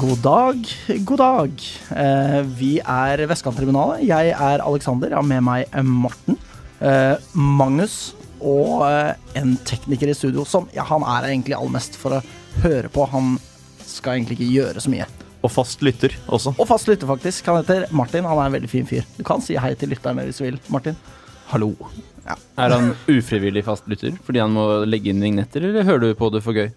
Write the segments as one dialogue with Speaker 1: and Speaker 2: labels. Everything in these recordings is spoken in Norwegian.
Speaker 1: God dag, god dag. Eh, vi er Vestkanttribunalet. Jeg er Alexander, jeg har med meg eh, Morten, eh, Magnus og eh, en tekniker i studio som ja, han er egentlig aller mest for å høre på. Han skal egentlig ikke gjøre så mye.
Speaker 2: Og fast lytter også.
Speaker 1: Og fast lytter, faktisk. Han heter Martin. Han er en veldig fin fyr. Du kan si hei til lytterne hvis du vil, Martin.
Speaker 3: Hallo.
Speaker 1: Ja.
Speaker 3: Er han ufrivillig fastlytter fordi han må legge inn vignetter, eller hører du på det for gøy?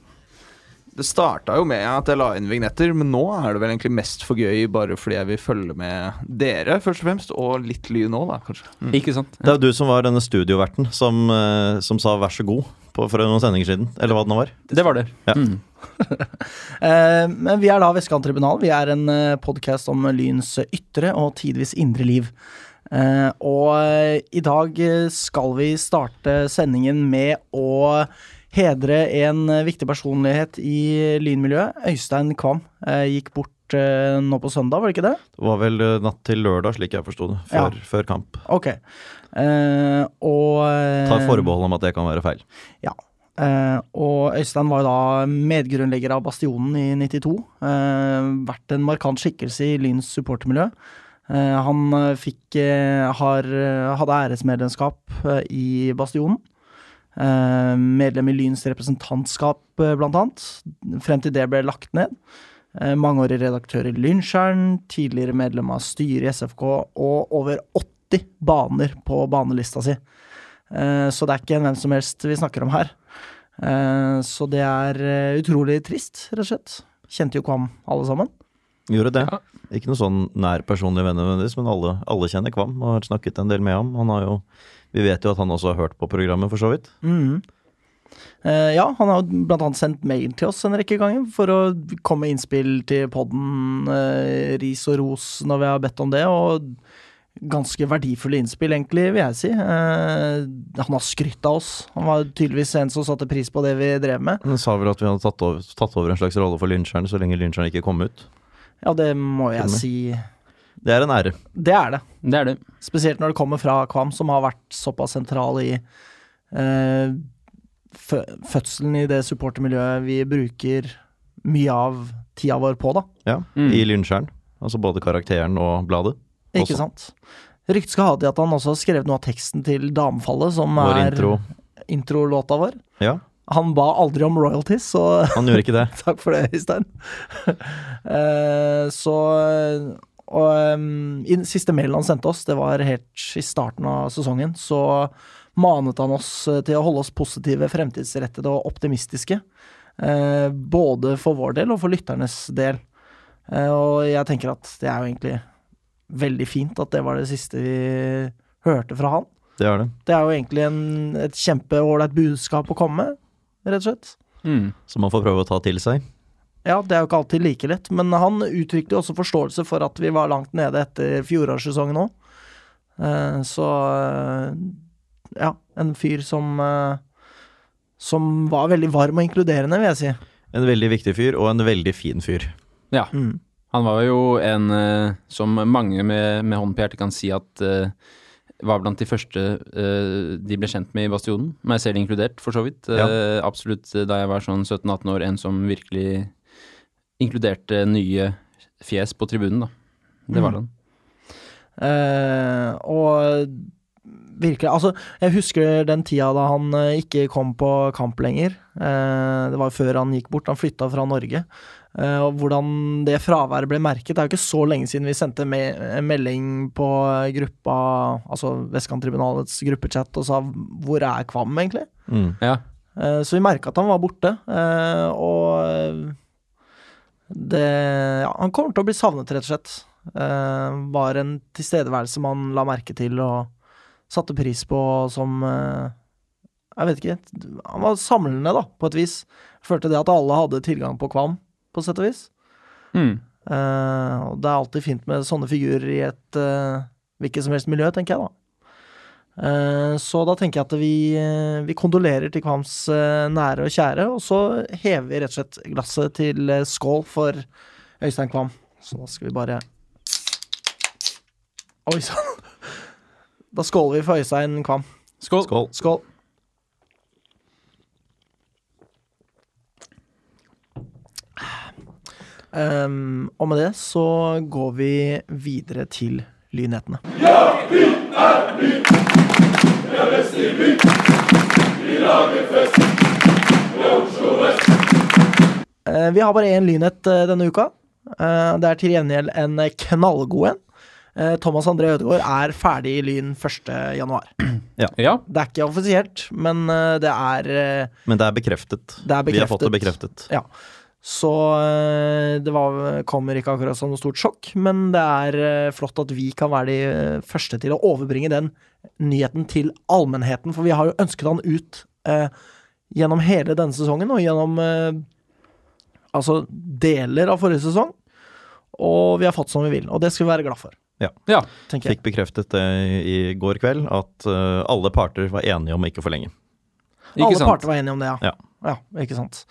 Speaker 4: Det starta jo med at jeg la inn vignetter, men nå er det vel egentlig mest for gøy bare fordi jeg vil følge med dere, først og fremst, og litt lyd nå, da, kanskje.
Speaker 3: Ikke sant?
Speaker 2: Det er jo du som var denne studioverten som, eh, som sa vær så god på, for noen sendinger siden. Eller hva det nå var.
Speaker 3: Det var det.
Speaker 2: Ja.
Speaker 3: Mm.
Speaker 1: Eh, Men vi er da Vestkanttribunalet. Vi er en podkast om Lyns ytre og tidvis indre liv. Eh, Og eh, i dag eh, skal vi starte sendingen med å hedre en eh, viktig personlighet i Lynmiljøet. Øystein Kvam eh, gikk bort eh, nå på søndag, var det ikke det?
Speaker 2: Det var vel eh, natt til lørdag, slik jeg forsto det, før, før kamp.
Speaker 1: Ok. Eh, og eh,
Speaker 2: Tar forbehold om at det kan være feil.
Speaker 1: Ja. Eh, og Øystein var jo da medgrunnlegger av Bastionen i 92. Eh, vært en markant skikkelse i Lyns supportermiljø. Eh, han eh, fikk eh, har, hadde æresmedlemskap eh, i Bastionen. Eh, medlem i Lyns representantskap, eh, blant annet. Frem til det ble lagt ned. Eh, mangeårig redaktør i Lynsjern, tidligere medlem av styret i SFK, og over 80 baner på banelista si. Eh, Så det er ikke en hvem som helst vi snakker om her. Eh, Så det er eh, utrolig trist, rett og slett. Kjente jo Kvam, alle sammen.
Speaker 2: Gjorde det.
Speaker 3: Ja.
Speaker 2: Ikke noe sånn nær personlig venn nødvendigvis, men alle, alle kjenner Kvam og har snakket en del med ham. Han har jo, vi vet jo at han også har hørt på programmet, for så vidt.
Speaker 1: Mhm. Eh, Ja, han har jo blant annet sendt mail til oss en rekke ganger for å komme med innspill til podden, eh, ris og ros når vi har bedt om det, og ganske verdifulle innspill, egentlig, vil jeg si. Eh, Han har skrytt av oss. Han var tydeligvis en som satte pris på det vi drev med.
Speaker 2: Han sa vel at vi hadde tatt over, tatt over en slags rolle for Lynsjern så lenge Lynsjern ikke kom ut.
Speaker 1: Ja, det må jeg
Speaker 2: Stemmer.
Speaker 1: si.
Speaker 2: Det er en ære.
Speaker 1: Det er det.
Speaker 3: Det er det.
Speaker 1: Spesielt når det kommer fra Kvam, som har vært såpass sentral i eh, fø fødselen i det supportermiljøet vi bruker mye av tida vår på, da.
Speaker 2: Ja,
Speaker 3: Mm.
Speaker 2: I Lynsjern. Altså både karakteren og bladet.
Speaker 1: Ikke
Speaker 2: Også.
Speaker 1: sant? Ryktet skal ha det at han også har skrevet noe av teksten til Damefallet, som
Speaker 2: Vår
Speaker 1: er
Speaker 2: intro.
Speaker 1: introlåta vår.
Speaker 2: Ja,
Speaker 1: Han ba aldri om royalties, så
Speaker 2: han gjorde ikke det.
Speaker 1: Takk for det, Øystein. Eh, så og, em, I den siste mailen han sendte oss, det var helt i starten av sesongen, så manet han oss eh, til å holde oss positive, fremtidsrettede og optimistiske. eh, både for vår del og for lytternes del. Eh, og jeg tenker at det er jo egentlig veldig fint at det var det siste vi hørte fra han.
Speaker 2: Det er det.
Speaker 1: Det er jo egentlig en, et kjempeålreit budskap å komme med, rett og slett.
Speaker 3: Mm.
Speaker 2: Så man får prøve å ta til seg.
Speaker 1: Ja, det er jo ikke alltid like lett, men han uttrykte også forståelse for at vi var langt nede etter fjorårssesongen òg. Så eh, ja, en fyr som eh, som var veldig varm og inkluderende, vil jeg si.
Speaker 2: En veldig viktig fyr, og en veldig fin fyr.
Speaker 3: Ja.
Speaker 1: Mm.
Speaker 3: Han var jo en eh, som mange med, med hånden på hjertet kan si at eh, var blant de første eh, de ble kjent med i Bastionen. Meg selv inkludert, for så vidt.
Speaker 2: Ja.
Speaker 3: Eh, absolutt eh, da jeg var sånn 17-18 år, en som virkelig inkluderte nye fjes på tribunen, da. Det
Speaker 1: Mm.
Speaker 3: var han.
Speaker 1: Eh, og virkelig Altså, jeg husker den tida da han eh, ikke kom på kamp lenger. Eh, det var før han gikk bort. Han flytta fra Norge. Eh, og hvordan det fraværet ble merket Det er jo ikke så lenge siden vi sendte me en melding på gruppa Altså Vestkanttribunalets gruppechat og sa 'Hvor er Kvam, egentlig?'
Speaker 2: Mm.
Speaker 3: Ja.
Speaker 1: Eh, så vi merka at han var borte. eh, og eh, det Ja, han kommer til å bli savnet, rett og slett. Eh, var en tilstedeværelse man la merke til og satte pris på som eh, Jeg vet ikke. Han var samlende, da, på et vis. Følte det at alle hadde tilgang på Kvam, på sett og vis.
Speaker 3: Mm.
Speaker 1: Eh, og det er alltid fint med sånne figurer i et eh, hvilket som helst miljø, tenker jeg da. Eh, så da tenker jeg at vi, eh, vi kondolerer til Kvams eh, nære og kjære, og så hever vi rett og slett glasset til eh, skål for Øystein Kvam. Så da skal vi bare Oi sann! Da skåler vi for Øystein Kvam.
Speaker 3: Skål.
Speaker 2: Skål.
Speaker 1: Skål. Ehm, og med det så går vi videre til lynhetene. Eh, Vi har bare én lynhet eh, denne uka. Eh, Det er til gjengjeld en knallgod en. Eh, Thomas André Ødegaard er ferdig i Lyn 1.1.
Speaker 3: Ja,
Speaker 1: Det er ikke offisielt, men eh, det er eh,
Speaker 2: Men det er bekreftet.
Speaker 1: Det er
Speaker 2: Vi har fått det
Speaker 1: bekreftet.
Speaker 2: bekreftet.
Speaker 1: Ja. Så eh, det var, kommer ikke akkurat som noe stort sjokk, men det er eh, flott at vi kan være de eh, første til å overbringe den nyheten til allmennheten, for vi har jo ønsket han ut eh, gjennom hele denne sesongen og gjennom eh, altså deler av forrige sesong. Og vi har fått som vi vil, og det skal vi være glad for,
Speaker 3: ja.
Speaker 1: tenker jeg.
Speaker 2: Fikk bekreftet det i går kveld, at eh, alle parter var enige om ikke å forlenge.
Speaker 3: Ikke
Speaker 1: Alle
Speaker 3: sant.
Speaker 1: parter var enige om det, ja.
Speaker 2: Ja.
Speaker 1: ikke sant.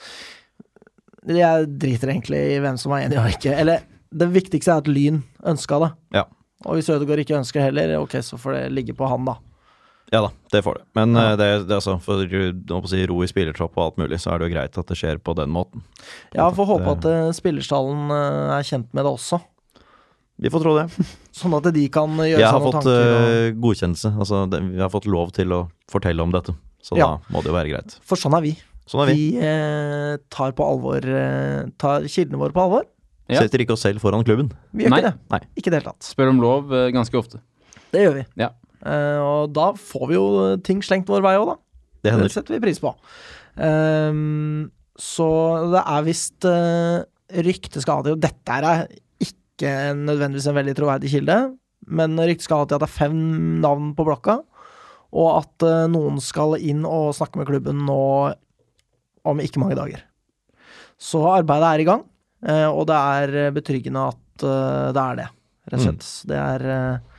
Speaker 1: Jeg driter egentlig i hvem som var enig og ikke. Eller det viktigste er at Lyn ønska det.
Speaker 2: Ja.
Speaker 1: Og hvis Ødegaard ikke ønsker det heller, ok, så får det ligge på han, da.
Speaker 2: Ja da, det får det. Men
Speaker 1: Ja.
Speaker 2: eh, det, det er altså, for å si, ro i spillertropp og alt mulig, så er det jo greit at det skjer på den måten.
Speaker 1: Jeg får håpe
Speaker 2: Det-
Speaker 1: at eh, spillerstallen eh, er kjent med det også,
Speaker 2: Vi får tro det.
Speaker 1: sånn at de kan gjøre
Speaker 2: Jeg
Speaker 1: seg
Speaker 2: har
Speaker 1: noen
Speaker 2: fått
Speaker 1: tanker. Og...
Speaker 2: eh, godkjennelse. Altså, det, vi har fått lov til å fortelle om dette. Så
Speaker 1: Ja.
Speaker 2: da må det jo være greit.
Speaker 1: For sånn er vi.
Speaker 2: Sånn er
Speaker 1: Vi
Speaker 2: vi.
Speaker 1: eh, tar på alvor eh, Tar kildene våre på alvor.
Speaker 3: Ja.
Speaker 2: Setter ikke oss selv foran klubben.
Speaker 1: Vi gjør
Speaker 3: Nei.
Speaker 1: ikke det.
Speaker 2: Nei.
Speaker 1: Ikke i det hele tatt.
Speaker 3: Spør om lov eh, ganske ofte.
Speaker 1: Det gjør vi.
Speaker 3: Ja.
Speaker 1: Eh, og da får vi jo eh, ting slengt vår vei òg, da.
Speaker 2: Det
Speaker 1: Det
Speaker 2: hender.
Speaker 1: setter vi pris på. Ehm, så det er visst uh, Ryktet skal ha det, og dette her er ikke en- nødvendigvis en veldig troverdig kilde, men ryktet skal ha det at det er fem navn på blokka, og at eh, noen skal inn og snakke med klubben nå om ikke mange dager. Så arbeidet er i gang, eh, og det er betryggende at eh, det er det, rett og slett. Så Det er eh,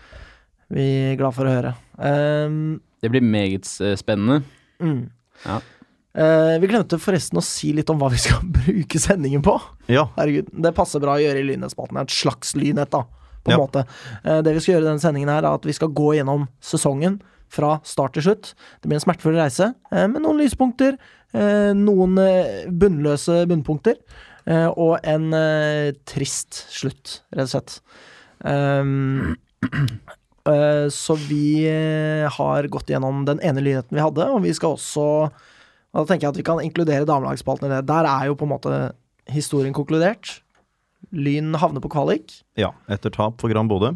Speaker 1: vi glad for å høre. Um,
Speaker 3: Det blir meget eh, spennende.
Speaker 1: Mm.
Speaker 3: Ja.
Speaker 1: Eh, vi glemte forresten å si litt om hva vi skal bruke sendingen på.
Speaker 2: Ja.
Speaker 1: Herregud, Det passer bra å gjøre i Lynnettspalten. Det er Et slags lynett, da. På en
Speaker 2: Ja.
Speaker 1: måte. Eh, det vi skal gjøre i denne sendingen, her er at vi skal gå gjennom sesongen fra start til slutt. Det blir en smertefull reise, eh, med noen lyspunkter, eh, noen eh, bunnløse bunnpunkter, eh, og en eh, trist slutt, rett og slett. Ehm, eh, så vi eh, har gått gjennom den ene lynheten vi hadde, og vi skal også og Da tenker jeg at vi kan inkludere damelagsspalten i det. Der er jo på en måte historien konkludert. Lyn havner på kvalik.
Speaker 2: ja. Etter tap for Gran Bodø.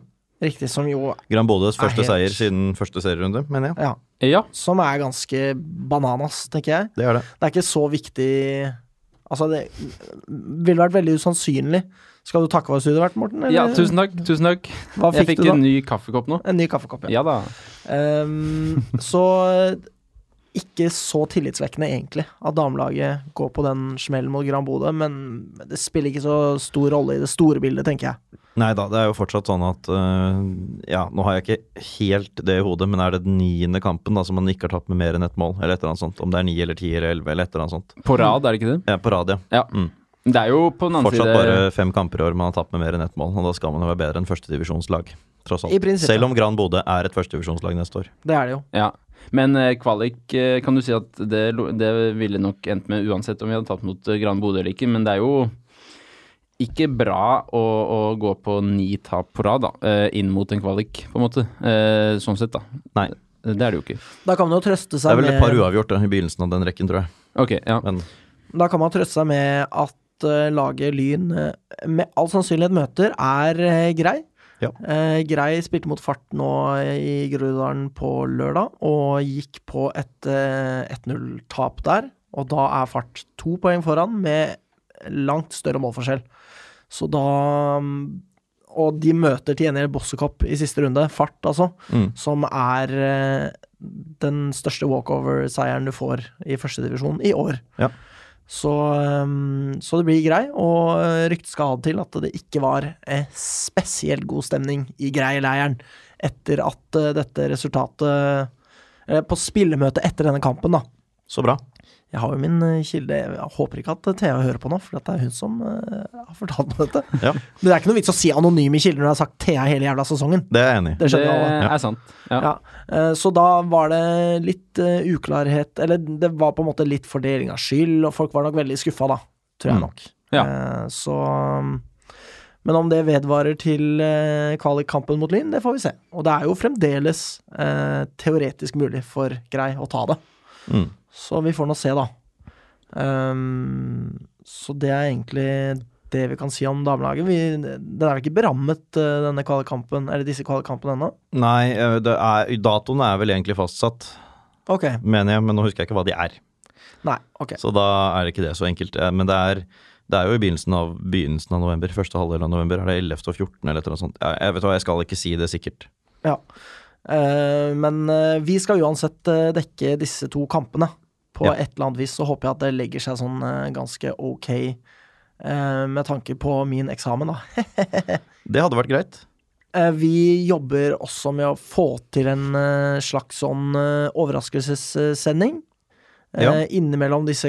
Speaker 1: Riktig, som jo
Speaker 2: Gran Bodøs første
Speaker 1: helt-
Speaker 2: seier siden første serierunde, mener jeg.
Speaker 1: Ja.
Speaker 3: Eh, Ja,
Speaker 1: Som er ganske bananas, tenker jeg.
Speaker 2: Det er det.
Speaker 1: Det er ikke så viktig Altså, det ville vært veldig usannsynlig. Skal du takke for oss, du har vært, Morten? eller?
Speaker 3: ja tusen takk. Tusen takk.
Speaker 1: Hva
Speaker 3: Jeg
Speaker 1: fikk,
Speaker 3: fikk
Speaker 1: du, da?
Speaker 3: en ny kaffekopp nå.
Speaker 1: En ny kaffekopp, ja.
Speaker 3: Ja da.
Speaker 1: Ehm, så ikke så tillitsvekkende, egentlig, at damelaget går på den smellen mot Gran Bodø, men det spiller ikke så stor rolle i det store bildet, tenker jeg.
Speaker 2: Nei da, det er jo fortsatt sånn at eh, Ja, nå har jeg ikke helt det i hodet, men er det den niende kampen da som man ikke har tapt med mer enn ett mål, eller et eller annet sånt? Om det er ni eller ti eller elleve eller et eller annet sånt.
Speaker 3: På rad, er det ikke det?
Speaker 2: Ja, på rad, ja.
Speaker 3: Ja.
Speaker 2: Mm.
Speaker 3: Det er jo på den annen
Speaker 2: Fortsatt
Speaker 3: side
Speaker 2: bare fem kamper i år man har tapt med mer enn ett mål, og da skal man jo være bedre enn førstedivisjonslag. Tross
Speaker 1: I
Speaker 2: alt.
Speaker 1: prinsippet.
Speaker 2: Selv om Gran Bodø er et førstedivisjonslag neste år.
Speaker 1: Det er det jo.
Speaker 3: Ja. Men eh, kvalik eh, kan du si at det, lo- det ville nok endt med uansett om vi hadde tatt mot eh, Gran Bodø eller ikke, men det er jo ikke bra å, å gå på ni tap på rad da, eh, inn mot en kvalik, på en måte. Eh, Sånn sett, da. Eh,
Speaker 2: Nei.
Speaker 3: Det er det jo ikke.
Speaker 1: Da kan man jo trøste
Speaker 2: Det
Speaker 1: seg
Speaker 2: er vel et par
Speaker 1: med
Speaker 2: uavgjort da, i begynnelsen av den rekken, tror jeg.
Speaker 3: Ok, ja.
Speaker 2: Men
Speaker 1: Da kan man trøste seg med at eh, laget Lyn eh, med all sannsynlighet møter, er eh, grei.
Speaker 2: Ja.
Speaker 1: Eh, grei spilte mot Fart nå eh, i Groruddalen på lørdag, og gikk på et eh, 1-0-tap der. Og da er Fart to poeng foran, med langt større målforskjell. Så da mm, Og de møter til gjengjeld Bossekopp i siste runde, Fart altså,
Speaker 2: mm,
Speaker 1: som er eh, den største walkover-seieren du får i førstedivisjon i år.
Speaker 2: Ja.
Speaker 1: Så, um, så det blir grei, og uh, ryktet skal ha det til at det ikke var eh, spesielt god stemning i Grei-leiren etter at eh, dette resultatet eh, På spillemøtet etter denne kampen, da.
Speaker 2: så bra.
Speaker 1: Jeg har jo min eh, kilde Jeg håper ikke at Thea hører på nå, for dette er hun som eh, har fortalt meg dette.
Speaker 2: Ja.
Speaker 1: Men det er ikke noe vits å si anonyme kilder når du har sagt Thea hele jævla sesongen.
Speaker 2: Det er jeg enig i.
Speaker 1: Det skjønner alle.
Speaker 2: Ja.
Speaker 3: er sant. Ja.
Speaker 1: Ja, eh, Så da var det litt eh, uklarhet Eller det var på en måte litt fordeling av skyld, og folk var nok veldig skuffa, da. Tror jeg
Speaker 2: Mm.
Speaker 1: nok.
Speaker 3: Ja.
Speaker 1: Eh, så um, Men om det vedvarer til eh, kvalikkampen mot Lyn, det får vi se. Og det er jo fremdeles eh, teoretisk mulig for Grei å ta det.
Speaker 2: Mm.
Speaker 1: Så vi får nå se, da. Ehm, så det er egentlig det vi kan si om damelaget. Vi, den er vel ikke berammet, eh, denne kvalikkampen, eller disse kvalikkampene ennå?
Speaker 2: Nei, eh, det er, datoen er vel egentlig fastsatt,
Speaker 1: Ok.
Speaker 2: mener jeg, men nå husker jeg ikke hva de er.
Speaker 1: Nei. ok.
Speaker 2: Så da er det ikke det så enkelt. Eh, Men det er, det er jo i begynnelsen av, begynnelsen av november. Første halvdel av november. Er det 11. og 14. eller et eller annet sånt? Jeg, jeg vet hva, jeg skal ikke si det sikkert.
Speaker 1: Ja. Eh, men eh, vi skal uansett eh, dekke disse to kampene. På
Speaker 2: Ja.
Speaker 1: et eller annet vis så håper jeg at det legger seg sånn eh, ganske ok eh, med tanke på min eksamen, da.
Speaker 2: Det hadde vært greit.
Speaker 1: Eh, Vi jobber også med å få til en eh, slags sånn eh, overraskelsessending. Eh,
Speaker 2: Ja.
Speaker 1: Innimellom disse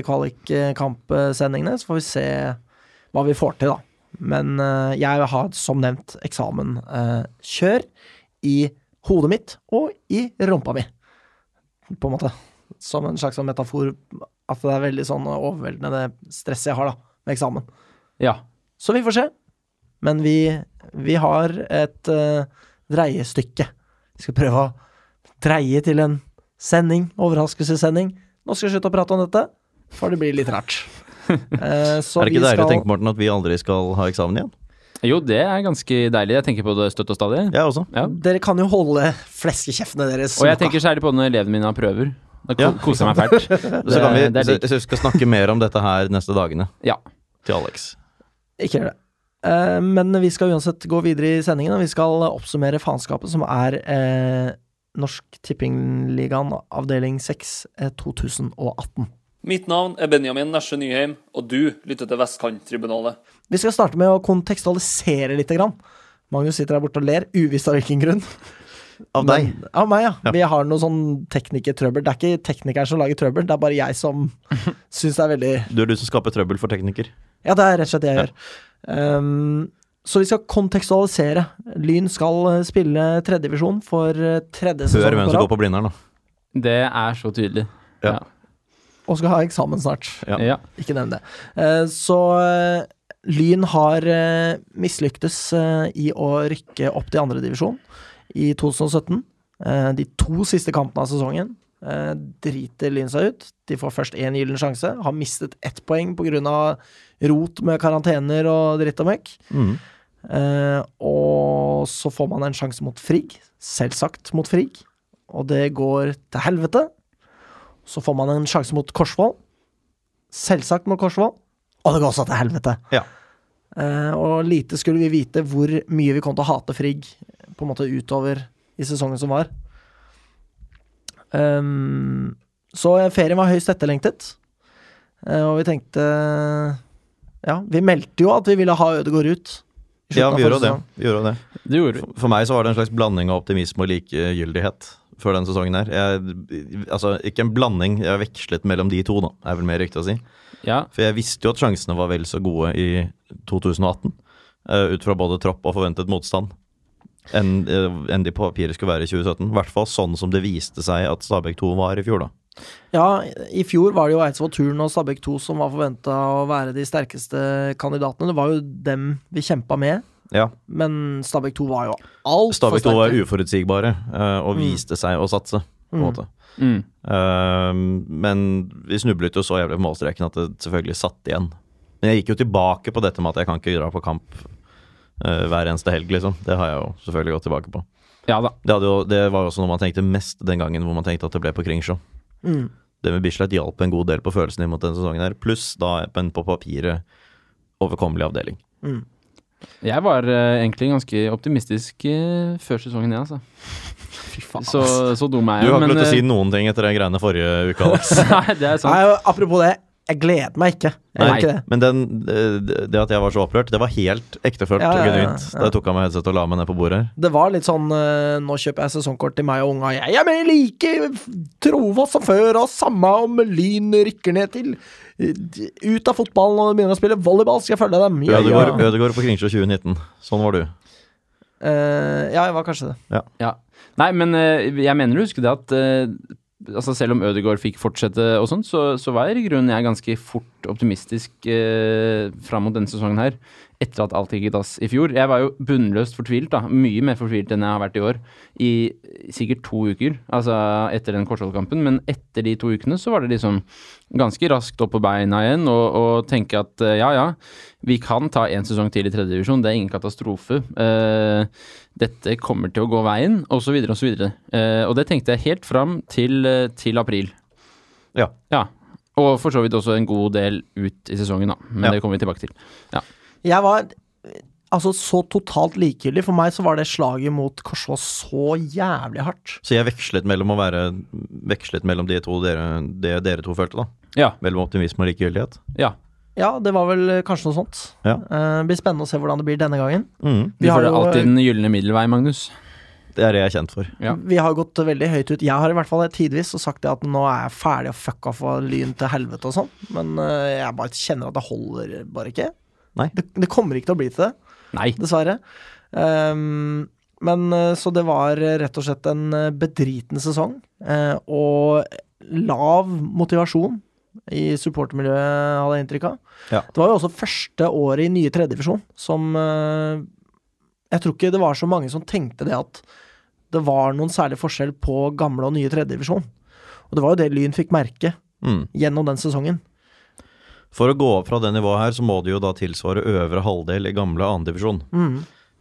Speaker 1: kvalikkampsendingene, så får vi se hva vi får til, da. Men eh, jeg har som nevnt eksamen. eh, Kjør i hodet mitt og i rumpa mi, på en måte. Som en slags sånn metafor at det er veldig sånn overveldende det stresset jeg har da, med eksamen.
Speaker 3: Ja.
Speaker 1: Så vi får se. Men vi, vi har et eh, dreiestykke. Vi skal prøve å dreie til en sending, overraskelsessending. Nå skal vi slutte å prate om dette, for det blir litt rart. Eh, så
Speaker 2: er det ikke
Speaker 1: vi
Speaker 2: deilig å
Speaker 1: skal-
Speaker 2: tenke, Morten, at vi aldri skal ha eksamen igjen?
Speaker 3: Jo, det er ganske deilig. Jeg tenker på det støtt og stadig.
Speaker 2: Jeg også.
Speaker 3: Ja.
Speaker 1: Dere kan jo holde fleskekjeftene deres
Speaker 3: Og jeg
Speaker 1: lukka.
Speaker 3: tenker særlig på når elevene mine har prøver. Da ko
Speaker 2: Ja.
Speaker 3: koser jeg meg fælt.
Speaker 2: Så kan vi,
Speaker 3: Det- det er
Speaker 2: så,
Speaker 3: digg.
Speaker 2: så vi skal snakke mer om dette her neste dagene
Speaker 3: Ja.
Speaker 2: til Alex.
Speaker 1: Ikke gjør det. Eh, men vi skal uansett gå videre i sendingen, og vi skal oppsummere faenskapet, som er eh, Norsk Tippingligaen avdeling 6 eh, 2018.
Speaker 5: Mitt navn er Benjamin Nesje Nyheim, og du lytter til Vestkanttribunalet.
Speaker 1: Vi skal starte med å kontekstualisere litt. Grann. Magnus sitter der borte og ler, uvisst av hvilken grunn.
Speaker 2: Av deg.
Speaker 1: Men- Av meg, ja.
Speaker 2: Ja.
Speaker 1: Vi har noe sånn teknikertrøbbel. Det er ikke teknikeren som lager trøbbel, det er bare jeg som syns det er veldig
Speaker 2: Du er du som skaper trøbbel for tekniker.
Speaker 1: Ja, det er rett og slett det jeg gjør. Um, så vi skal kontekstualisere. Lyn skal eh, spille tredjedivisjon for eh, tredje
Speaker 2: Hør
Speaker 1: sesong på
Speaker 2: hvem som går
Speaker 1: rad,
Speaker 2: på Blindern, da.
Speaker 3: Det er så tydelig.
Speaker 2: Ja.
Speaker 1: og skal ha eksamen snart.
Speaker 2: Ja.
Speaker 3: Ja.
Speaker 1: Ikke nevn det. Eh, så eh, Lyn har eh, mislyktes eh, i å rykke opp til andredivisjon i 2017. Eh, de to siste kampene av sesongen eh, driter Lyn seg ut. De får først én gyllen sjanse, har mistet ett poeng pga. rot med karantener og dritt og møkk.
Speaker 2: Mm.
Speaker 1: Eh, og så får man en sjanse mot Frigg, selvsagt mot Frigg, og det går til helvete. Så får man en sjanse mot Korsvoll, selvsagt mot Korsvoll, og det går også til helvete.
Speaker 2: Ja.
Speaker 1: Eh, og lite skulle vi vite hvor mye vi kom til å hate Frigg på en måte utover i sesongen som var. Ehm, så ferien var høyst etterlengtet, Eh, og vi tenkte Ja, vi meldte jo at vi ville ha Ødegaard ut. i slutten
Speaker 2: ja,
Speaker 1: av
Speaker 2: vi gjør
Speaker 1: forrige
Speaker 2: jo det.
Speaker 1: sesong.
Speaker 2: Vi gjør jo det.
Speaker 3: Det gjorde vi.
Speaker 2: For- For meg så var det en slags blanding av optimisme og likegyldighet før den sesongen her. Jeg, altså, ikke en blanding, jeg vekslet mellom de to, da, er vel mer riktig å si.
Speaker 3: Ja.
Speaker 2: For jeg visste jo at sjansene var vel så gode i 2018, eh, ut fra både tropp og forventet motstand, enn eh, enn de på papiret skulle være i 2017. I hvert fall sånn som det viste seg at Stabæk 2 var i fjor, da.
Speaker 1: Ja, i fjor var det jo Eidsvoll Turn og Stabæk 2 som var forventa å være de sterkeste kandidatene. Det var jo dem vi kjempa med,
Speaker 2: Ja,
Speaker 1: men Stabæk 2 var jo altfor
Speaker 2: Stabæk 2 var
Speaker 1: sterke.
Speaker 2: uforutsigbare eh, og viste seg å satse, på en
Speaker 1: Mm.
Speaker 2: måte.
Speaker 3: Mm.
Speaker 2: Eh, men vi snublet jo så jævlig på målstreken at det selvfølgelig satt igjen. Men jeg gikk jo tilbake på dette med at jeg kan ikke dra på kamp eh, hver eneste helg, liksom. Det har jeg jo selvfølgelig gått tilbake på.
Speaker 3: ja da.
Speaker 2: Det, hadde jo, det var jo også noe man tenkte mest den gangen hvor man tenkte at det ble på Kringsjå.
Speaker 1: Mm.
Speaker 2: Det med Bislett hjalp en god del på følelsen imot denne sesongen her, pluss da en på papiret overkommelig avdeling.
Speaker 3: Jeg var eh, egentlig ganske optimistisk eh, før sesongen, jeg, altså.
Speaker 1: Fy faen.
Speaker 3: Så, så dum er
Speaker 2: Du
Speaker 3: jeg.
Speaker 2: har ikke
Speaker 3: men,
Speaker 2: lov til å si
Speaker 3: eh,
Speaker 2: noen ting etter de greiene forrige uka. Alex.
Speaker 3: Nei, det er sant.
Speaker 1: Nei, apropos det, jeg gleder meg ikke. Jeg
Speaker 2: Nei,
Speaker 1: gjør ikke det.
Speaker 2: Men den, eh, det at jeg var så opprørt, det var helt ektefølt
Speaker 1: Ja, ja,
Speaker 2: og
Speaker 1: ja,
Speaker 2: genuint.
Speaker 1: ja.
Speaker 2: Da jeg tok av meg headsetet og la meg ned på bordet her.
Speaker 1: Det var litt sånn eh, Nå kjøper jeg sesongkort til meg og unga. Jeg er mer like trofast som før, og samme om Lyn rykker ned til eh, Ut av fotballen og begynner å spille volleyball, skal jeg følge dem. Ja,
Speaker 2: Ødegård,
Speaker 1: ja.
Speaker 2: Ødegård på Kringsjå 2019. Sånn var du.
Speaker 1: Eh, ja, jeg var kanskje det.
Speaker 3: Ja. Nei, men eh, jeg mener du husker det at eh, altså Selv om Ødegaard fikk fortsette og sånn, så, så var i grunnen jeg ganske fort optimistisk eh, fram mot denne sesongen her. Etter at alt gikk i dass i fjor. Jeg var jo bunnløst fortvilt, da. Mye mer fortvilt enn jeg har vært i år. I sikkert to uker, altså etter den Korsvoll-kampen. Men etter de to ukene så var det liksom ganske raskt opp på beina igjen og, og tenke at eh, ja, ja, vi kan ta en sesong til i tredje divisjon, det er ingen katastrofe. Eh, dette kommer til å gå veien, osv., osv. Uh, og det tenkte jeg helt fram til, eh, til april.
Speaker 2: Ja.
Speaker 3: ja. Og for så vidt også en god del ut i sesongen, da. Men
Speaker 2: Ja.
Speaker 3: det kommer vi tilbake til.
Speaker 1: Jeg var eh, altså så totalt likegyldig. For meg så var det slaget mot Korsvoll så jævlig hardt.
Speaker 2: Så jeg vekslet mellom å være Vekslet mellom de to dere, det dere to følte, da.
Speaker 3: Ja.
Speaker 2: Mellom optimisme og likegyldighet.
Speaker 3: ja.
Speaker 1: Ja, det var vel eh, kanskje noe sånt.
Speaker 2: Ja.
Speaker 1: Eh, det blir spennende å se hvordan det blir denne gangen.
Speaker 2: Mhm.
Speaker 1: Vi
Speaker 3: Du
Speaker 1: har
Speaker 3: får det
Speaker 1: jo- eh,
Speaker 3: alltid den gylne middelvei, Magnus.
Speaker 2: Det er det jeg er kjent for.
Speaker 3: Ja.
Speaker 1: Vi har gått veldig høyt ut. Jeg har i hvert fall tidvis sagt det at nå er jeg ferdig og fuck off av lyn til helvete og sånn, men eh, jeg bare kjenner at det holder bare ikke.
Speaker 2: Nei.
Speaker 1: Det, det kommer ikke til å bli til det.
Speaker 3: Nei.
Speaker 1: dessverre. Ehm, men eh, så det var eh, rett og slett en eh, bedriten sesong, eh, og lav motivasjon i supportermiljøet, hadde jeg inntrykk av.
Speaker 2: Ja.
Speaker 1: Det var jo også første året i nye tredjedivisjon som eh, Jeg tror ikke det var så mange som tenkte det at det var noen særlig forskjell på gamle og nye tredjedivisjon. Og det var jo det Lyn fikk merke
Speaker 2: Mhm.
Speaker 1: gjennom den sesongen.
Speaker 2: For å gå opp fra det nivået her, så må det jo da tilsvare øvre halvdel i gamle andredivisjon.
Speaker 1: Mm,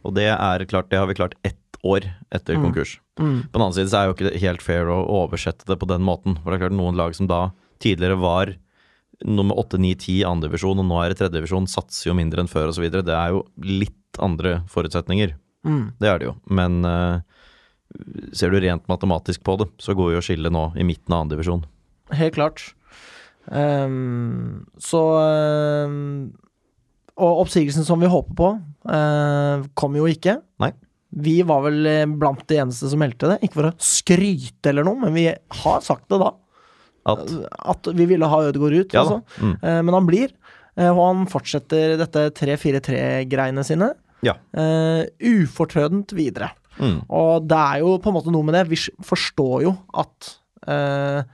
Speaker 2: Og det er klart, det har vi klart ett år etter
Speaker 1: Mm.
Speaker 2: konkurs.
Speaker 1: mm,
Speaker 2: På den annen side så er jo ikke det helt fair å oversette det på den måten. For det er klart noen lag som da tidligere var nummer 8, 9, 10 i andre divisjon, og nå er det tredje divisjon, satser jo mindre enn før osv. Det er jo litt andre forutsetninger.
Speaker 1: mm.
Speaker 2: Det er det jo. Men eh, ser du rent matematisk på det, så går jo skillet nå i midten av andre divisjon.
Speaker 1: Helt klart. Ehm, så ehm, Og oppsigelsen som vi håper på, eh, kom jo ikke.
Speaker 2: Nei.
Speaker 1: Vi var vel eh, blant de eneste som meldte det. Ikke for å skryte eller noe, men vi har sagt det da.
Speaker 2: At
Speaker 1: At vi ville ha Ødegaard ut.
Speaker 2: Ja da.
Speaker 1: altså.
Speaker 2: Mm.
Speaker 1: Eh, men han blir. eh, og han fortsetter dette 3-4-3-greiene sine.
Speaker 2: Ja.
Speaker 1: eh, ufortrødent videre.
Speaker 2: mm,
Speaker 1: Og det er jo på en måte noe med det. Vi s- forstår jo at eh,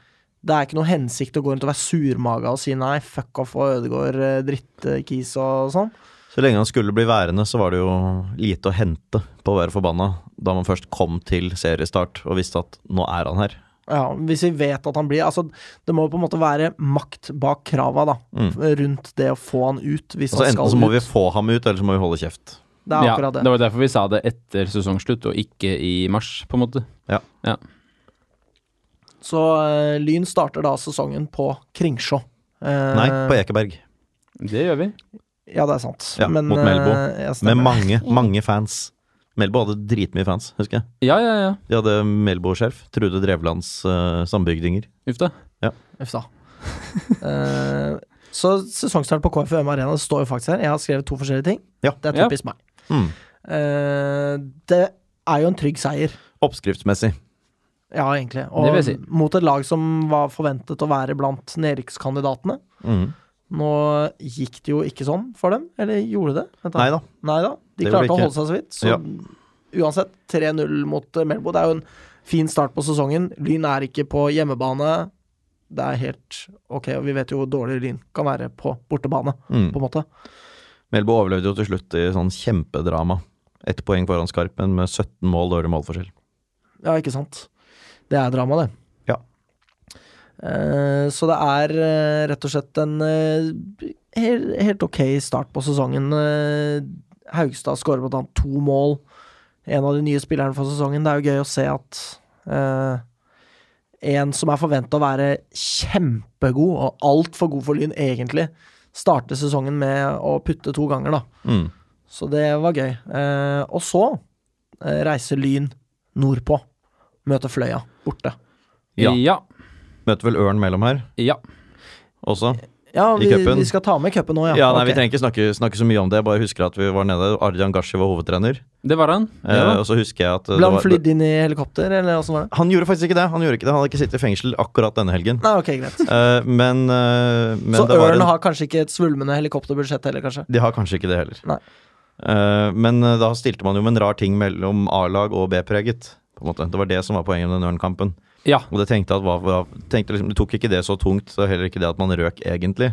Speaker 1: det er ikke noe hensikt å gå rundt og være surmaga og si nei, fuck off og Ødegård, drittkis og sånn.
Speaker 2: Så lenge han skulle bli værende, så var det jo lite å hente på å være forbanna da man først kom til seriestart og visste at nå er han her.
Speaker 1: Ja, hvis vi vet at han blir Altså, det må jo på en måte være makt bak krava, da.
Speaker 2: Mm.
Speaker 1: Rundt det å få han ut, hvis
Speaker 2: Altså
Speaker 1: han
Speaker 2: Enten
Speaker 1: skal
Speaker 2: så må
Speaker 1: ut.
Speaker 2: vi få ham ut, eller så må vi holde kjeft.
Speaker 1: Det er akkurat
Speaker 3: ja,
Speaker 1: det.
Speaker 3: det var derfor vi sa det etter sesongslutt, og ikke i mars, på en måte.
Speaker 1: Så eh, Lyn starter da sesongen på Kringsjå. Eh,
Speaker 2: Nei, på Ekeberg.
Speaker 3: Det gjør vi.
Speaker 1: Ja, det er sant.
Speaker 2: Ja, mot
Speaker 1: eh,
Speaker 2: Melbo.
Speaker 1: jeg
Speaker 2: Med
Speaker 1: stemmer.
Speaker 2: mange, mange fans. Melbo hadde dritmye fans, husker jeg.
Speaker 3: Ja, ja, ja.
Speaker 2: De hadde Melbo-skjerf. Trude Drevlands eh, sambygdinger.
Speaker 3: Uff da.
Speaker 1: Uff da. Eh, så sesongstart på KFUM Arena, det står jo faktisk her. Jeg har skrevet to forskjellige ting.
Speaker 2: Ja.
Speaker 1: Det er
Speaker 3: Ja.
Speaker 1: typisk meg.
Speaker 2: Mm.
Speaker 1: Hmm. Eh, det er jo en trygg seier,
Speaker 2: Oppskriftsmessig.
Speaker 1: ja, egentlig.
Speaker 3: Det
Speaker 1: Og
Speaker 3: vil jeg si.
Speaker 1: mot et lag som var forventet å være blant nedrykkskandidatene.
Speaker 2: Mm.
Speaker 1: Hmm. Nå gikk det jo ikke sånn for dem, eller gjorde det? Vent da.
Speaker 2: Nei da.
Speaker 1: Nei da. De
Speaker 2: Det gjorde
Speaker 1: klarte å
Speaker 2: det ikke.
Speaker 1: holde seg så vidt. Så
Speaker 2: Ja.
Speaker 1: uansett, 3-0 mot eh, Melbo. Det er jo en fin start på sesongen. Lyn er ikke på hjemmebane. Det er helt ok, og vi vet jo hvor dårlig Lyn kan være på bortebane,
Speaker 2: Mm.
Speaker 1: på en måte.
Speaker 2: Melbo overlevde jo til slutt i sånn kjempedrama. Ett poeng foran Skarpen med 17 mål dårlig målforskjell.
Speaker 1: Ja, ikke sant. Det er drama, det.
Speaker 2: Ja.
Speaker 1: Eh, så det er eh, rett og slett en eh, helt, helt ok start på sesongen. Eh, Haugstad skårer blant annet to mål. En av de nye spillerne for sesongen. Det er jo gøy å se at eh, en som er forventa å være kjempegod, og altfor god for Lyn egentlig, starter sesongen med å putte to ganger, da.
Speaker 2: Mm.
Speaker 1: Så det var gøy. Eh, og så eh, reiser Lyn nordpå. Møter Fløya borte.
Speaker 2: Ja.
Speaker 3: ja.
Speaker 2: Møter vel Ørn mellom her
Speaker 3: ja.
Speaker 2: også.
Speaker 1: Ja,
Speaker 2: I
Speaker 1: vi,
Speaker 2: cupen?
Speaker 1: vi skal ta med cupen nå, ja.
Speaker 2: Ja, nei,
Speaker 1: Ok.
Speaker 2: Vi trenger ikke snakke, snakke så mye om det. Jeg bare husker at vi var nede. Arjan Gashi var hovedtrener.
Speaker 3: Det var han. Det
Speaker 2: Eh,
Speaker 3: var.
Speaker 2: og så husker jeg at eh,
Speaker 1: Ble han
Speaker 2: det var-
Speaker 1: flydd inn i helikopter, eller åssen var det?
Speaker 2: Han gjorde faktisk ikke det. Han gjorde ikke det Han hadde ikke sittet i fengsel akkurat denne helgen.
Speaker 1: Nei, ok, greit.
Speaker 2: Eh, men eh, men
Speaker 1: så
Speaker 2: det var
Speaker 1: Ørn
Speaker 2: en,
Speaker 1: har kanskje ikke et svulmende helikopterbudsjett heller, kanskje?
Speaker 2: De har kanskje ikke det heller.
Speaker 1: Nei.
Speaker 2: Eh, men eh, da stilte man jo med en rar ting mellom A-lag og B-preget. på en måte. Det var det som var poenget med den Ørn-kampen.
Speaker 3: Ja.
Speaker 2: Og det tenkte jeg at var, var tenkte liksom, Du tok ikke det så tungt, og heller ikke det at man røk, egentlig.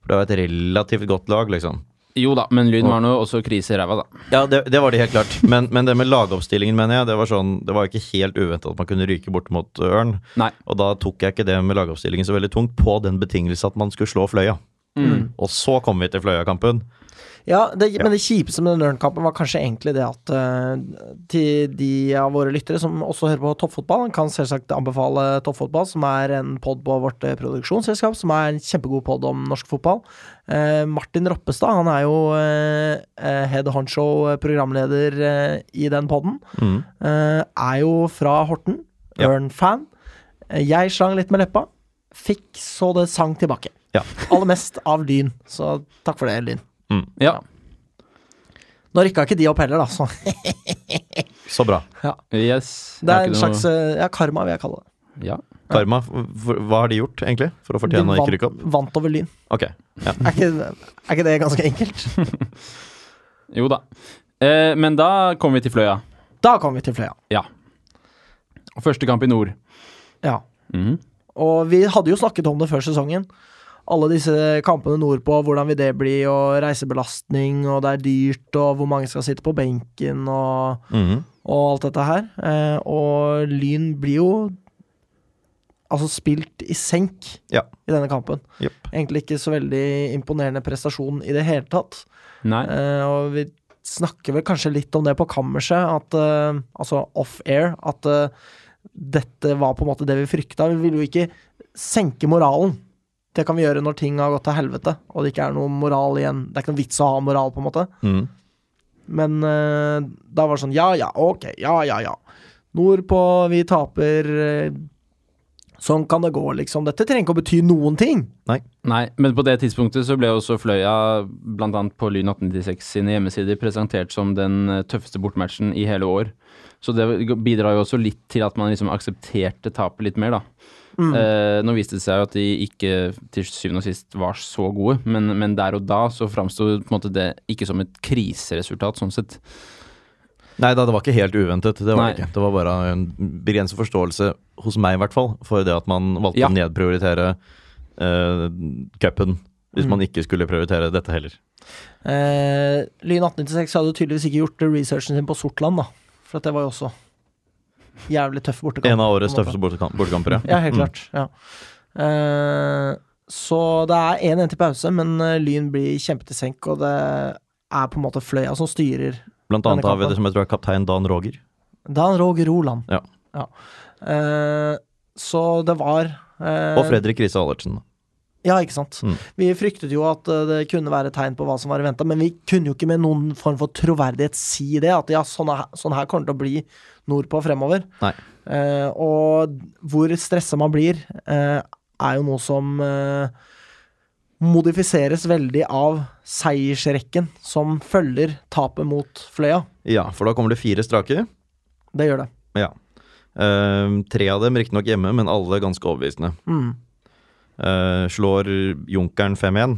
Speaker 2: For det var et relativt godt lag, liksom.
Speaker 3: Jo da, men Lyn var nå også krise i ræva, da.
Speaker 2: Ja, det, det var det helt klart. Men, men det med lagoppstillingen, mener jeg, det var sånn Det var ikke helt uventa at man kunne ryke bort mot eh, Ørn.
Speaker 3: Nei.
Speaker 2: Og da tok jeg ikke det med lagoppstillingen så veldig tungt, på den betingelse at man skulle slå Fløya. Og så kom vi til Fløya-kampen.
Speaker 1: Ja, det, men det kjipeste med den Ørn-kampen var kanskje egentlig det at eh, til de av våre lyttere som også hører på toppfotball, kan selvsagt anbefale Toppfotball, som er en pod på vårt eh, produksjonsselskap, som er en kjempegod pod om norsk fotball. Eh, Martin Roppestad, han er jo eh, eh, head honcho-programleder eh, i den poden.
Speaker 2: Mm.
Speaker 1: er jo fra Horten,
Speaker 2: Ja.
Speaker 1: Ørn-fan. Eh, Jeg slang litt med leppa, fikk så det sang tilbake.
Speaker 2: Ja.
Speaker 1: Aller mest av Lyn, så takk for det, Lyn.
Speaker 3: Ja.
Speaker 1: Nå rykka ikke de opp heller, da, så
Speaker 2: Så bra.
Speaker 3: Yes.
Speaker 1: det
Speaker 3: Jeg
Speaker 1: er en
Speaker 3: har ikke
Speaker 1: slags
Speaker 3: noe-
Speaker 1: eh, ja, karma, vil jeg kalle det.
Speaker 3: Ja.
Speaker 2: Karma, for, hva har de gjort, egentlig? For å
Speaker 1: De
Speaker 2: fortjene å ikke rykke opp?
Speaker 1: vant over Lyn.
Speaker 2: Ok.
Speaker 1: Er ikke, er ikke det ganske enkelt?
Speaker 3: Jo da. Eh, men da kom vi til Fløya.
Speaker 1: Da kom vi til Fløya.
Speaker 3: Ja. Første kamp i nord.
Speaker 1: Ja.
Speaker 3: Mhm.
Speaker 1: Og vi hadde jo snakket om det før sesongen. Alle disse kampene nordpå, hvordan vil det bli, og reisebelastning, og det er dyrt, og hvor mange skal sitte på benken, og,
Speaker 2: Mhm.
Speaker 1: og alt dette her. Eh, og Lyn blir jo altså spilt i senk
Speaker 2: Ja.
Speaker 1: i denne kampen.
Speaker 2: Jepp.
Speaker 1: Egentlig ikke så veldig imponerende prestasjon i det hele tatt.
Speaker 3: Nei.
Speaker 1: Eh, og vi snakker vel kanskje litt om det på kammerset, at, eh, altså off-air, at eh, dette var på en måte det vi frykta. Vi ville jo ikke senke moralen. Det kan vi gjøre når ting har gått til helvete, og det ikke er noe moral igjen. Det er ikke noe vits å ha moral, på en måte.
Speaker 2: Mhm.
Speaker 1: Men eh, da var det sånn Ja, ja, ok. Ja, ja, ja. Nordpå, vi taper. eh, sånn kan det gå, liksom. Dette trenger ikke å bety noen ting.
Speaker 3: Nei. Men på det tidspunktet så ble også Fløya, blant annet på Lyn 1896 sine hjemmesider, presentert som den eh, tøffeste bortmatchen i hele år. Så det bidrar jo også litt til at man liksom aksepterte tapet litt mer, da. Eh, nå viste det seg jo at de ikke til syvende og sist var så gode, men, men der og da så framsto på en måte det ikke som et kriseresultat, sånn sett.
Speaker 2: Nei da, det var ikke helt uventet. Det var
Speaker 3: Nei.
Speaker 2: det ikke. Det var bare en begrenset forståelse, hos meg i hvert fall, for det at man valgte
Speaker 3: Ja.
Speaker 2: å nedprioritere uh, cupen hvis
Speaker 1: Mm.
Speaker 2: man ikke skulle prioritere dette heller.
Speaker 1: Eh, Lyn 1896 hadde jo tydeligvis ikke gjort researchen sin på Sortland, da. For at det var jo også jævlig tøff bortekamp.
Speaker 2: En av årets
Speaker 1: på en måte.
Speaker 2: tøffeste bortekamp- bortekamper, Mm.
Speaker 1: Ja, helt klart. Ja. Eh, så det er 1-1 til pause, men eh, Lyn blir kjempet i senk, og det er på en måte Fløya som styrer.
Speaker 2: Blant
Speaker 1: Denne
Speaker 2: annet har vi
Speaker 1: kampen.
Speaker 2: det som jeg tror er kaptein Dan Roger.
Speaker 1: Da er han Roger Roland.
Speaker 2: Ja.
Speaker 1: Eh, så det var eh,
Speaker 2: Og Fredrik Riise Allertsen.
Speaker 1: Ja, ikke sant.
Speaker 2: Mm.
Speaker 1: Vi fryktet jo at eh, det kunne være tegn på hva som var i vente, men vi kunne jo ikke med noen form for troverdighet si det, at ja, sånn, er, sånn her kommer det til å bli nordpå fremover.
Speaker 2: Nei.
Speaker 1: Eh, og hvor stressa man blir, eh, er jo noe som eh, modifiseres veldig av seiersrekken som følger tapet mot Fløya.
Speaker 2: Ja, for da kommer det fire strake.
Speaker 1: Det gjør det.
Speaker 2: Ja. Eh, tre av dem riktignok hjemme, men alle ganske overbevisende.
Speaker 1: Mm.
Speaker 2: Eh, slår Junkeren 5-1.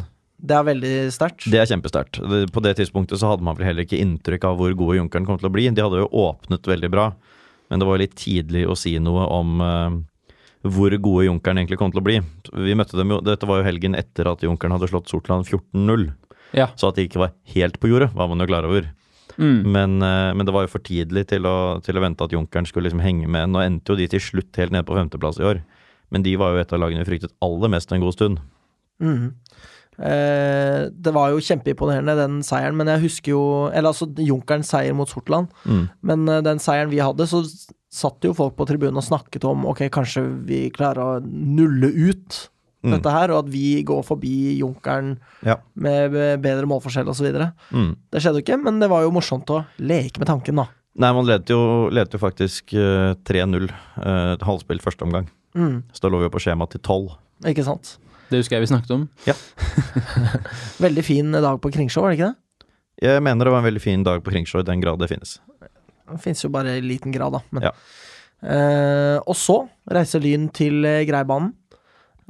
Speaker 1: Det er veldig sterkt.
Speaker 2: Det er kjempesterkt. Det- På det tidspunktet så hadde man vel heller ikke inntrykk av hvor gode Junkeren kom til å bli. De hadde jo åpnet veldig bra, men det var jo litt tidlig å si noe om eh, hvor gode Junkeren egentlig kom til å bli. Vi møtte dem jo, Dette var jo helgen etter at Junkeren hadde slått Sortland 14-0,
Speaker 3: Ja.
Speaker 2: så at de ikke var helt på jordet, var man jo klar over.
Speaker 3: Mm.
Speaker 2: Men, eh, men det var jo for tidlig til å, til å vente at Junkeren skulle liksom henge med. Nå endte jo de til slutt helt nede på femteplass i år, men de var jo et av lagene vi fryktet aller mest en god stund.
Speaker 1: Mhm. Eh, det var jo kjempeimponerende, den seieren, men jeg husker jo Eller altså Junkerens seier mot Sortland.
Speaker 2: Mm.
Speaker 1: Men eh, den seieren vi hadde, så s- satt jo folk på tribunen og snakket om ok, kanskje vi klarer å nulle ut
Speaker 2: Mm.
Speaker 1: dette her, og at vi går forbi Junkeren
Speaker 2: Ja.
Speaker 1: med b- bedre målforskjell osv. Det
Speaker 2: Mm.
Speaker 1: skjedde jo ikke, men det var jo morsomt å leke med tanken, da.
Speaker 2: Nei, man ledet jo, ledet jo faktisk eh, 3-0. eh, et halvspilt første omgang.
Speaker 1: Mm,
Speaker 2: Så da lå vi jo på skjema til 12.
Speaker 1: ikke sant?
Speaker 3: Det husker jeg vi snakket om.
Speaker 1: Veldig fin dag på Kringsjå, var det ikke det?
Speaker 2: Jeg mener det var en veldig fin dag på Kringsjå, i den grad det finnes.
Speaker 1: Det fins jo bare i liten grad, da. Men.
Speaker 2: Ja.
Speaker 1: Eh, og så reiser Lyn til eh, Greibanen.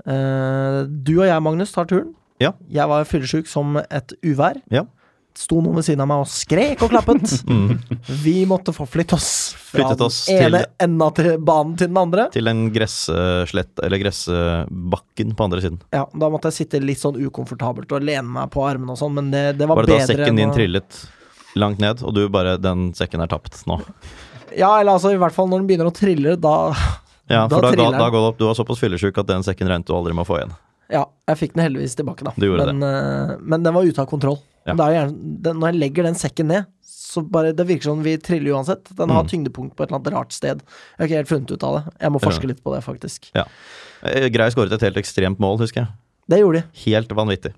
Speaker 1: Eh, du og jeg, Magnus, tar turen.
Speaker 2: Ja.
Speaker 1: Jeg var fyllesyk som et uvær.
Speaker 2: Ja. Mm.
Speaker 1: sto noen ved siden av meg og skrek og klappet. Vi måtte forflytte oss fra
Speaker 2: Flyttet oss
Speaker 1: den
Speaker 2: til-
Speaker 1: ene enden av til- banen til den andre.
Speaker 2: Til en gresslett, eller gressbakken på andre siden.
Speaker 1: Ja, Da måtte jeg sitte litt sånn ukomfortabelt og lene meg på armene og sånn, men det, det var,
Speaker 2: Var det da
Speaker 1: bedre
Speaker 2: sekken din
Speaker 1: å-
Speaker 2: trillet langt ned, og du bare Den sekken er tapt nå.
Speaker 1: Ja, eller altså i hvert fall når den begynner å trille, da
Speaker 2: Ja,
Speaker 1: Da
Speaker 2: for da, da,
Speaker 1: triller den.
Speaker 2: da går det opp. Du var såpass fyllesyk at den sekken regnet du aldri med å få igjen.
Speaker 1: Ja, jeg fikk den heldigvis tilbake, da.
Speaker 2: Du gjorde
Speaker 1: men, eh, men den var ute av kontroll.
Speaker 2: Ja.
Speaker 1: Det er jo gjerne, den, når jeg legger den sekken ned, så bare Det virker som vi triller uansett. Den har
Speaker 2: Mm.
Speaker 1: tyngdepunkt på et eller annet rart sted. Jeg har ikke helt funnet ut av det. Jeg må
Speaker 2: Ja.
Speaker 1: forske litt på det, faktisk.
Speaker 2: Eh, Grei skåret et helt ekstremt mål, husker jeg.
Speaker 1: Det gjorde de.
Speaker 2: Helt vanvittig.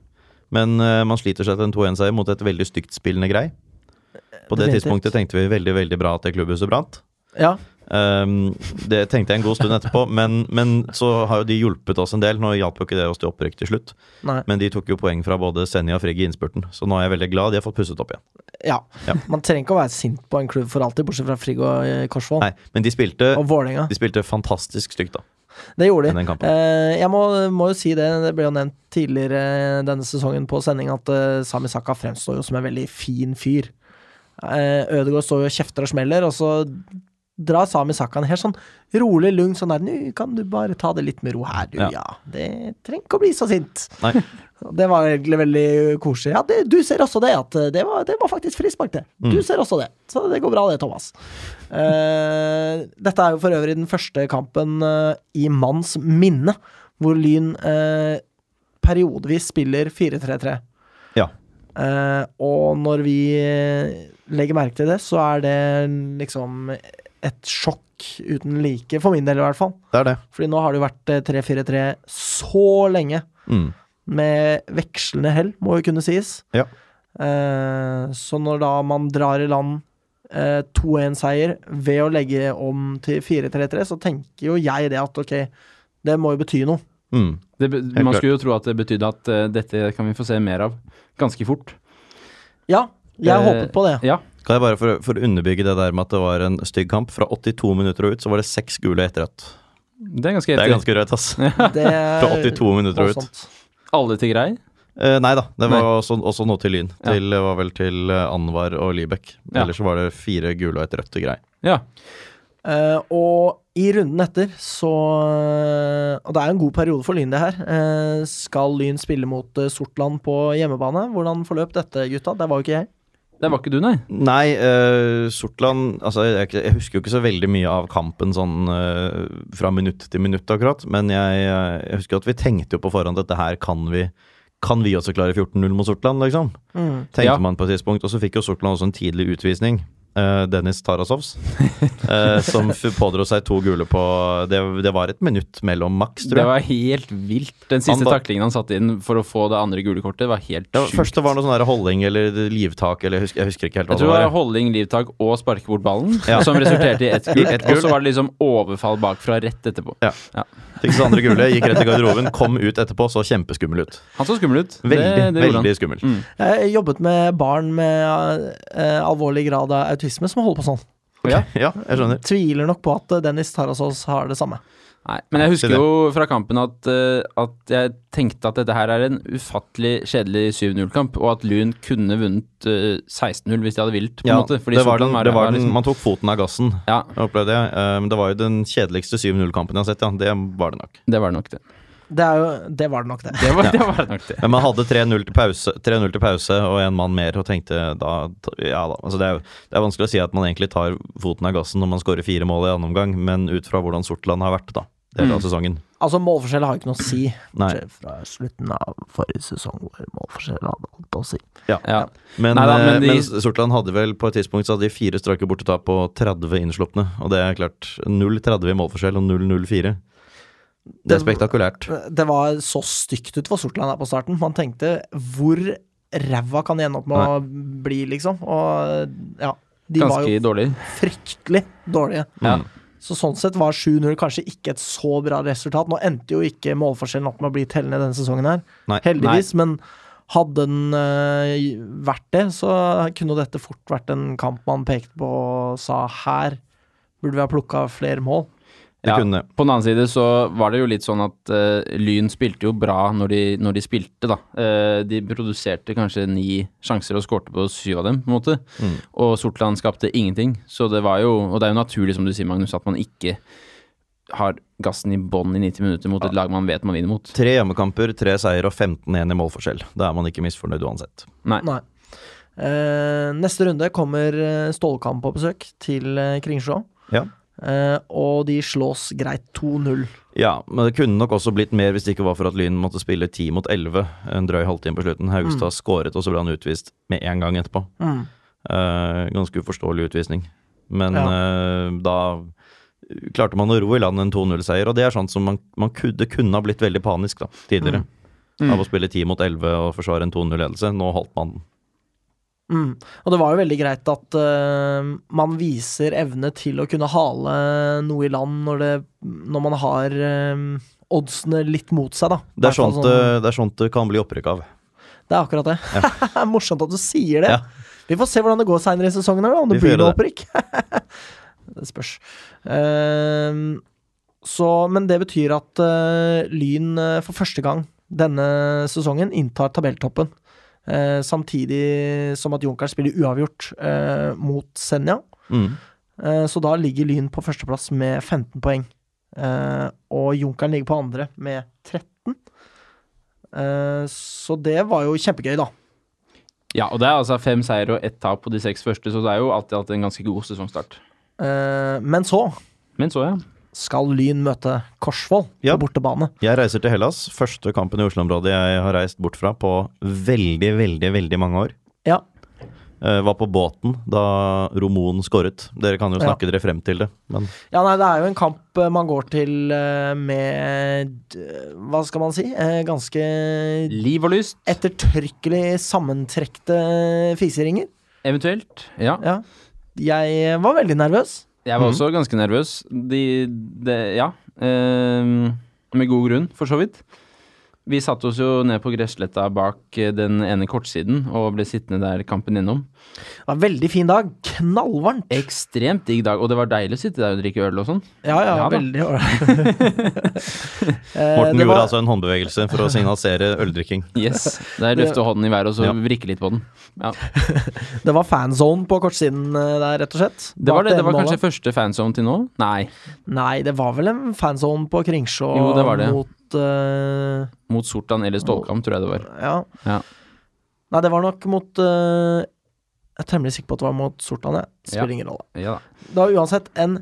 Speaker 2: Men eh, man sliter seg til en 2-1-seier mot et veldig stygt spillende grei. På det
Speaker 1: Definitivt.
Speaker 2: tidspunktet tenkte vi veldig, veldig bra at det klubbhuset brant.
Speaker 1: Ja.
Speaker 2: Ehm, det tenkte jeg en god stund etterpå, men, men så har jo de hjulpet oss en del. Nå hjalp jo ikke det oss til opprykk til slutt,
Speaker 1: Nei.
Speaker 2: men de tok jo poeng fra både Senja og Frigg i innspurten, så nå er jeg veldig glad de har fått pusset opp igjen.
Speaker 1: Ja.
Speaker 2: Ja.
Speaker 1: Man trenger ikke å være sint på en klubb for alltid, bortsett fra Frigg og eh, Korsvoll.
Speaker 2: Nei, men de spilte,
Speaker 1: Og Vålerenga.
Speaker 2: de spilte fantastisk stygt, da.
Speaker 1: Det gjorde
Speaker 2: i
Speaker 1: de.
Speaker 2: den kampen.
Speaker 1: Eh, jeg må, må jo si det, det ble jo nevnt tidligere denne sesongen på sending at eh, Sami Saka fremstår jo som en veldig fin fyr. Eh, Ødegaard står jo og kjefter og smeller, og så drar Sami Saka en helt sånn rolig lugn sånn der Nå kan du bare ta det litt med ro her, du,
Speaker 2: Ja.
Speaker 1: ja. Det trenger ikke å bli så sint.
Speaker 2: Nei,
Speaker 1: Og Det var egentlig veldig koselig. Ja, det, du ser også det, at eh, det var, det var faktisk frispark, det. Du ser også det. Så det går bra, det, Thomas. Eh, dette er jo for øvrig den første kampen eh, i manns minne hvor Lyn eh, periodevis spiller 4-3-3.
Speaker 2: ja.
Speaker 1: Eh, og når vi eh, legger merke til det, så er det liksom et sjokk uten like, for min del i hvert fall.
Speaker 2: Det er det.
Speaker 1: Fordi nå har det jo vært eh, 3-4-3 så lenge
Speaker 2: Mm.
Speaker 1: med vekslende hell, må jo kunne sies.
Speaker 2: Ja.
Speaker 1: Eh, så når da man drar i land eh, 2-1-seier ved å legge om til 4-3-3, så tenker jo jeg det at ok, det må jo bety noe.
Speaker 2: Mm.
Speaker 3: Det, be- man
Speaker 2: klart.
Speaker 3: skulle jo tro at det betydde at eh, dette kan vi få se mer av ganske fort.
Speaker 1: Ja, jeg
Speaker 3: Eh,
Speaker 1: håpet på det.
Speaker 3: Ja.
Speaker 2: Kan jeg bare for, for å underbygge det der med at det var en stygg kamp, fra 82 minutter og ut så var det seks gule etter rødt.
Speaker 3: Det er ganske
Speaker 2: Det
Speaker 3: helt
Speaker 2: er ganske rødt, ass.
Speaker 1: Det er
Speaker 2: Fra 82 minutter og ut.
Speaker 1: voldsomt.
Speaker 3: Alle til grei.
Speaker 2: Eh, nei da, det var
Speaker 3: Nei.
Speaker 2: Også, også noe til Lyn.
Speaker 3: Ja.
Speaker 2: Det var vel til eh, Anwar og Libek.
Speaker 3: Ja.
Speaker 2: Ellers så var det fire gule og et rødt og grei.
Speaker 3: Ja.
Speaker 1: Eh, og i runden etter så eh, Og det er jo en god periode for Lyn, det her. Eh, skal Lyn spille mot eh, Sortland på hjemmebane? Hvordan forløp dette, gutta? Der var jo ikke jeg.
Speaker 3: Der var ikke du, nei.
Speaker 2: Nei, eh, Sortland altså, jeg, er ikke- jeg husker jo ikke så veldig mye av kampen sånn eh, fra minutt til minutt, akkurat. Men jeg, eh, jeg husker at vi tenkte jo på forhånd at det her kan vi, kan vi også klare 14-0 mot Sortland, liksom. Tenkte
Speaker 3: Ja.
Speaker 2: man på et tidspunkt. Og så fikk jo Sortland også en tidlig utvisning. eh, Dennis Tarasovs, eh, som f- pådro seg to gule på Det, det var et minutt mellom maks, tror jeg.
Speaker 3: Det var helt vilt. Den siste
Speaker 2: Han var-
Speaker 3: taklingen han satte inn for å få det andre gule kortet, var helt
Speaker 2: Det var,
Speaker 3: sjukt.
Speaker 2: første var noe sånn der holding eller livtak eller jeg husker, jeg husker ikke helt hva
Speaker 3: Jeg tror det var
Speaker 2: det var.
Speaker 3: holding, livtak og sparke bort ballen,
Speaker 2: Ja.
Speaker 3: som resulterte i ett gult.
Speaker 2: Ett gult.
Speaker 3: Og så var det liksom overfall bakfra rett etterpå.
Speaker 2: Ja. Fikk sitt andre gule, gikk rett i garderoben, kom ut etterpå, så kjempeskummel ut.
Speaker 3: Han så skummel ut.
Speaker 2: Veldig,
Speaker 3: det, det gjorde
Speaker 2: veldig
Speaker 3: han.
Speaker 2: skummel.
Speaker 3: Mm.
Speaker 1: Jeg jobbet med barn med eh, alvorlig grad av autisme som holder på sånn.
Speaker 3: Ja.
Speaker 2: Ja, jeg skjønner.
Speaker 1: Tviler nok på at eh, Dennis Tarasovs har det samme.
Speaker 3: Nei, men jeg husker
Speaker 2: Si det.
Speaker 3: jo fra kampen at, eh, at jeg tenkte at dette her er en ufattelig kjedelig 7-0-kamp, og at Lyn kunne vunnet eh, 16-0 hvis de hadde vilt, på en
Speaker 2: Ja,
Speaker 3: måte.
Speaker 2: det var den,
Speaker 3: Sortland
Speaker 2: det var
Speaker 3: var
Speaker 2: den,
Speaker 3: liksom-
Speaker 2: man tok foten av gassen,
Speaker 3: Ja,
Speaker 2: opplevde jeg. Eh, men det var jo den kjedeligste 7-0-kampen jeg har sett, ja. Det var det nok.
Speaker 3: det var nok det.
Speaker 1: Det, er jo, det var det nok, det.
Speaker 3: Det var, det var nok det.
Speaker 2: Men man hadde 3-0 til pause, 3-0 til pause og en mann mer, og tenkte da Ja da. Altså det, er, jo- det er vanskelig å si at man egentlig tar foten av gassen når man skårer fire mål i annen omgang, men ut fra hvordan Sortland har vært, da. Deler
Speaker 3: Mm.
Speaker 2: av sesongen.
Speaker 1: Altså, målforskjell har ikke noe å si.
Speaker 2: Nei.
Speaker 1: Bortsett Fra slutten av forrige sesong, hvor målforskjell hadde alt å si.
Speaker 3: Ja.
Speaker 2: Men,
Speaker 3: Nei da,
Speaker 2: eh,
Speaker 3: men de-
Speaker 2: mens Sortland hadde vel på et tidspunkt så hadde de fire strake bortetap på 30 innslupne. Og det er klart 0-30 i målforskjell og 0-0-4. Det
Speaker 1: Det-
Speaker 2: er spektakulært.
Speaker 1: Eh, Det var så stygt ut for Sortland her på starten. Man tenkte hvor ræva kan de ende opp med å bli, liksom? Og ja. De var
Speaker 3: Ganske
Speaker 1: jo
Speaker 3: dårlig.
Speaker 1: fryktelig dårlige.
Speaker 3: Ja.
Speaker 2: Mm.
Speaker 1: Så sånn sett var 7-0 kanskje ikke et så bra resultat. Nå endte jo ikke målforskjellen opp med å bli tellende denne sesongen her,
Speaker 2: Nei.
Speaker 1: heldigvis. Men hadde den eh, vært det, så kunne jo dette fort vært en kamp man pekte på og sa her burde vi ha plukka flere mål.
Speaker 2: Det
Speaker 3: Ja.
Speaker 2: kunne det.
Speaker 3: På den annen side så var det jo litt sånn at eh, Lyn spilte jo bra når de, når de spilte, da. Eh, de produserte kanskje ni sjanser og skårte på syv av dem, på en måte.
Speaker 2: Mm.
Speaker 3: Og Sortland skapte ingenting. Så det var jo Og det er jo naturlig, som du sier, Magnus, at man ikke har gassen i bånn i 90 minutter mot et lag man vet man vinner mot.
Speaker 2: Tre hjemmekamper, tre seier og 15-1 i målforskjell. Da er man ikke misfornøyd uansett.
Speaker 3: Nei.
Speaker 1: Nei. Eh, neste runde kommer eh, Stålkamp på besøk til eh, Kringsjå.
Speaker 2: Ja.
Speaker 1: Eh, og de slås greit 2-0.
Speaker 2: Ja, men det kunne nok også blitt mer hvis det ikke var for at Lyn måtte spille 10 mot 11 en drøy halvtime på slutten. Haugstad skåret, og så ble han utvist med en gang etterpå.
Speaker 1: Mm.
Speaker 2: Eh, ganske uforståelig utvisning. Men
Speaker 1: Ja.
Speaker 2: eh, da klarte man å ro i land en 2-0-seier, og det er sånt som man, man kunne, det kunne ha blitt veldig panisk da,
Speaker 1: Mm.
Speaker 2: tidligere. Av å spille 10 mot 11 og forsvare en 2-0-ledelse. Nå holdt man den.
Speaker 1: Mm. Og det var jo veldig greit at eh, man viser evne til å kunne hale noe i land når, det, når man har eh, oddsene litt mot seg, da.
Speaker 2: Det er
Speaker 1: Hvertfall
Speaker 2: sånt,
Speaker 1: sånn-
Speaker 2: eh, det er sånt det kan bli opprykk av.
Speaker 1: Det er akkurat det. Det er Morsomt at du sier det.
Speaker 2: Ja.
Speaker 1: Vi får se hvordan det går seinere i sesongen, her, da, om det
Speaker 2: Vi får
Speaker 1: blir noe
Speaker 2: gjøre
Speaker 1: opprykk. det spørs. Ehm, så, men det betyr at eh, Lyn eh, for første gang denne sesongen inntar tabelltoppen. Eh, samtidig som at Junkers spiller uavgjort eh, mot Senja.
Speaker 2: Mm.
Speaker 1: Eh, Så da ligger Lyn på førsteplass med 15 poeng. Eh, og Junkeren ligger på andre med 13. Eh, så det var jo kjempegøy, da.
Speaker 3: Ja, og det er altså fem seier og ett tap på de seks første, så det er jo alltid hatt en ganske god sesongstart.
Speaker 1: Eh, men så
Speaker 3: Men så, ja.
Speaker 1: skal Lyn møte Korsvoll
Speaker 2: Ja.
Speaker 1: på bortebane.
Speaker 2: Jeg reiser til Hellas. Første kampen i Oslo-området jeg har reist bort fra på veldig, veldig, veldig mange år.
Speaker 1: Ja,
Speaker 2: Eh, var på båten da Romon skåret. Dere kan jo snakke dere frem til det, men
Speaker 1: ja nei, det er jo en kamp eh, man går til eh, med eh, Hva skal man si? Eh, ganske
Speaker 3: Liv og lyst,
Speaker 1: ettertrykkelig sammentrekte fiseringer.
Speaker 3: eventuelt. Ja.
Speaker 1: Ja. Jeg var veldig nervøs.
Speaker 3: Jeg var også ganske nervøs. De, det- ja. ehm, med god grunn, for så vidt. Vi satte oss jo ned på gressletta bak eh, den ene kortsiden og ble sittende der kampen innom.
Speaker 1: Det var en veldig fin dag. Knallvarmt.
Speaker 3: Ekstremt digg dag, og det var deilig å sitte der og drikke øl og sånn.
Speaker 1: Ja, ja,
Speaker 3: Ja da.
Speaker 1: veldig ålreit. Eh,
Speaker 2: Morten gjorde altså en håndbevegelse for å signalisere øldrikking.
Speaker 3: Yes. Der løfte hånden i været og så
Speaker 2: Ja.
Speaker 3: vrikke litt på den. Ja.
Speaker 1: Det var fanzone på kortsiden eh, der, rett og slett.
Speaker 3: Det var,
Speaker 1: Bak
Speaker 3: det, det var
Speaker 1: målet.
Speaker 3: kanskje første fanzone til nå? Nei,
Speaker 1: Nei, det var vel en fanzone på Kringsjå
Speaker 3: Jo, det var det.
Speaker 1: mot eh,
Speaker 3: mot Sortan eller Stålkamp, tror jeg det var.
Speaker 1: ja.
Speaker 3: Ja.
Speaker 1: Nei, det var nok mot eh, Jeg er temmelig sikker på at det var mot Sortland, jeg. Spiller
Speaker 3: Ja.
Speaker 1: ingen rolle.
Speaker 3: Ja da.
Speaker 1: Det var uansett en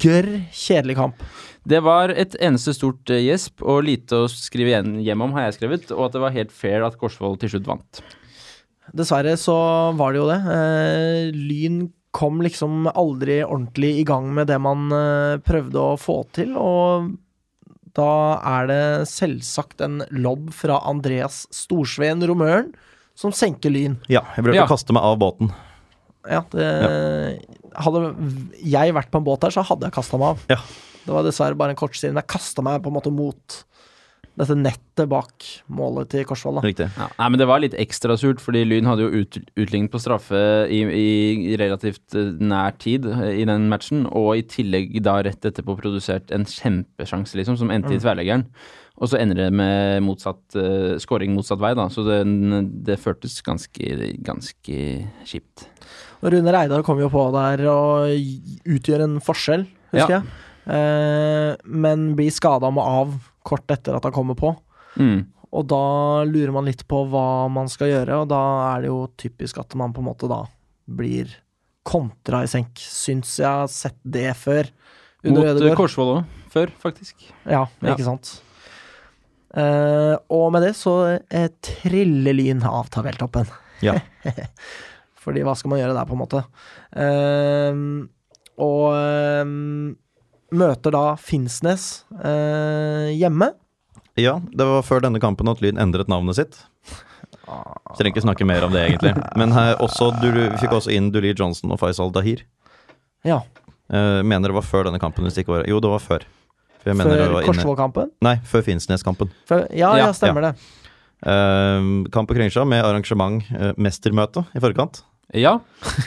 Speaker 1: gørr kjedelig kamp.
Speaker 3: Det var et eneste stort eh, gjesp og lite å skrive igjen- hjem om, har jeg skrevet, og at det var helt fair at Korsvoll til slutt vant.
Speaker 1: Dessverre så var det jo det. Eh, lyn kom liksom aldri ordentlig i gang med det man eh, prøvde å få til, og da er det selvsagt en lobb fra Andreas Storsveen Romøren som senker Lyn.
Speaker 2: Ja, jeg prøvde
Speaker 3: Ja.
Speaker 2: å kaste meg av båten.
Speaker 1: Ja, det, Hadde jeg vært på en båt her, så hadde jeg kasta meg av.
Speaker 2: Ja.
Speaker 1: Det var dessverre bare en kort siden. Jeg kasta meg på en måte mot dette nettet bak målet til Korsvoll. da.
Speaker 2: Riktig.
Speaker 3: Ja, nei, men det var litt ekstra surt, fordi Lyn hadde jo ut, utlignet på straffe i, i relativt eh, nær tid eh, i den matchen, og i tillegg da rett etterpå produsert en kjempesjanse, liksom, som endte i tverrleggeren. Og så ender det med motsatt, eh, scoring motsatt vei, da, så den, det føltes ganske, ganske kjipt.
Speaker 1: Og Rune Reidar kom jo på der og utgjør en forskjell, husker
Speaker 3: Ja.
Speaker 1: jeg. Eh, men blir skada med av kort etter at han kommer på.
Speaker 3: Mm.
Speaker 1: Og da lurer man litt på hva man skal gjøre, og da er det jo typisk at man på en måte da blir kontra i senk. Syns jeg har sett det før.
Speaker 3: Mot
Speaker 1: Under
Speaker 3: eh,
Speaker 1: Ødegaard.
Speaker 3: Korsvoll òg, før, faktisk.
Speaker 1: Ja,
Speaker 3: Ja.
Speaker 1: ikke sant. Eh, og med det så eh, triller Lyn av tabelltoppen.
Speaker 2: Ja.
Speaker 1: Fordi hva skal man gjøre der, på en måte? Ehm, og ehm, møter da Finnsnes eh, hjemme.
Speaker 2: ja, det var før denne kampen at Lyn endret navnet sitt. Så Trenger ikke snakke mer om det, egentlig. Men her også, du, vi fikk også inn Dulee Johnson og Faisal Dahir.
Speaker 1: Ja,
Speaker 2: Eh, mener det var før denne kampen. Hvis det ikke var, jo, det var før. For jeg mener det
Speaker 1: før
Speaker 2: var inne.
Speaker 1: Korsvoll-kampen.
Speaker 2: Nei, før Finnsnes-kampen.
Speaker 1: Før- Ja,
Speaker 3: Ja,
Speaker 1: ja, stemmer det.
Speaker 2: Eh, kamp på Kringsjå med arrangement eh, mestermøte i forkant.
Speaker 3: Ja,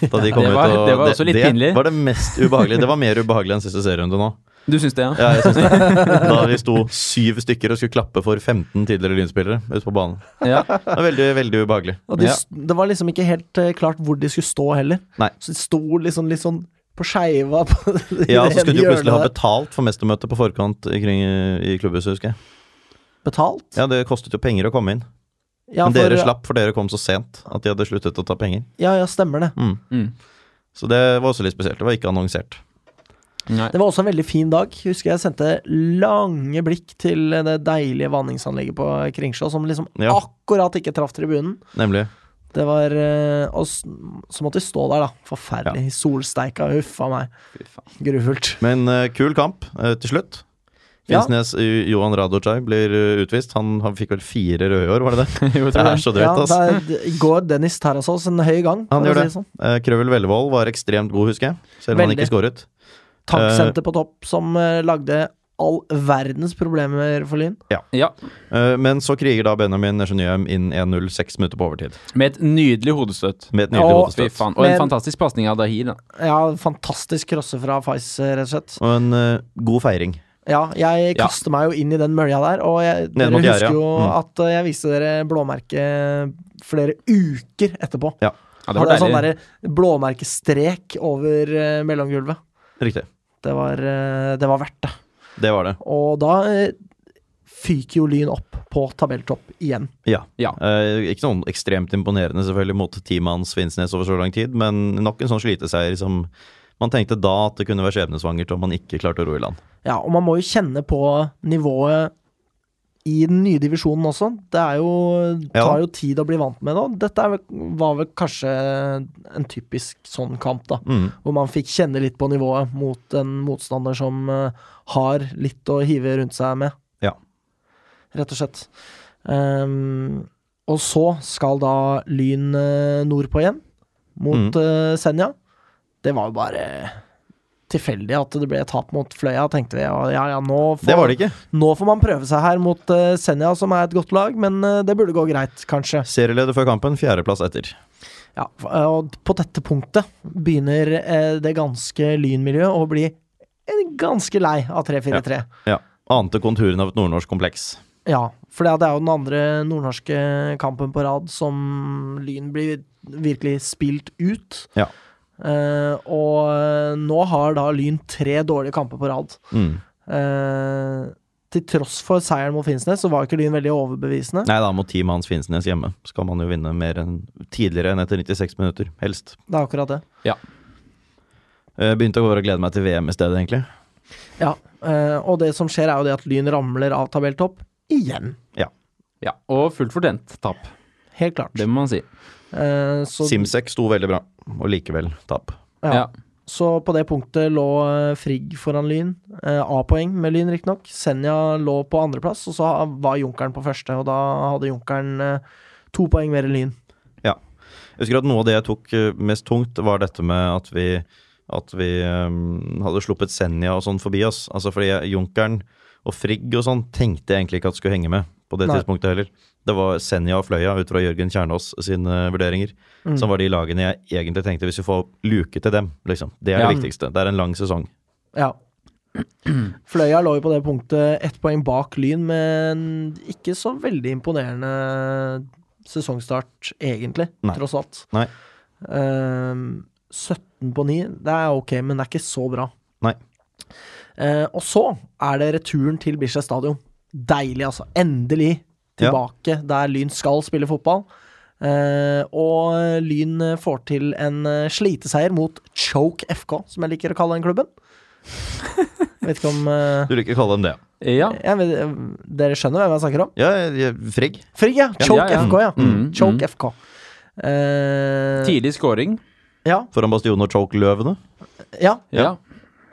Speaker 2: Da de
Speaker 3: Ja,
Speaker 2: kom
Speaker 3: det
Speaker 2: ut
Speaker 3: var-
Speaker 2: og,
Speaker 3: det var også litt
Speaker 2: det
Speaker 3: pinlig.
Speaker 2: var det mest ubehagelige. Det var mer ubehagelig enn siste serierunde nå.
Speaker 3: du syns det, ja?
Speaker 2: Ja, jeg synes det. Da vi sto syv stykker og skulle klappe for 15 tidligere lynspillere ute på banen.
Speaker 3: ja.
Speaker 2: Det var veldig, veldig ubehagelig.
Speaker 1: Og de,
Speaker 3: Ja.
Speaker 1: s- Det var liksom ikke helt eh, klart hvor de skulle stå heller.
Speaker 2: Nei.
Speaker 1: Så de sto liksom litt sånn på skeiva. på- i
Speaker 2: Ja,
Speaker 1: det
Speaker 2: så
Speaker 1: ene
Speaker 2: skulle de jo plutselig ha
Speaker 1: hjørnet der.
Speaker 2: betalt for mestermøtet på forkant i, kring, i klubbhuset, husker jeg.
Speaker 1: betalt.
Speaker 2: Ja, det kostet jo penger å komme inn.
Speaker 1: Ja,
Speaker 2: Men
Speaker 1: for-
Speaker 2: dere slapp, for dere kom så sent at de hadde sluttet å ta penger.
Speaker 1: Ja, ja, stemmer det.
Speaker 2: Mm.
Speaker 3: Mm.
Speaker 2: Så det var også litt spesielt. Det var ikke annonsert.
Speaker 3: Nei.
Speaker 1: Det var også en veldig fin dag. Husker jeg sendte lange blikk til det deilige vanningsanlegget på Kringsjå, som liksom
Speaker 2: Ja.
Speaker 1: akkurat ikke traff tribunen.
Speaker 2: Nemlig.
Speaker 1: Det var eh, Og s- så måtte vi stå der, da. Forferdelig. Solsteika. Huff a meg.
Speaker 3: Fy faen.
Speaker 1: Grufullt.
Speaker 2: Men eh, kul kamp eh, til slutt.
Speaker 1: Ja.
Speaker 2: Finnsnes eh, Johan Radocaj blir eh, utvist. Han, han fikk vel fire røde i år, var det det?
Speaker 3: Jo,
Speaker 2: Det
Speaker 3: jeg tror
Speaker 2: er
Speaker 3: det.
Speaker 2: så drøyt, ass.
Speaker 1: Ja, der går Dennis Terrazos en høy gang. for å
Speaker 2: Han gjør
Speaker 1: si
Speaker 2: det.
Speaker 1: sånn.
Speaker 2: Eh, Krøvel Vellevold var ekstremt god, husker jeg. Selv om han
Speaker 1: Veldig.
Speaker 2: ikke skåret.
Speaker 1: Tanksenter på topp, som eh, lagde all verdens problemer for Lyn.
Speaker 3: Ja.
Speaker 2: Eh, men så kriger da Benjamin Nesjenøem inn 1-0 seks minutter på overtid.
Speaker 3: Med et nydelig hodestøtt.
Speaker 2: Med et
Speaker 1: Å,
Speaker 2: nydelig
Speaker 3: Fy
Speaker 2: hodestøt.
Speaker 3: faen. Og en
Speaker 1: Men-
Speaker 3: fantastisk pasning av Dahir, da.
Speaker 1: Ja, fantastisk crosse fra Fais, eh, rett og slett.
Speaker 2: Og en eh, god feiring.
Speaker 1: Ja, jeg
Speaker 3: Ja.
Speaker 1: kaster meg jo inn i den mølja der, og jeg, dere
Speaker 2: Ned mot gjerdet,
Speaker 1: husker jo
Speaker 2: ja. Mm.
Speaker 1: at eh, jeg viste dere blåmerket flere uker etterpå.
Speaker 3: Ja, det
Speaker 1: det
Speaker 3: var
Speaker 1: Hadde en sånn
Speaker 3: deilig.
Speaker 1: derre blåmerkestrek over eh, mellomgulvet.
Speaker 2: Riktig.
Speaker 1: Det var, eh, det var verdt det.
Speaker 2: Det var det.
Speaker 1: Og da eh, fyker jo Lyn opp på tabelltopp igjen.
Speaker 2: Ja.
Speaker 3: Ja.
Speaker 2: Eh, ikke noe ekstremt imponerende selvfølgelig mot teammanns Finnsnes over så lang tid, men nok en sånn sliteseier som man tenkte da at det kunne være skjebnesvangert om man ikke klarte å ro i land.
Speaker 1: Ja, og man må jo kjenne på nivået i den nye divisjonen også. Det er jo,
Speaker 2: Ja.
Speaker 1: tar jo tid å bli vant med det. og Dette er, vel- var vel kanskje en typisk sånn kamp, da.
Speaker 2: Mm.
Speaker 1: Hvor man fikk kjenne litt på nivået mot en motstander som eh, har litt å hive rundt seg med.
Speaker 2: Ja.
Speaker 1: Rett og slett. Ehm, og så skal da Lyn eh, nordpå igjen,
Speaker 2: Mm.
Speaker 1: mot eh, Senja. Det var jo bare tilfeldig at det ble tap mot Fløya, tenkte vi. Og ja, ja, nå får,
Speaker 2: Det var det ikke.
Speaker 1: nå får man prøve seg her mot eh, Senja, som er et godt lag, men eh, det burde gå greit, kanskje.
Speaker 2: Serieleder før kampen, fjerdeplass etter.
Speaker 1: Ja, og på dette punktet begynner eh, det ganske lynmiljøet å bli en ganske lei av 3-4-3. Ja.
Speaker 2: Ja. Ante konturene av et nordnorsk kompleks.
Speaker 1: for det er jo den andre nordnorske kampen på rad som Lyn blir virkelig spilt ut.
Speaker 2: Ja.
Speaker 1: Eh, og eh, nå har da Lyn tre dårlige kamper på rad.
Speaker 2: Mm.
Speaker 1: Eh, til tross for seieren mot Finnsnes, så var ikke Lyn veldig overbevisende.
Speaker 2: Nei da, mot teammanns Finnsnes hjemme skal man jo vinne mer enn tidligere enn etter 96 minutter, helst.
Speaker 1: Det er akkurat det.
Speaker 2: Eh, Begynte å bare glede meg til VM i stedet, egentlig.
Speaker 1: Ja, eh, og det som skjer, er jo det at Lyn ramler av tabelltopp igjen.
Speaker 3: Ja, og fullt fortjent tap.
Speaker 1: Helt klart.
Speaker 3: Det må man si.
Speaker 1: Eh, så,
Speaker 2: Simsek sto veldig bra, og likevel tap.
Speaker 1: ja.
Speaker 3: Ja.
Speaker 1: så på det punktet lå eh, Frigg foran Lyn. Eh, A-poeng med Lyn, riktignok. Senja lå på andreplass, og så var Junkeren på første. Og da hadde Junkeren eh, to poeng mer enn Lyn.
Speaker 2: Jeg husker at noe av det jeg tok eh, mest tungt, var dette med at vi, at vi eh, hadde sluppet Senja og sånn forbi oss. Altså fordi jeg- Junkeren og Frigg og sånn tenkte jeg egentlig ikke at skulle henge med på det
Speaker 1: Nei.
Speaker 2: tidspunktet heller. Det var Senja og Fløya ut fra Jørgen Kjernås sine eh, vurderinger som var de lagene jeg egentlig tenkte hvis vi får luke til dem, liksom. Det er
Speaker 3: Ja.
Speaker 2: det viktigste. Det er en lang sesong.
Speaker 1: Ja. Fløya lå jo på det punktet ett poeng bak Lyn, men ikke så veldig imponerende sesongstart, egentlig,
Speaker 2: Nei.
Speaker 1: tross alt.
Speaker 2: Nei.
Speaker 1: Eh, 17 på 9, det er ok, men det er ikke så bra.
Speaker 2: Nei.
Speaker 1: Eh, og så er det returen til Bislett Stadion. Deilig, altså. Endelig tilbake der Lyn skal spille fotball. Eh, og Lyn eh, får til en eh, sliteseier mot Choke FK, som jeg liker å kalle den klubben. Jeg vet ikke om eh,
Speaker 2: Du liker å kalle dem det?
Speaker 3: Ja.
Speaker 1: jeg vet, Dere skjønner hvem jeg snakker om?
Speaker 2: Ja, jeg- Frigg.
Speaker 1: Frigg, ja!
Speaker 3: Ja,
Speaker 1: Choke
Speaker 3: ja, ja.
Speaker 1: FK, ja.
Speaker 3: Mm,
Speaker 1: Choke
Speaker 3: mm.
Speaker 1: FK. Eh,
Speaker 3: Tidlig scoring.
Speaker 1: ja,
Speaker 2: Foran Bastion og Choke-løvene.
Speaker 1: ja,
Speaker 3: Ja.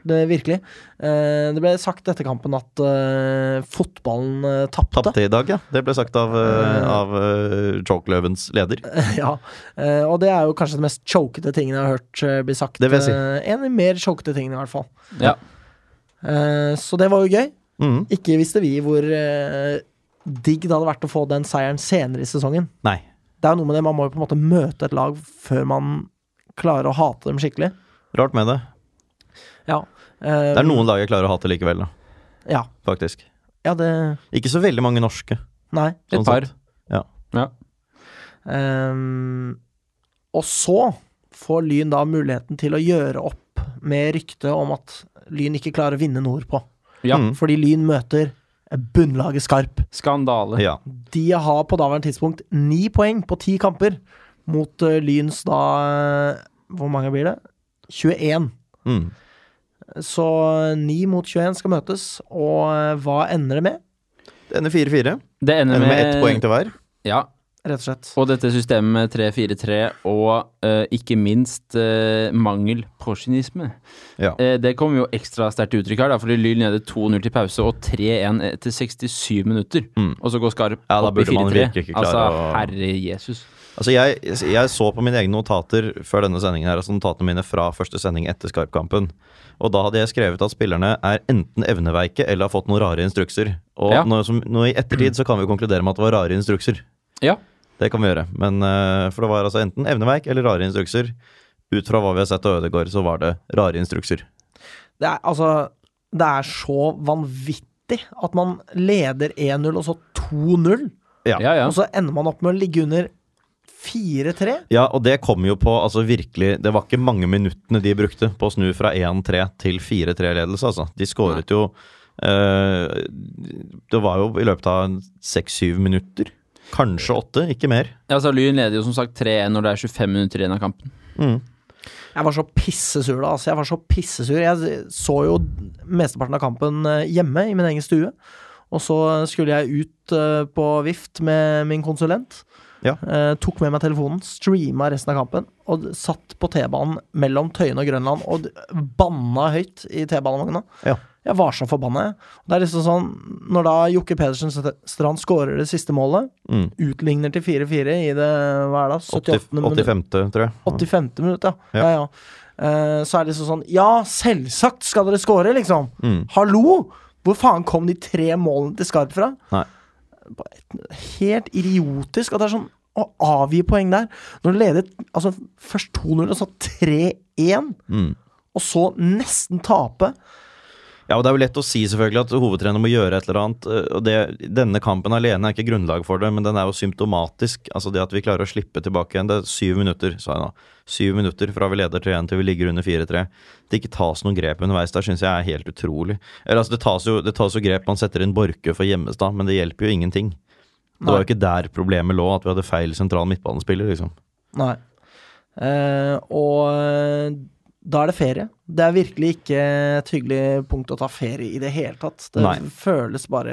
Speaker 1: det virkelig. Eh, det ble sagt etter kampen at eh, fotballen uh, tapte.
Speaker 2: Tapte i dag, ja. Det ble sagt av, eh, av eh, Choke-løvens leder.
Speaker 1: Ja, eh, og det er jo kanskje den mest chokete tingen jeg har hørt eh, bli sagt.
Speaker 2: Det vil jeg si.
Speaker 1: eh, En av de mer chokete tingene, i hvert fall.
Speaker 3: Ja.
Speaker 1: Eh, Så det var jo gøy.
Speaker 2: Mhm.
Speaker 1: Ikke visste vi hvor eh, digg det hadde vært å få den seieren senere i sesongen.
Speaker 2: Nei.
Speaker 1: Det er jo noe med det, man må jo på en måte møte et lag før man klarer å hate dem skikkelig.
Speaker 2: Rart med det.
Speaker 1: Ja.
Speaker 2: Det er noen lag jeg klarer å hate likevel, da.
Speaker 1: Ja.
Speaker 2: Faktisk.
Speaker 1: ja, det
Speaker 2: Ikke så veldig mange norske.
Speaker 1: Nei.
Speaker 3: Et par.
Speaker 2: sånn sett. Ja.
Speaker 3: Ja.
Speaker 1: Ehm, og så får Lyn da muligheten til å gjøre opp med ryktet om at Lyn ikke klarer å vinne nordpå.
Speaker 3: Ja.
Speaker 2: Mm.
Speaker 1: Fordi Lyn møter bunnlaget Skarp.
Speaker 3: Skandale.
Speaker 2: Ja.
Speaker 1: De har på daværende tidspunkt ni poeng på ti kamper mot eh, Lyns da eh, Hvor mange blir det? 21.
Speaker 2: Mm.
Speaker 1: Så 9 mot 21 skal møtes, og eh, hva ender det med?
Speaker 2: Det ender 4-4.
Speaker 3: Det ender
Speaker 2: Ender
Speaker 3: med
Speaker 2: med ett poeng til hver.
Speaker 3: Ja,
Speaker 1: Rett og slett.
Speaker 3: og dette systemet med 3-4-3 og eh, ikke minst eh, mangel på kynisme.
Speaker 2: Ja.
Speaker 3: Eh, det kommer jo ekstra sterkt til uttrykk her, da, fordi Lyl nede 2-0 til pause og 3-1 etter 67 minutter.
Speaker 2: Mm.
Speaker 3: Og så går Skarp
Speaker 2: Ja, da
Speaker 3: opp i
Speaker 2: burde man
Speaker 3: 4-3.
Speaker 2: virkelig ikke klare
Speaker 3: Altså,
Speaker 2: å-
Speaker 3: herre Jesus.
Speaker 2: Altså jeg, jeg så på mine egne notater før denne sendingen her, altså notatene mine fra første sending etter Skarp-kampen. Og da hadde jeg skrevet at spillerne er enten evneveike eller har fått noen rare instrukser. Og
Speaker 3: Ja.
Speaker 2: nå, som, nå i ettertid så kan vi jo konkludere med at det var rare instrukser.
Speaker 3: Ja.
Speaker 2: Det kan vi gjøre. Men eh, for det var altså enten evneveik eller rare instrukser. Ut fra hva vi har sett av Ødegaard, så var det rare instrukser.
Speaker 1: Det er, altså, det er så vanvittig at man leder 1-0, og så 2-0.
Speaker 2: Ja.
Speaker 3: Ja, ja.
Speaker 1: Og så ender man opp med å ligge under 4-3.
Speaker 2: Ja, og det kom jo på altså virkelig Det var ikke mange minuttene de brukte på å snu fra 1-3 til 4-3-ledelse, altså. De skåret jo eh, Det var jo i løpet av 6-7 minutter. Kanskje 8, ikke mer.
Speaker 3: Ja, så Lyn leder jo som sagt 3-1 når det er 25 minutter igjen av kampen.
Speaker 1: Jeg var så pissesur da, altså. Jeg var så pissesur. Jeg så jo mesteparten av kampen eh, hjemme i min egen stue. Og så skulle jeg ut eh, på vift med min konsulent.
Speaker 2: Ja.
Speaker 1: Eh, tok med meg telefonen, streama resten av kampen og d- satt på T-banen mellom Tøyen og Grønland og d- banna høyt i T-banevogna.
Speaker 2: Ja.
Speaker 1: Jeg var så forbanna, jeg. Det er liksom sånn, når da Jokke Pedersen St- Strand skårer det siste målet,
Speaker 2: Mm.
Speaker 1: utligner til 4-4 i det hva er det, 78.
Speaker 2: 80, 85., tror jeg.
Speaker 1: 85. minutt, ja.
Speaker 2: Ja.
Speaker 1: ja, ja. Eh, så er det liksom sånn Ja, selvsagt skal dere score, liksom!
Speaker 2: Mm.
Speaker 1: Hallo! Hvor faen kom de tre målene til Skarp fra?
Speaker 2: Nei.
Speaker 1: Helt idiotisk at det er sånn å avgi poeng der. Når du leder altså, først 2-0, og så 3-1,
Speaker 2: Mm.
Speaker 1: og så nesten tape.
Speaker 2: Ja, og Det er jo lett å si selvfølgelig at hovedtrener må gjøre et eller annet. øh, og det, Denne kampen alene er ikke grunnlag for det, men den er jo symptomatisk. Altså Det at vi klarer å slippe tilbake igjen. Det er syv minutter, sa jeg nå. Syv minutter fra vi leder 3-1 til vi ligger under 4-3. Det ikke tas noen grep underveis der, syns jeg er helt utrolig. Eller altså, det tas, jo, det tas jo grep. Man setter inn Borchø for Gjemmestad, men det hjelper jo ingenting. Det var jo ikke der problemet lå, at vi hadde feil sentral midtbanespiller, liksom.
Speaker 1: Nei. Eh, og eh, da er det ferie. Det er virkelig ikke et hyggelig punkt å ta ferie i det hele tatt. Det
Speaker 2: Nei.
Speaker 1: føles bare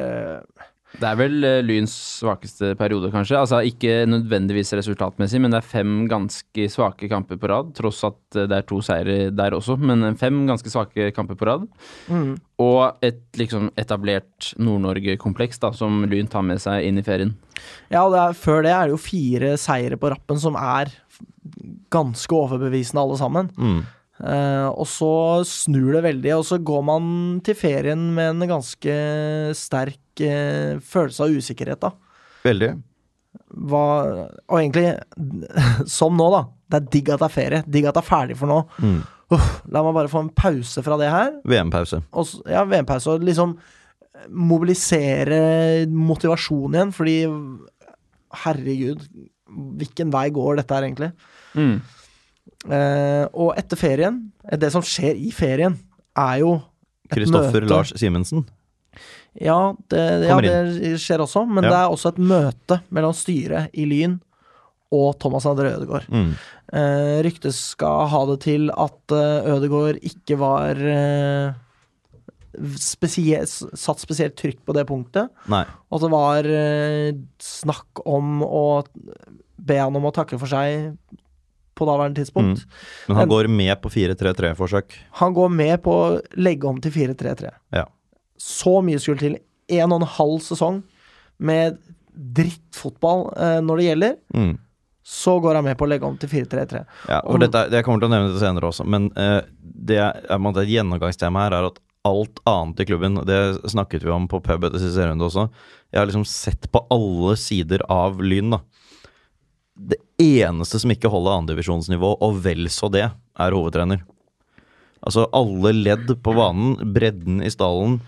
Speaker 3: Det er vel eh, Lyns svakeste periode, kanskje. Altså ikke nødvendigvis resultatmessig, men det er fem ganske svake kamper på rad. Tross at eh, det er to seire der også, men eh, fem ganske svake kamper på rad.
Speaker 1: mm.
Speaker 3: Og et liksom etablert Nord-Norge-kompleks da, som Lyn tar med seg inn i ferien.
Speaker 1: Ja, det er, før det er det jo fire seire på rappen som er ganske overbevisende alle sammen.
Speaker 2: Mm.
Speaker 1: Eh, og så snur det veldig, og så går man til ferien med en ganske sterk eh, følelse av usikkerhet, da.
Speaker 2: Veldig.
Speaker 1: Hva, og egentlig, som nå, da. Det er digg at det er ferie. Digg at det er ferdig for nå.
Speaker 2: Mm.
Speaker 1: Uff, la meg bare få en pause fra det her.
Speaker 2: VM-pause.
Speaker 1: Og, s- ja, VM-pause. Og liksom mobilisere motivasjon igjen, fordi herregud, hvilken vei går dette her, egentlig?
Speaker 2: Mm.
Speaker 1: Eh, og etter ferien eh, Det som skjer i ferien, er jo et
Speaker 2: Kristoffer
Speaker 1: møte.
Speaker 2: Lars Simensen.
Speaker 1: Ja, det, ja,
Speaker 2: Kommer
Speaker 1: det skjer også, men
Speaker 2: Ja.
Speaker 1: det er også et møte mellom styret i Lyn og Thomas André Ødegaard.
Speaker 2: Mm.
Speaker 1: Eh, ryktet skal ha det til at eh, Ødegaard ikke var eh, spesie- s- satt spesielt trykk på det punktet.
Speaker 2: Nei.
Speaker 1: Og at det var eh, snakk om å be han om å takke for seg på daværende tidspunkt.
Speaker 2: Men han går med på 4-3-3-forsøk.
Speaker 1: Han går med på å legge om til 4-3-3.
Speaker 2: Ja.
Speaker 1: Så mye skulle til. En og en halv sesong med drittfotball eh, når det gjelder.
Speaker 2: Mm.
Speaker 1: Så går han med på å legge om til 4-3-3.
Speaker 2: Ja, og dette, er- jeg kommer til å nevne det senere også, men eh, det, er, på en måte et gjennomgangstema her er at alt annet i klubben, det snakket vi om på pub etter siste runde også, jeg har liksom sett på alle sider av Lyn, da. det eneste som ikke holder andredivisjonsnivå, og vel så det, er hovedtrener. Altså alle ledd på banen, bredden i stallen,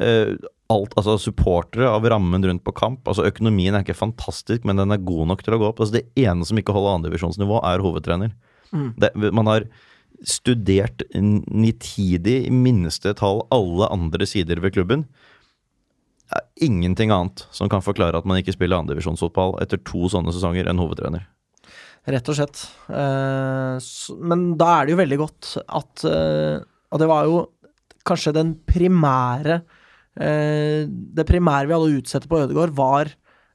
Speaker 2: eh, alt, altså supportere av rammen rundt på kamp. Altså Økonomien er ikke fantastisk, men den er god nok til å gå opp. Altså Det ene som ikke holder andredivisjonsnivå, er hovedtrener. Det, man har studert n- nitidig i minste tall alle andre sider ved klubben. Det er ingenting annet som kan forklare at man ikke spiller andredivisjonsfotball etter to sånne sesonger enn hovedtrener.
Speaker 1: Rett og slett. Eh, s- Men da er det jo veldig godt at eh, Og det var jo kanskje den primære eh, Det primære vi hadde å utsette på Ødegaard, var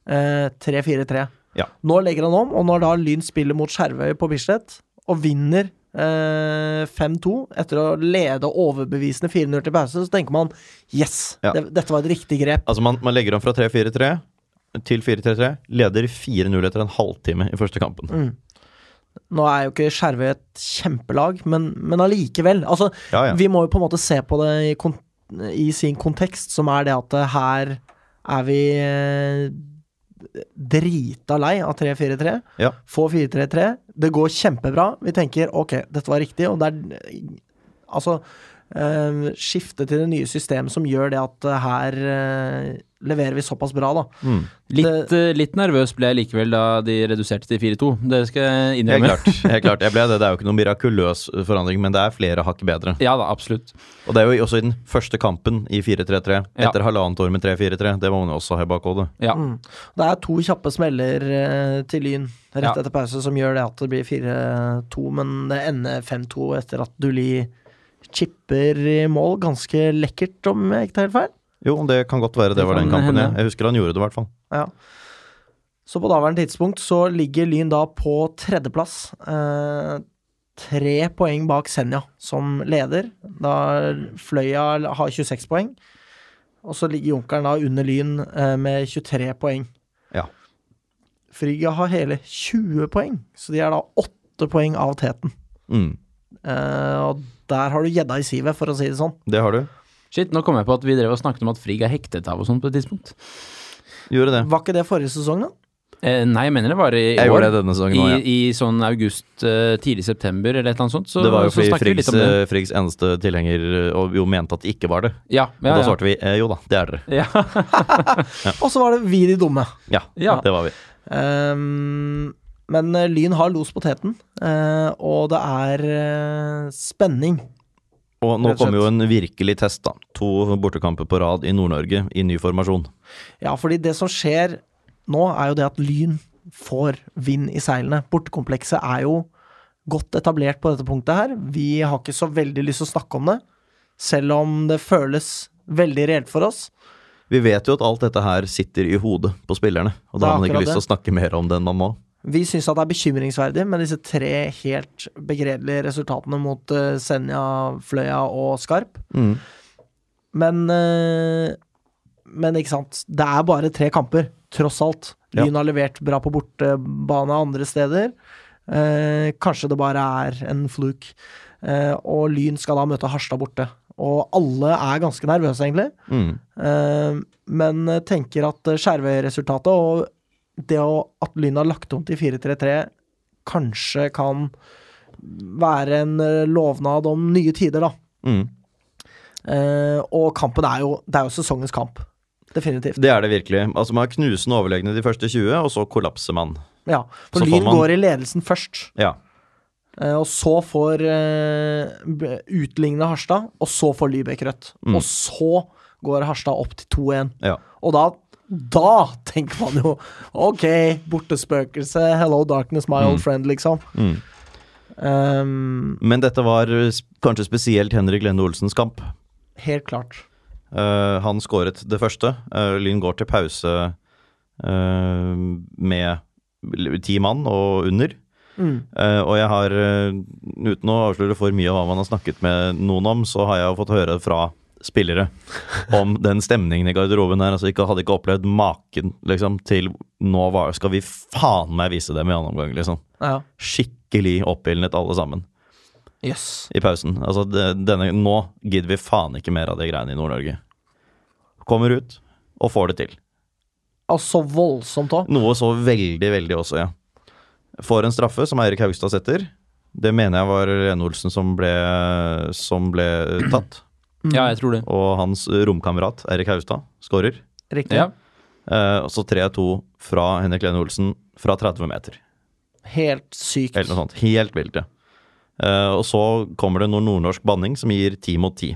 Speaker 1: eh, 3-4-3.
Speaker 2: Ja.
Speaker 1: Nå legger han om, og når da Lyn spiller mot Skjervøy på Bislett og vinner eh, 5-2 etter å lede overbevisende 4-0 til pause, så tenker man yes,
Speaker 2: Ja.
Speaker 1: det, dette var et riktig grep.
Speaker 2: Altså man, man legger om fra 3-4-3 til 4-3-3, leder 4-0 etter en halvtime i første kampen.
Speaker 1: Nå er jo ikke Skjervøy et kjempelag, men, men allikevel. Altså,
Speaker 2: Ja, ja.
Speaker 1: Vi må jo på en måte se på det i, kon i sin kontekst, som er det at eh, her er vi eh, drita lei av 3-4-3.
Speaker 2: Ja.
Speaker 1: Få 4-3-3. Det går kjempebra. Vi tenker ok, dette var riktig, og det er Altså eh, skifte til det nye systemet som gjør det at eh, her eh, leverer vi såpass bra, da.
Speaker 2: Mm.
Speaker 3: Litt, eh, litt nervøs ble jeg likevel da de reduserte til 4-2. Det skal jeg
Speaker 2: Helt
Speaker 3: innrømme.
Speaker 2: klart. Helt klart. Jeg ble det. det er jo ikke noen mirakuløs forandring, men det er flere hakk bedre.
Speaker 3: Ja da, absolutt.
Speaker 2: Og det er jo også i den første kampen i 4-3-3,
Speaker 3: Ja.
Speaker 2: etter halvannet år med 3-4-3. Det må man jo også ha i bakhodet.
Speaker 3: Ja.
Speaker 1: Mm. Det er to kjappe smeller eh, til Lyn rett
Speaker 3: Ja.
Speaker 1: etter pause som gjør det at det blir 4-2, men det ender 5-2 etter at Duli chipper i mål. Ganske lekkert, om jeg ikke tar helt feil.
Speaker 2: Jo, det kan godt være det,
Speaker 3: Det
Speaker 2: var den
Speaker 3: kan
Speaker 2: kampen.
Speaker 3: hende.
Speaker 2: Jeg. jeg husker han gjorde det, i hvert fall.
Speaker 1: Ja. Så på daværende tidspunkt så ligger Lyn da på tredjeplass. Eh, tre poeng bak Senja som leder. Da Fløya har 26 poeng. Og så ligger Junkeren da under Lyn eh, med 23 poeng.
Speaker 2: Ja.
Speaker 1: Frigga har hele 20 poeng, så de er da åtte poeng av teten.
Speaker 2: Mm.
Speaker 1: Eh, og der har du gjedda i sivet, for å si det sånn.
Speaker 2: Det har du.
Speaker 3: Shit, nå kom jeg på at vi drev og snakket om at Frigg er hektet av og sånn på et tidspunkt.
Speaker 2: Gjorde det.
Speaker 1: Var ikke det forrige sesong, da?
Speaker 3: Eh, nei, jeg mener det var i
Speaker 2: Jeg
Speaker 3: år.
Speaker 2: gjorde det denne sesongen
Speaker 3: I,
Speaker 2: òg, ja.
Speaker 3: I sånn august, eh, tidlig september eller et eller annet sånt. Så,
Speaker 2: det var jo
Speaker 3: så
Speaker 2: fordi
Speaker 3: snakket vi
Speaker 2: Friggs,
Speaker 3: litt om det.
Speaker 2: eh, Friggs eneste tilhenger eh, og jo mente at det ikke var det.
Speaker 3: Ja,
Speaker 2: Og
Speaker 3: ja,
Speaker 2: da
Speaker 3: ja.
Speaker 2: svarte vi eh, jo da, det er dere.
Speaker 3: Ja.
Speaker 1: Og så var det vi de dumme.
Speaker 2: Ja,
Speaker 3: Ja.
Speaker 2: det var vi.
Speaker 1: Ehm, men eh, Lyn har los på teten, eh, og det er eh, spenning.
Speaker 2: Og nå
Speaker 1: Rett og slett.
Speaker 2: kommer jo en virkelig test, da. To bortekamper på rad i Nord-Norge i ny formasjon.
Speaker 1: Ja, fordi det som skjer nå, er jo det at Lyn får vind i seilene. Bortekomplekset er jo godt etablert på dette punktet her. Vi har ikke så veldig lyst til å snakke om det, selv om det føles veldig reelt for oss.
Speaker 2: Vi vet jo at alt dette her sitter i hodet på spillerne, og da
Speaker 1: Det er
Speaker 2: har man ikke
Speaker 1: akkurat
Speaker 2: lyst til å snakke mer om det enn man må.
Speaker 1: Vi syns at det er bekymringsverdig med disse tre helt begredelige resultatene mot eh, Senja, Fløya og Skarp.
Speaker 2: Mm.
Speaker 1: Men eh, Men ikke sant. Det er bare tre kamper, tross alt.
Speaker 2: Ja.
Speaker 1: Lyn har levert bra på bortebane andre steder. Eh, kanskje det bare er en fluk. Eh, og Lyn skal da møte Harstad borte. Og alle er ganske nervøse, egentlig.
Speaker 2: Mm.
Speaker 1: Eh, men tenker at Skjervøy-resultatet og det å- at Lyn har lagt om til 4-3-3, kanskje kan være en eh, lovnad om nye tider, da.
Speaker 2: Mm.
Speaker 1: Eh, og kampen er jo Det er jo sesongens kamp. Definitivt.
Speaker 2: Det er det virkelig. Altså Man er knusende overlegne de første 20, og så kollapser man.
Speaker 1: Ja. For
Speaker 2: Så får
Speaker 1: Lyn
Speaker 2: man-
Speaker 1: går i ledelsen først,
Speaker 2: Ja.
Speaker 1: eh, og så får eh, b- utligne Harstad, og så får Lybekk rødt.
Speaker 2: Mm.
Speaker 1: Og så går Harstad opp til 2-1.
Speaker 2: ja.
Speaker 1: Og da, da tenker man jo OK, bortespøkelse, hello darkness, my old friend, liksom.
Speaker 2: Mm.
Speaker 1: Ehm,
Speaker 2: Men dette var eh, s- kanskje spesielt Henrik Lende Olsens kamp.
Speaker 1: helt klart.
Speaker 2: Eh, han skåret det første. Eh, Lyn går til pause eh, med l- ti mann og under.
Speaker 1: Mm.
Speaker 2: Eh, og jeg har, eh, uten å avsløre for mye av hva man har snakket med noen om, så har jeg jo fått høre fra spillere om den stemningen i garderoben her. Altså, ikke, hadde ikke opplevd maken liksom, til nå var, skal vi faen meg vise dem i annen omgang, liksom.
Speaker 1: Ja.
Speaker 2: Skikkelig oppildnet alle sammen
Speaker 1: Jøss.
Speaker 2: i pausen. Altså, det- denne, nå gidder vi faen ikke mer av de greiene i Nord-Norge. Kommer ut og får det til.
Speaker 1: Og så voldsomt òg.
Speaker 2: Noe så veldig, veldig også, ja. Får en straffe som Eirik Haugstad setter. Det mener jeg var Lene Olsen som ble, som ble eh, tatt.
Speaker 3: Ja, jeg tror det.
Speaker 2: Og hans romkamerat Eirik Haugstad skårer.
Speaker 1: Riktig.
Speaker 3: Ja.
Speaker 2: Eh, og så 3-2 fra Henrik Lene Olsen fra 30 meter.
Speaker 1: Helt sykt.
Speaker 2: Eller noe sånt. Helt vilt, ja. Eh, og så kommer det noe nordnorsk banning som gir ti mot ti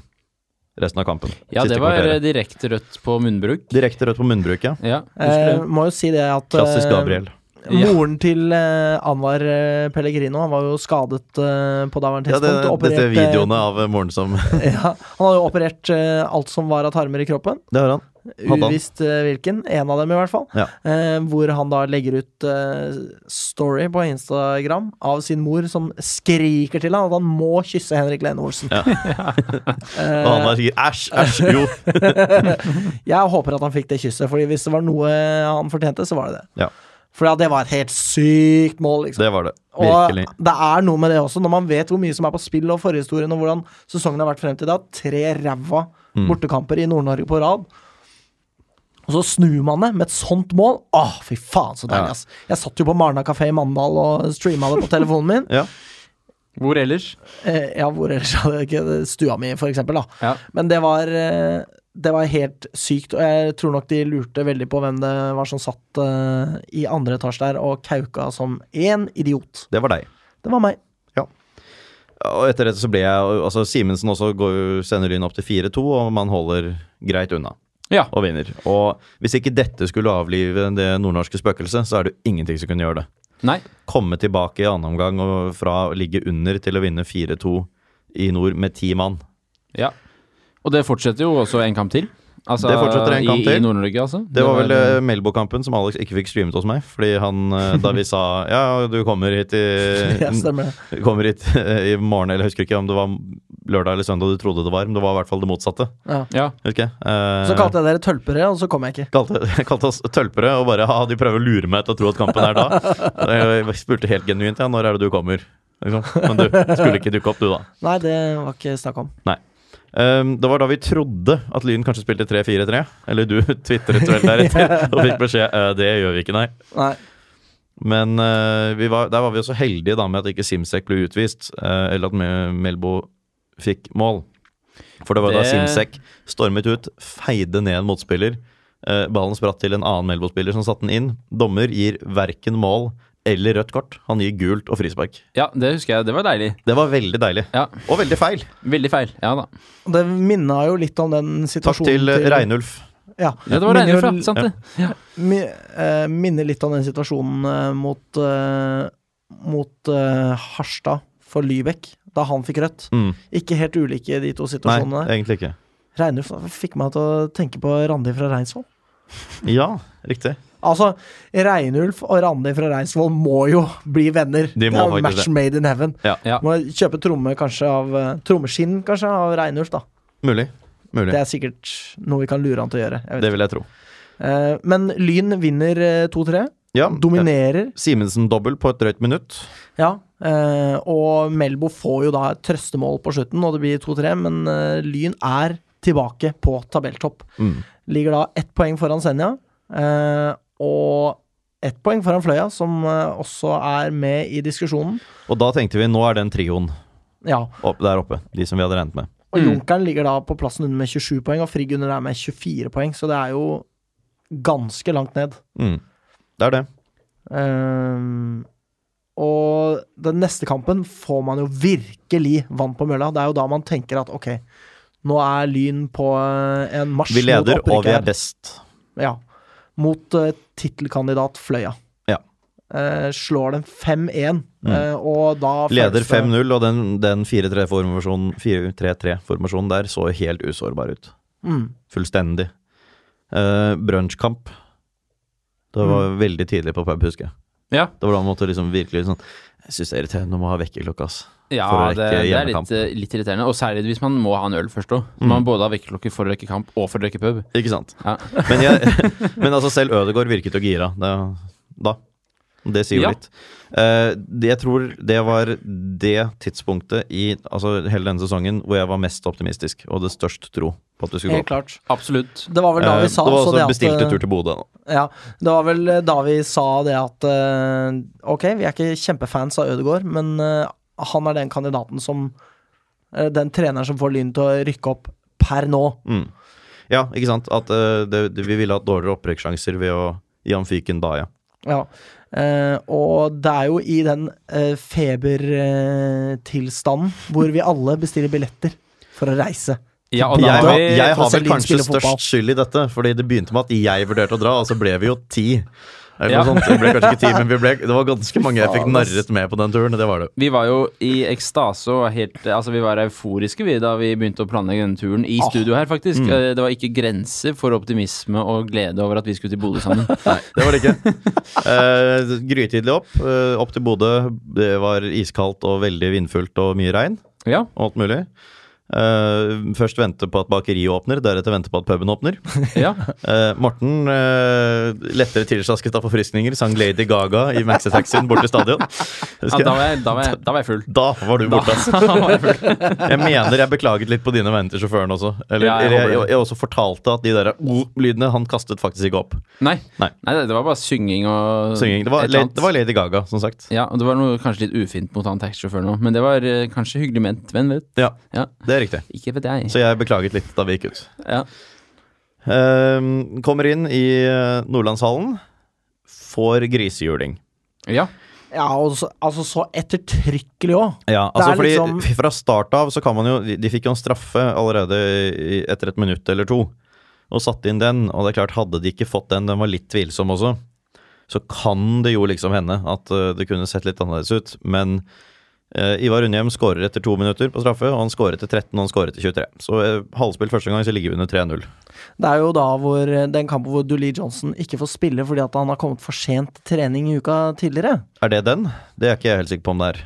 Speaker 2: resten av kampen.
Speaker 3: ja,
Speaker 2: Siste
Speaker 3: det var eh,
Speaker 2: kvarteret.
Speaker 3: direkte rødt på munnbruk.
Speaker 2: Direkte rødt på munnbruket. Ja.
Speaker 3: Ja, husker
Speaker 1: Eh,
Speaker 3: det.
Speaker 1: må jo si det at eh,
Speaker 2: Klassisk Gabriel.
Speaker 3: Ja.
Speaker 1: Moren til eh, Anwar eh, Pellegrino han var jo skadet eh, på daværende
Speaker 2: Ja, det,
Speaker 1: tidspunkt.
Speaker 2: dette
Speaker 1: operert, eh,
Speaker 2: videoene av eh, moren som
Speaker 1: ja, han hadde jo operert eh, alt som var av tarmer i kroppen.
Speaker 2: Det har han. Hadde han.
Speaker 1: Uvisst eh, hvilken. En av dem, i hvert fall.
Speaker 2: Ja.
Speaker 1: Eh, hvor han da legger ut eh, story på Instagram av sin mor som skriker til han at han må kysse Henrik Lene Olsen.
Speaker 2: Ja.
Speaker 1: Eh,
Speaker 2: Og han bare sier æsj, æsj, jo.
Speaker 1: jeg håper at han fikk det kysset, Fordi hvis det var noe han fortjente, så var det det.
Speaker 2: Ja.
Speaker 1: For ja, det var et helt sykt mål, liksom.
Speaker 2: Det var det.
Speaker 1: Og
Speaker 2: Virkelig.
Speaker 1: det er noe med det også, når man vet hvor mye som er på spill, og forhistorien, og hvordan sesongen har vært frem til da. Tre ræva
Speaker 2: Mm.
Speaker 1: bortekamper i Nord-Norge på rad. Og så snur man det med et sånt mål. Åh, fy faen, så
Speaker 2: Ja.
Speaker 1: deilig, ass. Jeg satt jo på Marna kafé i Mandal og streama det på telefonen min.
Speaker 2: Ja.
Speaker 3: Hvor ellers?
Speaker 1: Eh, ja, hvor ellers hadde jeg ikke stua mi, for eksempel, da.
Speaker 3: Ja.
Speaker 1: Men det var eh, det var helt sykt, og jeg tror nok de lurte veldig på hvem det var som satt eh, i andre etasje der og kauka som én idiot.
Speaker 2: Det var deg.
Speaker 1: Det var meg.
Speaker 2: Og etter dette så ble jeg Altså, Simensen også går, jo- sender Lyn opp til 4-2, og man holder greit unna
Speaker 3: Ja.
Speaker 2: og vinner. Og hvis ikke dette skulle avlive det nordnorske spøkelset, så er det jo ingenting som kunne gjøre det.
Speaker 3: Nei.
Speaker 2: Komme tilbake i annen omgang og fra å ligge under til å vinne 4-2 i nord med ti mann.
Speaker 3: Ja. Og det fortsetter jo også en kamp til. Altså,
Speaker 2: Det fortsetter en kamp
Speaker 3: i,
Speaker 2: til.
Speaker 3: I Nord-Norge, altså.
Speaker 2: Det var vel eh, Melbo-kampen som Alex ikke fikk streamet hos meg, fordi han eh, da vi sa ja, du kommer hit
Speaker 1: Ja,
Speaker 2: i
Speaker 1: stemmer det.
Speaker 2: Du kommer hit eh, i morgen, eller jeg husker ikke om det var lørdag eller søndag du trodde det var, men det var i hvert fall det motsatte.
Speaker 1: Ja.
Speaker 3: Ja.
Speaker 2: Husker jeg. Eh,
Speaker 1: Så kalte jeg dere tølpere, og så kom jeg ikke.
Speaker 2: kalte, jeg kalte oss tølpere og bare ha, de prøver å lure meg til å tro at kampen er da. Jeg spurte helt genuint ja, når er det du kommer? Liksom. Men du skulle ikke dukke opp, du da.
Speaker 1: Nei, det var ikke snakk om.
Speaker 2: Ehm, det var da vi trodde at Lyn kanskje spilte 3-4-3, eller du tvitret vel deretter og fikk beskjed «Eh, det gjør vi ikke, nei.
Speaker 1: Nei.
Speaker 2: Men eh, vi var, der var vi også heldige da med at ikke Simsek ble utvist, eh, eller at Me- Melbo fikk mål. For det var da
Speaker 3: Det-
Speaker 2: Simsek stormet ut, feide ned en motspiller. eh, ballen spratt til en annen Melbo-spiller som satte den inn. Dommer gir verken mål eller rødt kort. Han gir gult og frispark.
Speaker 3: ja, det husker jeg. Det var deilig.
Speaker 2: Det var veldig deilig.
Speaker 3: Ja.
Speaker 2: Og veldig feil.
Speaker 3: Veldig feil. Ja da.
Speaker 1: Og Det minna jo litt om den
Speaker 2: Takk
Speaker 1: situasjonen
Speaker 2: til eh, Reinulf.
Speaker 1: Ja,
Speaker 3: Ja, det var
Speaker 1: Minner jo
Speaker 3: Reinulf, ja.
Speaker 1: l-
Speaker 3: Sant det. Ja.
Speaker 1: mi, eh, minner litt om den situasjonen eh, mot, eh, mot eh, Harstad for Lybekk, da han fikk rødt.
Speaker 2: Mm.
Speaker 1: Ikke helt ulike de to
Speaker 2: Nei,
Speaker 1: situasjonene. der.
Speaker 2: egentlig ikke.
Speaker 1: Reinulf fikk meg til å tenke på Randi fra Reinsvoll.
Speaker 2: Ja, riktig.
Speaker 1: Altså, Reinulf og Randi fra Reinsvoll må jo bli venner.
Speaker 2: De må
Speaker 1: det er jo
Speaker 2: faktisk
Speaker 1: match
Speaker 2: det.
Speaker 1: made in heaven.
Speaker 2: Ja,
Speaker 3: Ja.
Speaker 1: Må kjøpe tromme kanskje av eh, Trommeskinn kanskje av Reinulf, da.
Speaker 2: Mulig. Mulig.
Speaker 1: Det
Speaker 2: Det,
Speaker 1: er sikkert noe vi kan lure han til å gjøre. Jeg vet.
Speaker 2: vil jeg tro.
Speaker 1: ikke. Eh, men Lyn vinner eh, 2-3.
Speaker 2: Ja, eh,
Speaker 1: Dominerer.
Speaker 2: Simensen dobbel på et drøyt minutt.
Speaker 1: Ja. eh, og Melbo får jo da et trøstemål på slutten, og det blir 2-3, men eh, Lyn er tilbake på tabelltopp.
Speaker 2: Mm.
Speaker 1: Ligger da ett poeng foran Senja, eh, og ett poeng foran Fløya, som eh, også er med i diskusjonen.
Speaker 2: Og da tenkte vi nå er den trioen
Speaker 1: Ja,
Speaker 2: opp, der oppe, de som vi hadde regnet med.
Speaker 1: og
Speaker 3: Mm.
Speaker 1: Junkeren ligger da på plassen under med 27 poeng, og Frigg under der med 24 poeng, så det er jo ganske langt ned.
Speaker 2: Mm. Det er det.
Speaker 1: Ehm, og den neste kampen får man jo virkelig vann på mølla. Det er jo da man tenker at ok, nå er Lyn på eh, en marsj
Speaker 2: Vi leder,
Speaker 1: mot opprykket
Speaker 2: og vi er
Speaker 1: her.
Speaker 2: best.
Speaker 1: Ja, mot eh, tittelkandidat Fløya.
Speaker 2: Ja. Mm.
Speaker 1: Eh, slår dem 5-1, eh, og da
Speaker 2: Leder
Speaker 1: føles det-
Speaker 2: 5-0, og den, den 4-3-formasjonen 4-3-3-formasjonen der så helt usårbar ut.
Speaker 1: Mm.
Speaker 2: Fullstendig. Eh, Brunsjkamp. Det var veldig tidlig på pub, husker jeg.
Speaker 3: Ja.
Speaker 2: Det var da man måtte liksom virkelig sånn Jeg syns det er irriterende å ha vekkerklokka, ass.
Speaker 3: Ja,
Speaker 2: For å rekke
Speaker 3: det, det er
Speaker 2: hjemmekamp. Mm.
Speaker 3: litt, eh, litt irriterende. Og særlig hvis man må ha en øl først òg. Man både har vekkerklokke for å rekke kamp og for å rekke pub.
Speaker 2: Ikke sant?
Speaker 3: Ja.
Speaker 2: Men, jeg, men altså, selv Ødegaard virket jo gira da. da. Det sier jo
Speaker 3: Ja.
Speaker 2: litt. Eh, det- jeg tror det var det tidspunktet i altså hele denne sesongen hvor jeg var mest optimistisk og hadde størst tro på at det skulle
Speaker 1: Helt
Speaker 2: gå.
Speaker 1: klart.
Speaker 3: Absolutt.
Speaker 1: Det var vel da
Speaker 2: Eh,
Speaker 1: vi sa
Speaker 2: det var
Speaker 1: så
Speaker 2: også
Speaker 1: det at- eh,
Speaker 2: bestilte tur til Bodø. nå.
Speaker 1: Ja, det var vel eh, da vi sa det at eh, Ok, vi er ikke kjempefans av Ødegaard, men eh, han er den kandidaten som eh, Den treneren som får Lyn til å rykke opp per nå.
Speaker 2: Mm. Ja, ikke sant. At eh, det, det, vi ville hatt dårligere opprykkssjanser ved å Jan Fyken da, ja.
Speaker 1: Ja. Eh, og det er jo i den eh, febertilstanden hvor vi alle bestiller billetter for å reise.
Speaker 3: Ja, og
Speaker 2: Jeg,
Speaker 3: da
Speaker 2: har-
Speaker 3: var vi
Speaker 2: jeg har
Speaker 1: tross
Speaker 2: vel
Speaker 1: alt Lyn
Speaker 2: kanskje
Speaker 1: spiller fotball.
Speaker 2: størst skyld i dette, fordi det begynte med at jeg vurderte å dra, og så ble vi jo ti. Eller
Speaker 3: Ja.
Speaker 2: noe sånt. Vi ble kanskje ikke ti, men vi ble, det var ganske mange jeg fikk
Speaker 1: Faen, ass.
Speaker 2: narret med på den turen. Det var det.
Speaker 3: Vi var jo i ekstase og helt Altså, vi var euforiske, vi, da vi begynte å planlegge denne turen i studio her, faktisk.
Speaker 2: Mm.
Speaker 3: Eh, Det var ikke grenser for optimisme og glede over at vi skulle til Bodø sammen.
Speaker 2: Det var det ikke. Eh, grytidlig opp. eh, opp til Bodø. Det var iskaldt og veldig vindfullt og mye regn
Speaker 3: Ja.
Speaker 2: og alt mulig. Eh, først vente på at bakeriet åpner, deretter vente på at puben åpner.
Speaker 3: ja.
Speaker 2: Eh, Morten, eh, lettere tilslasket av forfriskninger, sang Lady Gaga i maxitaxien bort til stadion.
Speaker 3: ja
Speaker 2: Husker
Speaker 3: da,
Speaker 2: jeg.
Speaker 3: var jeg, da, var jeg, da var jeg full.
Speaker 2: Da var du borte, ass. Jeg mener jeg beklaget litt på dine vegne til sjåføren også. Eller,
Speaker 3: Ja, jeg
Speaker 2: eller jeg,
Speaker 3: håper
Speaker 2: jeg,
Speaker 3: det.
Speaker 2: også fortalte at de der oh, lydene han kastet faktisk ikke opp.
Speaker 3: Nei.
Speaker 2: Nei.
Speaker 3: Nei, det var bare synging og
Speaker 2: Synging. Det var,
Speaker 3: Mm. et eller annet.
Speaker 2: det var Lady Gaga, som sagt.
Speaker 3: Ja, og det var noe kanskje litt ufint mot han taxisjåføren òg, men det var eh, kanskje hyggelig ment, hvem vet?
Speaker 2: Ja,
Speaker 3: Ja.
Speaker 2: det er riktig.
Speaker 3: Ikke vet jeg.
Speaker 2: Så jeg beklaget litt da vi gikk ut.
Speaker 3: Ja.
Speaker 2: Ehm, kommer inn i eh, Nordlandshallen, får grisehjuling.
Speaker 3: ja.
Speaker 1: Ja, og så, altså så ettertrykkelig òg.
Speaker 2: Ja,
Speaker 1: Det
Speaker 2: altså
Speaker 1: er
Speaker 2: fordi
Speaker 1: liksom-
Speaker 2: Fra start av så kan man jo De, de fikk jo en straffe allerede i- etter et minutt eller to, og satte inn den. Og det er klart, hadde de ikke fått den, den var litt tvilsom også, så kan det jo liksom hende at eh, det kunne sett litt annerledes ut. Men eh, Ivar Undhjem skårer etter to minutter på straffe, og han skårer etter 13, og han skårer etter 23. Så eh, halvspilt første gang, så ligger vi under 3-0.
Speaker 1: Det er jo da hvor eh, den kampen hvor Dooley Johnson ikke får spille fordi at han har kommet for sent til trening i uka tidligere.
Speaker 2: Er det den? Det er ikke jeg helt sikker på om det er.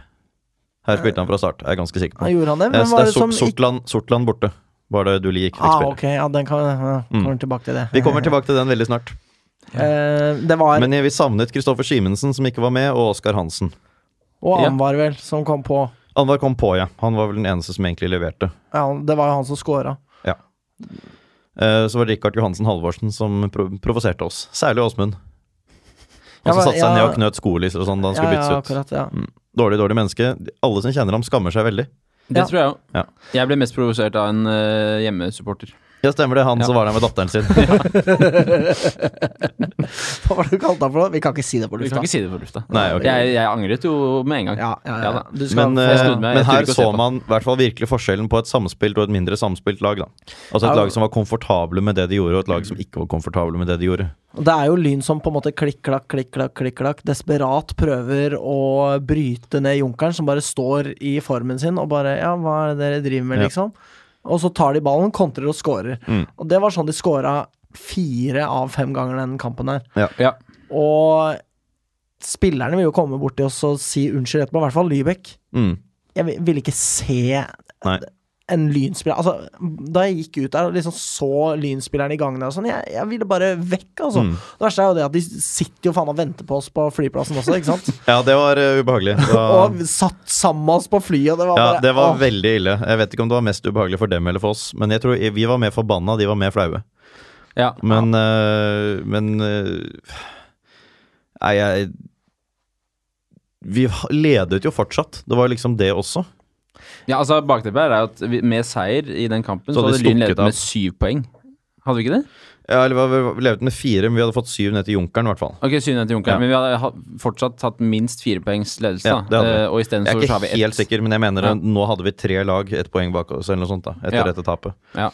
Speaker 2: Her spilte han fra start, er jeg ganske sikker på.
Speaker 1: Ja, gjorde han det?
Speaker 2: Eh,
Speaker 1: Hvem
Speaker 2: så
Speaker 1: var
Speaker 2: det
Speaker 1: det
Speaker 2: er Sort-
Speaker 1: som ikke
Speaker 2: Sortland, Sortland borte. Var det Duli ikke fikk
Speaker 1: Ah,
Speaker 2: spille.
Speaker 1: ok, ja, den kan, ja, kommer tilbake til det.
Speaker 2: Mm. Vi kommer tilbake til den veldig snart.
Speaker 1: Eh, det var
Speaker 2: Men vi savnet Kristoffer Simensen, som ikke var med, og Oskar Hansen.
Speaker 1: Og
Speaker 3: Ja.
Speaker 1: Anwar, vel, som kom på.
Speaker 2: Anwar kom på, ja. Han var vel den eneste som egentlig leverte.
Speaker 1: Ja, det var jo han som scora.
Speaker 2: Eh, Så var det Rikard Johansen Halvorsen som pro provoserte oss. Særlig Åsmund.
Speaker 1: Ja,
Speaker 2: Han som
Speaker 1: men-
Speaker 2: satte seg ned
Speaker 1: ja.
Speaker 2: og knøt skolisser og sånn da han skulle
Speaker 1: ja, ja,
Speaker 2: byttes ut.
Speaker 1: akkurat, ja.
Speaker 2: Dårlig, dårlig menneske. Alle som kjenner ham, skammer seg veldig.
Speaker 3: Det
Speaker 1: Ja.
Speaker 3: tror jeg òg.
Speaker 2: Ja.
Speaker 3: Jeg ble mest provosert av en eh, hjemmesupporter.
Speaker 2: Ja, stemmer det. Han
Speaker 3: Ja.
Speaker 2: som var der med datteren sin.
Speaker 1: Hva var det du kalte han for noe? Vi kan ikke si det på
Speaker 3: Vi kan
Speaker 1: lufta.
Speaker 3: ikke si det på lufta.
Speaker 2: Nei, ok.
Speaker 3: jeg, jeg angret jo med en gang.
Speaker 1: Ja, ja, ja.
Speaker 3: Ja da.
Speaker 1: Du skal
Speaker 2: Men,
Speaker 1: få-
Speaker 3: jeg
Speaker 2: eh,
Speaker 3: snudde
Speaker 2: men
Speaker 3: meg. Jeg turte
Speaker 2: her
Speaker 3: ikke å se
Speaker 2: så
Speaker 3: på.
Speaker 2: man i hvert fall virkelig forskjellen på et samspilt og et mindre samspilt lag. Da. Altså
Speaker 1: Ja.
Speaker 2: et lag som var komfortable med det de gjorde, og et lag som ikke var komfortable med det de gjorde.
Speaker 1: Det er jo Lyn som på en måte klikk-klakk, klikk-klakk, klikk-klakk desperat prøver å bryte ned Junkeren, som bare står i formen sin og bare Ja, hva er det dere driver med,
Speaker 2: Ja.
Speaker 1: liksom? Og så tar de ballen, kontrer og scorer.
Speaker 2: Mm.
Speaker 1: Og det var sånn de scora fire av fem ganger den kampen her.
Speaker 3: Ja.
Speaker 1: Og spillerne vil jo komme bort til oss og si unnskyld etterpå, i hvert fall Lybekk.
Speaker 2: Mm.
Speaker 1: Jeg vil- ville ikke se
Speaker 2: Nei.
Speaker 1: en lynspiller Altså, da jeg gikk ut der og liksom så lynspillerne i gangen der og sånn, jeg, jeg ville bare vekk, altså.
Speaker 2: Mm.
Speaker 1: Det verste er jo det at de sitter jo faen og venter på oss på flyplassen også, ikke sant?
Speaker 2: Ja, det var eh, ubehagelig. Det var-
Speaker 1: Og satt sammen med oss på flyet, og det var
Speaker 2: ja,
Speaker 1: bare
Speaker 2: det var
Speaker 1: åh.
Speaker 2: veldig ille. Jeg vet ikke om det var mest ubehagelig for dem eller for oss, men jeg tror vi var mer forbanna, de var mer flaue.
Speaker 3: ja.
Speaker 2: Men eh, Men eh, Nei, jeg Vi ledet jo fortsatt. Det var liksom det også.
Speaker 3: ja altså, bakteppet her er jo at vi, med seier i den kampen,
Speaker 2: Så
Speaker 3: så,
Speaker 2: hadde
Speaker 3: hadde
Speaker 2: de
Speaker 3: Lyn
Speaker 2: stukket
Speaker 3: ledet
Speaker 2: av.
Speaker 3: med syv poeng. Hadde vi ikke det?
Speaker 2: Ja, eller vi var- vi ledet med fire, men vi hadde fått syv ned til Junkeren, i hvert fall.
Speaker 3: Ok, syv ned til Junkeren,
Speaker 2: Ja.
Speaker 3: men vi hadde ha- fortsatt hatt minst fire poengs ledelse,
Speaker 2: Ja, det
Speaker 3: da.
Speaker 2: hadde vi.
Speaker 3: Eh, og isteden
Speaker 2: Jeg
Speaker 3: så
Speaker 2: er
Speaker 3: har vi
Speaker 2: ikke
Speaker 3: ett.
Speaker 2: helt sikker, men jeg mener
Speaker 3: Ja.
Speaker 2: at nå hadde vi tre lag ett poeng bak oss eller noe sånt da, etter
Speaker 3: Ja.
Speaker 2: dette tapet.
Speaker 3: Ja.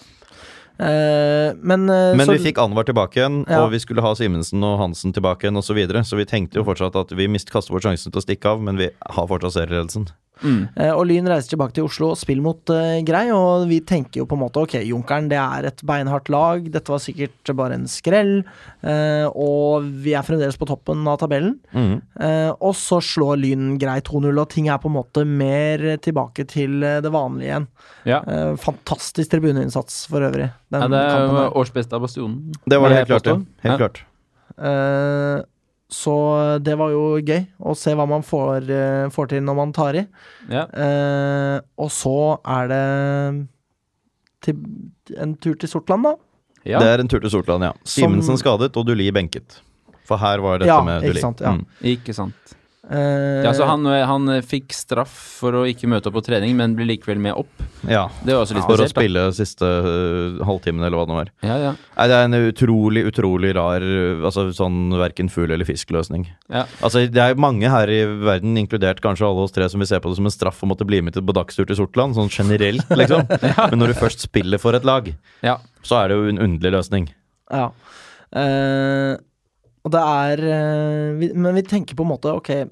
Speaker 1: Eh, Men, eh,
Speaker 2: Men
Speaker 1: så,
Speaker 2: vi fikk Anwar tilbake igjen,
Speaker 1: Ja.
Speaker 2: og vi skulle ha Simensen og Hansen tilbake igjen osv., så, videre, så vi tenkte jo fortsatt at vi mist kastet vår sjansen til å stikke av, men vi har fortsatt serieledelsen.
Speaker 1: eh, Og Lyn reiser tilbake til Oslo og spiller mot eh, Grei, og vi tenker jo på en måte ok, Junkeren det er et beinhardt lag, dette var sikkert bare en skrell, eh, og vi er fremdeles på toppen av tabellen.
Speaker 3: Mhm.
Speaker 1: Eh, og så slår Lyn Grei 2-0, og ting er på en måte mer eh, tilbake til eh, det vanlige igjen.
Speaker 3: Ja.
Speaker 1: Eh, fantastisk tribuneinnsats for øvrig. Den
Speaker 3: ja, det er
Speaker 1: kampen
Speaker 3: jo
Speaker 1: der.
Speaker 3: årsbeste av Bastionen.
Speaker 2: Det var
Speaker 3: Vil
Speaker 2: det
Speaker 3: jeg
Speaker 2: helt klart, ja.
Speaker 3: påstå.
Speaker 2: Helt
Speaker 3: Ja.
Speaker 2: klart.
Speaker 1: Eh, Så det var jo gøy å se hva man får, eh, får til når man tar i.
Speaker 3: Ja.
Speaker 1: Eh, og så er det til en tur til Sortland, da.
Speaker 3: ja.
Speaker 2: Det er en tur til Sortland, ja. Simensen skadet og Duli benket. For her var dette
Speaker 1: Ja,
Speaker 2: med
Speaker 1: ikke
Speaker 2: Duli.
Speaker 1: sant, ja.
Speaker 2: Mm.
Speaker 3: Ikke sant.
Speaker 1: Eh,
Speaker 3: Ja, så han, han fikk straff for å ikke møte opp på trening, men ble likevel med opp.
Speaker 2: ja.
Speaker 3: Det var også litt
Speaker 2: For å
Speaker 3: spesielt. da.
Speaker 2: spille siste øh, halvtimen, eller hva det nå var.
Speaker 3: Ja, ja.
Speaker 2: Nei, det er en utrolig, utrolig rar øh, Altså sånn verken fugl eller fisk-løsning.
Speaker 3: Ja.
Speaker 2: Altså, det er mange her i verden, inkludert kanskje alle oss tre, som vil se på det som en straff å måtte bli med til på dagstur til Sortland, sånn generelt, liksom. Men når du først spiller for et lag,
Speaker 3: Ja.
Speaker 2: så er det jo en underlig løsning.
Speaker 1: Ja. Eh, og det er eh, vi, Men vi tenker på en måte Ok,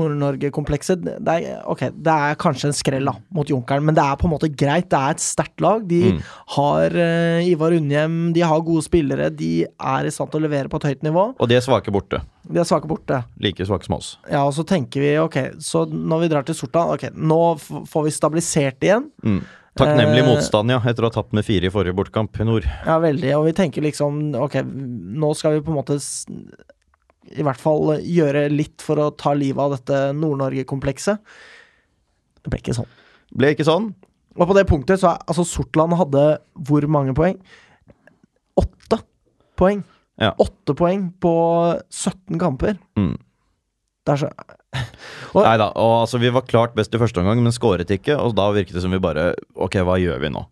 Speaker 1: Nord-Norge-komplekset det, det er- Ok, det er kanskje en skrell da mot Junkeren, men det er på en måte greit. Det er et sterkt lag. De
Speaker 2: Mm.
Speaker 1: har eh, Ivar Undhjem, de har gode spillere. De er i stand til å levere på et høyt nivå.
Speaker 2: Og de er svake borte.
Speaker 1: De er svake borte.
Speaker 2: Like svake som oss.
Speaker 1: Ja, og så tenker vi ok, så når vi drar til Sortland Ok, nå f får vi stabilisert igjen.
Speaker 2: Mm. Takknemlig
Speaker 1: Eh,
Speaker 2: motstand, ja, etter å ha tapt med fire i forrige bortekamp i nord.
Speaker 1: Ja, veldig. Og vi tenker liksom Ok, nå skal vi på en måte s- i hvert fall gjøre litt for å ta livet av dette Nord-Norge-komplekset. Det ble ikke sånn.
Speaker 2: Ble ikke sånn.
Speaker 1: Og på det punktet så er altså Sortland hadde hvor mange poeng? Åtte poeng.
Speaker 2: Ja.
Speaker 1: Åtte poeng på 17 kamper.
Speaker 2: Mm.
Speaker 1: Det er så Og-
Speaker 2: Nei da. Og altså, vi var klart best i første omgang, men skåret ikke. Og da virket det som vi bare Ok, hva gjør vi nå?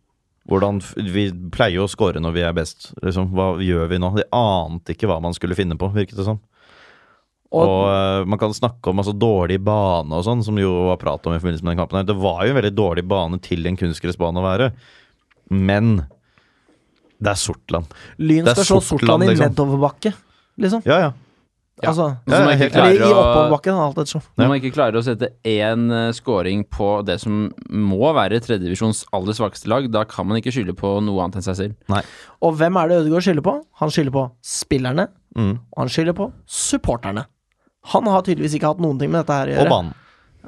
Speaker 2: Hvordan f Vi pleier jo å skåre når vi er best, liksom. Hva gjør vi nå? De ante ikke hva man skulle finne på, virket det som. Og, eh, man kan snakke om altså, dårlig bane og sånn, som jo var prat om i forbindelse med den kampen. her. Det var jo en veldig dårlig bane til en kunstgressbane å være, men det er Sortland.
Speaker 1: Lyn
Speaker 2: det er
Speaker 1: skal slå
Speaker 2: Sortland,
Speaker 1: Sortland i
Speaker 2: liksom.
Speaker 1: nedoverbakke, liksom.
Speaker 2: Ja, ja.
Speaker 3: Ja.
Speaker 1: Altså,
Speaker 2: Ja,
Speaker 3: Som
Speaker 2: ja,
Speaker 3: ikke
Speaker 2: helt
Speaker 3: klarer
Speaker 1: eller i
Speaker 3: å-
Speaker 1: oppoverbakken, alt ettersom.
Speaker 3: Når man ikke klarer å sette én eh, scoring på det som må være tredjedivisjons aller svakeste lag, da kan man ikke skylde på noe annet enn seg selv.
Speaker 1: Og hvem er det Ødegaard skylder på? Han skylder på spillerne,
Speaker 2: Mm.
Speaker 1: og han skylder på supporterne. Han har tydeligvis ikke hatt noen ting med dette her å
Speaker 2: Og
Speaker 1: gjøre.
Speaker 2: banen.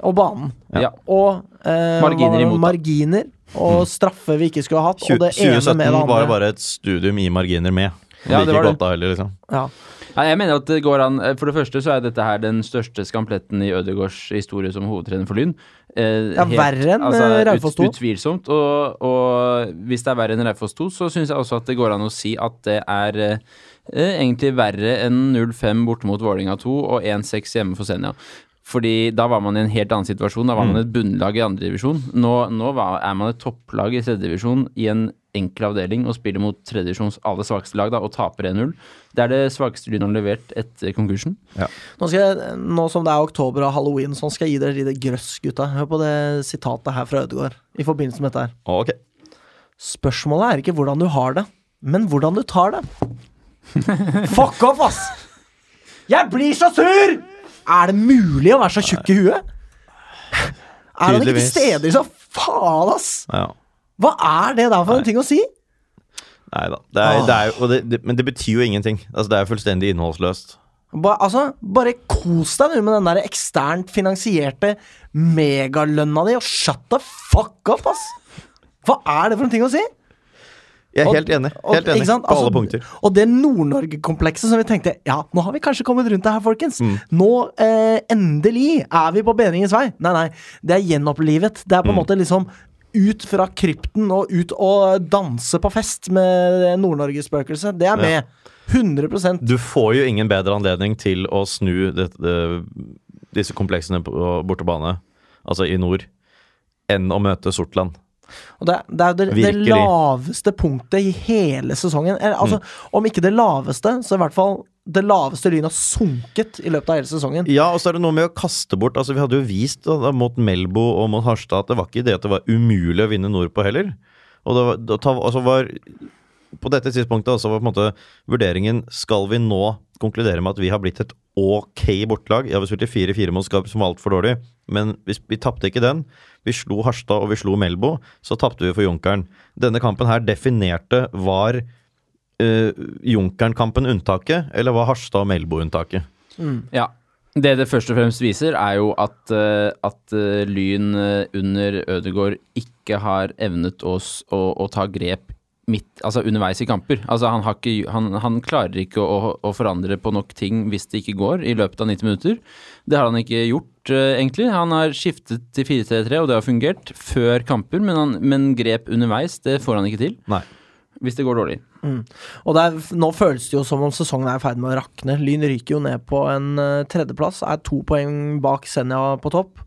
Speaker 1: Og banen.
Speaker 3: Ja.
Speaker 1: Og eh, hva-
Speaker 3: Marginer imot, da.
Speaker 1: marginer og straffer vi ikke skulle ha hatt.
Speaker 2: Tju-
Speaker 1: Og det ene
Speaker 2: 2017
Speaker 1: med det andre.
Speaker 2: var det Mm. bare et studium i marginer med.
Speaker 3: Ja,
Speaker 2: Ja,
Speaker 3: det
Speaker 2: det
Speaker 3: var
Speaker 2: ikke godt
Speaker 3: det.
Speaker 2: da heller, liksom.
Speaker 1: Ja.
Speaker 3: Nei, jeg mener at det går an eh, For det første så er dette her den største skampletten i Ødegaards historie som hovedtrener for Lyn. Eh,
Speaker 1: Ja, verre enn, eh, Raufoss 2.
Speaker 3: ut- Utvilsomt. Og, og hvis det er verre enn Raufoss 2, så syns jeg også at det går an å si at det er eh, eh, egentlig verre enn 0-5 borte mot Vålerenga 2 og 1-6 hjemme for Senja. Fordi da var man i en helt annen situasjon. Da var man et bunnlag i andredivisjon. Nå, nå var, er man et topplag i tredjedivisjon i en enkel avdeling og spiller mot tredjedivisjons aller svakeste lag da, og taper 1-0. Det er det svakeste Lyn har levert etter konkursen.
Speaker 1: Nå, skal jeg, nå som det er oktober og halloween, sånn skal jeg gi dere lite grøss, gutta. Hør på det sitatet her fra Ødegaard i forbindelse med dette her.
Speaker 2: Ok.
Speaker 1: Spørsmålet er ikke hvordan du har det, men hvordan du tar det. Fuck off, ass! Jeg blir så sur! Er det mulig å være så tjukk i huet? Er han ikke til
Speaker 2: Tydeligvis.
Speaker 1: stede, så faen, ass!
Speaker 2: Ja.
Speaker 1: Hva er det der for en ting å si?
Speaker 2: Nei da. Det
Speaker 1: Ah.
Speaker 2: er, det er, jo- og det, det, men det betyr jo ingenting. Altså, det er jo fullstendig innholdsløst.
Speaker 1: Ba, altså, bare kos deg nå med den der eksternt finansierte megalønna di, og shut the fuck up, ass! Hva er det for en ting å si?
Speaker 2: Jeg er
Speaker 1: Og-
Speaker 2: helt enig.
Speaker 1: Og-
Speaker 2: Helt enig
Speaker 1: ikke sant?
Speaker 2: på alle
Speaker 1: Altså,
Speaker 2: punkter.
Speaker 1: Og det Nord-Norge-komplekset som vi tenkte Ja, nå har vi kanskje kommet rundt det her, folkens.
Speaker 2: Mm.
Speaker 1: Nå eh, endelig er vi på bedringens vei. Nei, nei. Det er gjenopplivet. Det er på
Speaker 2: Mm.
Speaker 1: en måte liksom ut fra krypten og ut og danse på fest med Nord-Norge-spøkelset. Det er med. 100
Speaker 2: Du får jo ingen bedre anledning til å snu det, det, disse kompleksene på bortebane, altså i nord, enn å møte Sortland.
Speaker 1: Og det, det er jo det, det
Speaker 2: Virkelig. Mm.
Speaker 1: laveste punktet i hele sesongen. Eller, altså, Om ikke det laveste, så i hvert fall det laveste Lyn har sunket i løpet av hele sesongen.
Speaker 2: Ja, og så er det noe med å kaste bort Altså, vi hadde jo vist da, da, mot Melbo og mot Harstad at det var ikke det at det var umulig å vinne nordpå heller. Og det var, det ta- altså var På dette tidspunktet altså var på en måte vurderingen Skal vi nå konkludere med at vi har blitt et ok bortelag? Ja, vi spilte 4-4 mot Skarp, som var altfor dårlig, men vi, sp- vi tapte ikke den. Vi slo Harstad og vi slo Melbo, så tapte vi for Junkeren. Denne kampen her definerte var eh, Junkeren-kampen unntaket, eller var Harstad og Melbo unntaket?
Speaker 3: Ja. Det det først og fremst viser, er jo at, eh, at eh, Lyn eh, under Ødegaard ikke har evnet oss å, å ta grep midt, altså underveis i kamper. Altså han, har ikke, han, han klarer ikke å, å forandre på nok ting hvis det ikke går i løpet av 90 minutter. Det har han ikke gjort, eh, egentlig. Han har skiftet til 4-3-3, og det har fungert før kamper, men, han, men grep underveis, det får han ikke til
Speaker 2: Nei.
Speaker 3: hvis det går dårlig.
Speaker 1: Og det er, nå føles det jo som om sesongen er i ferd med å rakne. Lyn ryker jo ned på en eh, tredjeplass, er to poeng bak Senja på topp.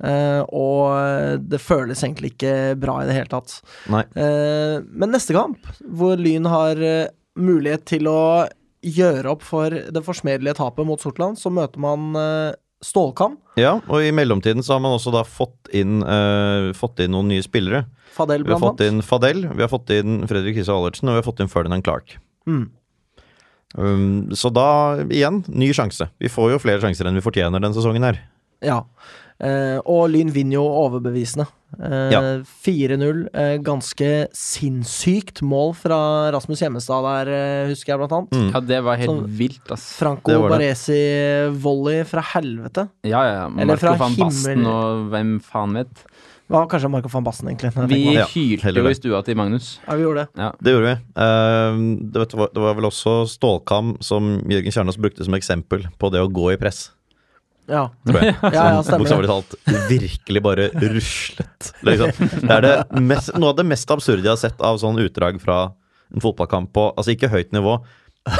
Speaker 1: Eh, og det føles egentlig ikke bra i det hele tatt.
Speaker 2: Nei.
Speaker 1: Eh, men neste kamp, hvor Lyn har eh, mulighet til å gjøre opp for det forsmedelige tapet mot Sortland, så møter man eh, Stålkam.
Speaker 2: Ja, og i mellomtiden så har man også da fått inn, eh, fått inn noen nye spillere.
Speaker 1: Fadel,
Speaker 2: Vi har
Speaker 1: blant
Speaker 2: fått
Speaker 1: annet.
Speaker 2: inn Fadel, vi har fått inn Fredrik Hisse Allertsen, og vi har fått inn Ferdinand Clark.
Speaker 1: Mm.
Speaker 2: Um, så da, igjen, ny sjanse. Vi får jo flere sjanser enn vi fortjener denne sesongen her.
Speaker 1: Ja. Eh, og Lyn vinner jo overbevisende. Eh,
Speaker 2: Ja.
Speaker 1: 4-0. Eh, ganske sinnssykt mål fra Rasmus Hjemmestad der, eh, husker jeg, blant annet.
Speaker 2: Mm.
Speaker 3: Ja, det var helt
Speaker 1: Sånn-
Speaker 3: vilt, ass.
Speaker 1: Franco
Speaker 2: Det var det.
Speaker 1: Baresi-volley fra helvete.
Speaker 3: Ja, ja.
Speaker 1: Eller
Speaker 3: Marco
Speaker 1: fra
Speaker 3: van Basten
Speaker 1: himmel-
Speaker 3: og hvem faen vet.
Speaker 1: Det var kanskje Marco van Basten, egentlig. når jeg
Speaker 3: Vi
Speaker 1: tenker meg om.
Speaker 2: Ja,
Speaker 3: hylte
Speaker 2: heller
Speaker 3: jo
Speaker 2: det.
Speaker 3: i stua til Magnus.
Speaker 1: Ja, vi gjorde det.
Speaker 2: Det gjorde vi. Um, det, vet, du hva, det var vel også Stålkam som Jørgen Kjernås brukte som eksempel på det å gå i press.
Speaker 1: Ja,
Speaker 2: Tror jeg.
Speaker 1: ja, ja
Speaker 2: Som
Speaker 1: stemmer. det.
Speaker 2: Bokstavelig talt virkelig bare ruslet. Liksom. Det er det mest, noe av det mest absurde jeg har sett av sånn utdrag fra en fotballkamp på Altså ikke høyt nivå,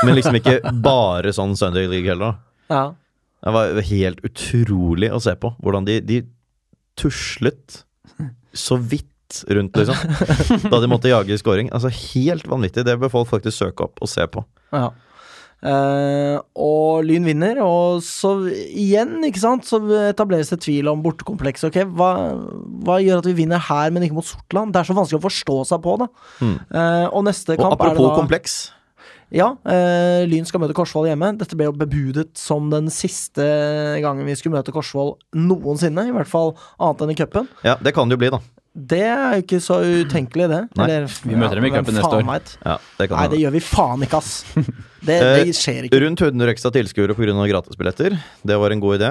Speaker 2: men liksom ikke bare sånn Sunday League heller. da.
Speaker 1: Ja.
Speaker 2: Det var helt utrolig å se på hvordan de, de tuslet så vidt rundt, liksom. Da de måtte jage scoring. Altså helt vanvittig. Det bør folk faktisk søke opp og se på.
Speaker 1: Ja. Eh, og Lyn vinner, og så igjen, ikke sant, så etableres det tvil om bortekomplekset. Ok, hva, hva gjør at vi vinner her, men ikke mot Sortland? Det er så vanskelig å forstå seg på, da.
Speaker 3: Hmm.
Speaker 1: Eh, og neste
Speaker 2: Og
Speaker 1: kamp er det
Speaker 2: apropos
Speaker 1: da
Speaker 2: kompleks.
Speaker 1: Ja, eh, Lyn skal møte Korsvoll hjemme. Dette ble jo bebudet som den siste gangen vi skulle møte Korsvoll noensinne, i hvert fall annet enn i cupen.
Speaker 2: Ja, det kan det jo bli, da.
Speaker 1: Det er jo ikke så utenkelig, det.
Speaker 2: Nei.
Speaker 3: Vi møter dem i
Speaker 1: hvem
Speaker 3: cupen neste
Speaker 1: faen
Speaker 3: år.
Speaker 1: vet.
Speaker 2: Ja, det kan
Speaker 1: Nei,
Speaker 2: hende.
Speaker 1: det gjør vi faen ikke, ass. Det,
Speaker 3: Eh,
Speaker 1: det skjer ikke.
Speaker 2: Rundt 100 ekstra tilskuere pga. gratisbilletter. Det var en god idé.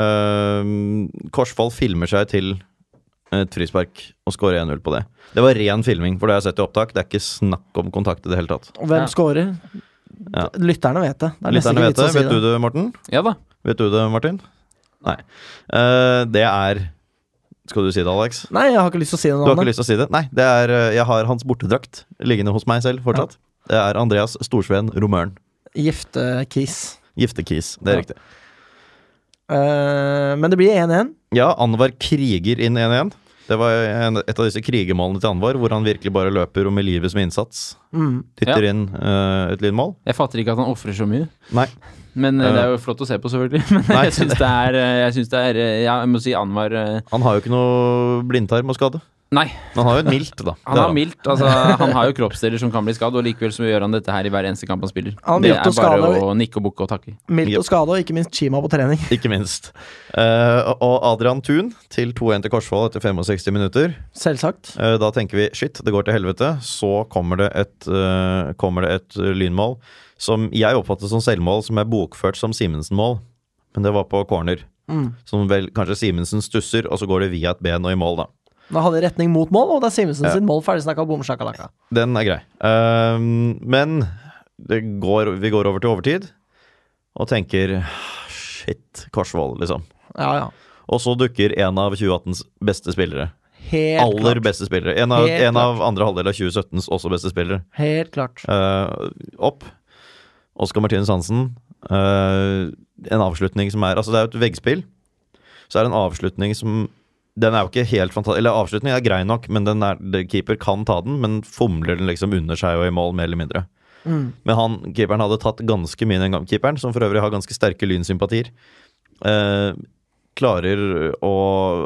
Speaker 2: Ehm, Korsfall filmer seg til et frispark og scorer 1-0 på det. Det var ren filming, for det har jeg sett i opptak. Det er ikke snakk om kontakt i det hele tatt.
Speaker 1: Og hvem
Speaker 3: Ja.
Speaker 1: scorer?
Speaker 2: Ja.
Speaker 1: Lytterne vet det. Det er nesten
Speaker 2: Lytterne
Speaker 1: ikke
Speaker 2: vet
Speaker 1: vits å
Speaker 2: det.
Speaker 1: si
Speaker 2: Vet
Speaker 1: det.
Speaker 2: du det, Morten?
Speaker 3: Ja da.
Speaker 2: Vet du det, Martin? Nei. Eh, det er Skal du si det, Alex?
Speaker 1: Nei, jeg har ikke lyst til å si det
Speaker 2: Du har ikke
Speaker 1: navnet.
Speaker 2: lyst til å si det? Nei, det er, eh, jeg har hans bortedrakt liggende hos meg selv fortsatt. Det er Andreas Storsveen Romøren.
Speaker 1: Giftekis.
Speaker 2: Giftekis. Det er
Speaker 3: Ja.
Speaker 2: riktig.
Speaker 1: Eh, men det blir 1-1.
Speaker 2: Ja, Anwar kriger inn 1-1. Det var en, et av disse krigermålene til Anwar, hvor han virkelig bare løper og med livet som innsats
Speaker 1: Mm.
Speaker 2: dytter inn eh, et lynmål.
Speaker 3: Jeg fatter ikke at han ofrer så mye.
Speaker 2: Nei.
Speaker 3: Men eh,
Speaker 2: Eh.
Speaker 3: det er jo flott å se på, selvfølgelig. Men
Speaker 2: Nei.
Speaker 3: jeg syns det er, eh, jeg, synes det er eh, ja, jeg må si Anwar eh,
Speaker 2: Han har jo ikke noe blindtarm å skade.
Speaker 3: Nei,
Speaker 2: Men han har jo et mildt, da.
Speaker 3: han har mildt. Altså, han har jo kroppsdeler som kan bli skadd, og likevel så gjør han dette her i hver eneste kamp han spiller.
Speaker 1: Han
Speaker 3: det
Speaker 1: vet
Speaker 3: er
Speaker 1: å
Speaker 3: bare
Speaker 1: skade-
Speaker 3: å nikke og bukke og takke.
Speaker 1: Mildt
Speaker 2: Yep.
Speaker 1: og skade, og ikke minst Chima på trening.
Speaker 2: Ikke minst. Eh, og Adrian Thun til 2-1 til Korsvoll etter 65 minutter.
Speaker 1: Selvsagt.
Speaker 2: Eh, Da tenker vi shit, det går til helvete. Så kommer det et, eh, kommer det et eh, lynmål som jeg oppfattet som selvmål, som er bokført som Simensen-mål. Men det var på corner.
Speaker 1: Mm.
Speaker 2: Som vel kanskje Simensen stusser, og så går det via et ben og i mål, da.
Speaker 1: Nå hadde retning mot mål, og det er Simensen
Speaker 2: Ja.
Speaker 1: sin mål. Ferdig snakka bom sjakalaka.
Speaker 2: Den er grei. Ehm, men det går, vi går over til overtid og tenker shit, Korsvoll, liksom.
Speaker 1: Ja, ja.
Speaker 2: Og så dukker en av 2018s beste spillere.
Speaker 1: Helt
Speaker 2: Aller
Speaker 1: klart.
Speaker 2: beste spillere. En av,
Speaker 1: Helt
Speaker 2: en av andre halvdel av 2017s også beste spillere.
Speaker 1: Helt klart.
Speaker 2: Eh, opp. Oskar Martinus Hansen. Eh, en avslutning som er Altså, det er jo et veggspill. Så er det en avslutning som Den er jo ikke helt fantastisk Eller avslutningen er grei nok, men den er, det- keeper kan ta den, men fomler den liksom under seg og i mål, mer eller mindre.
Speaker 1: Mm.
Speaker 2: Men han, keeperen hadde tatt ganske mye den gang- keeperen, som for øvrig har ganske sterke lynsympatier. Eh, klarer å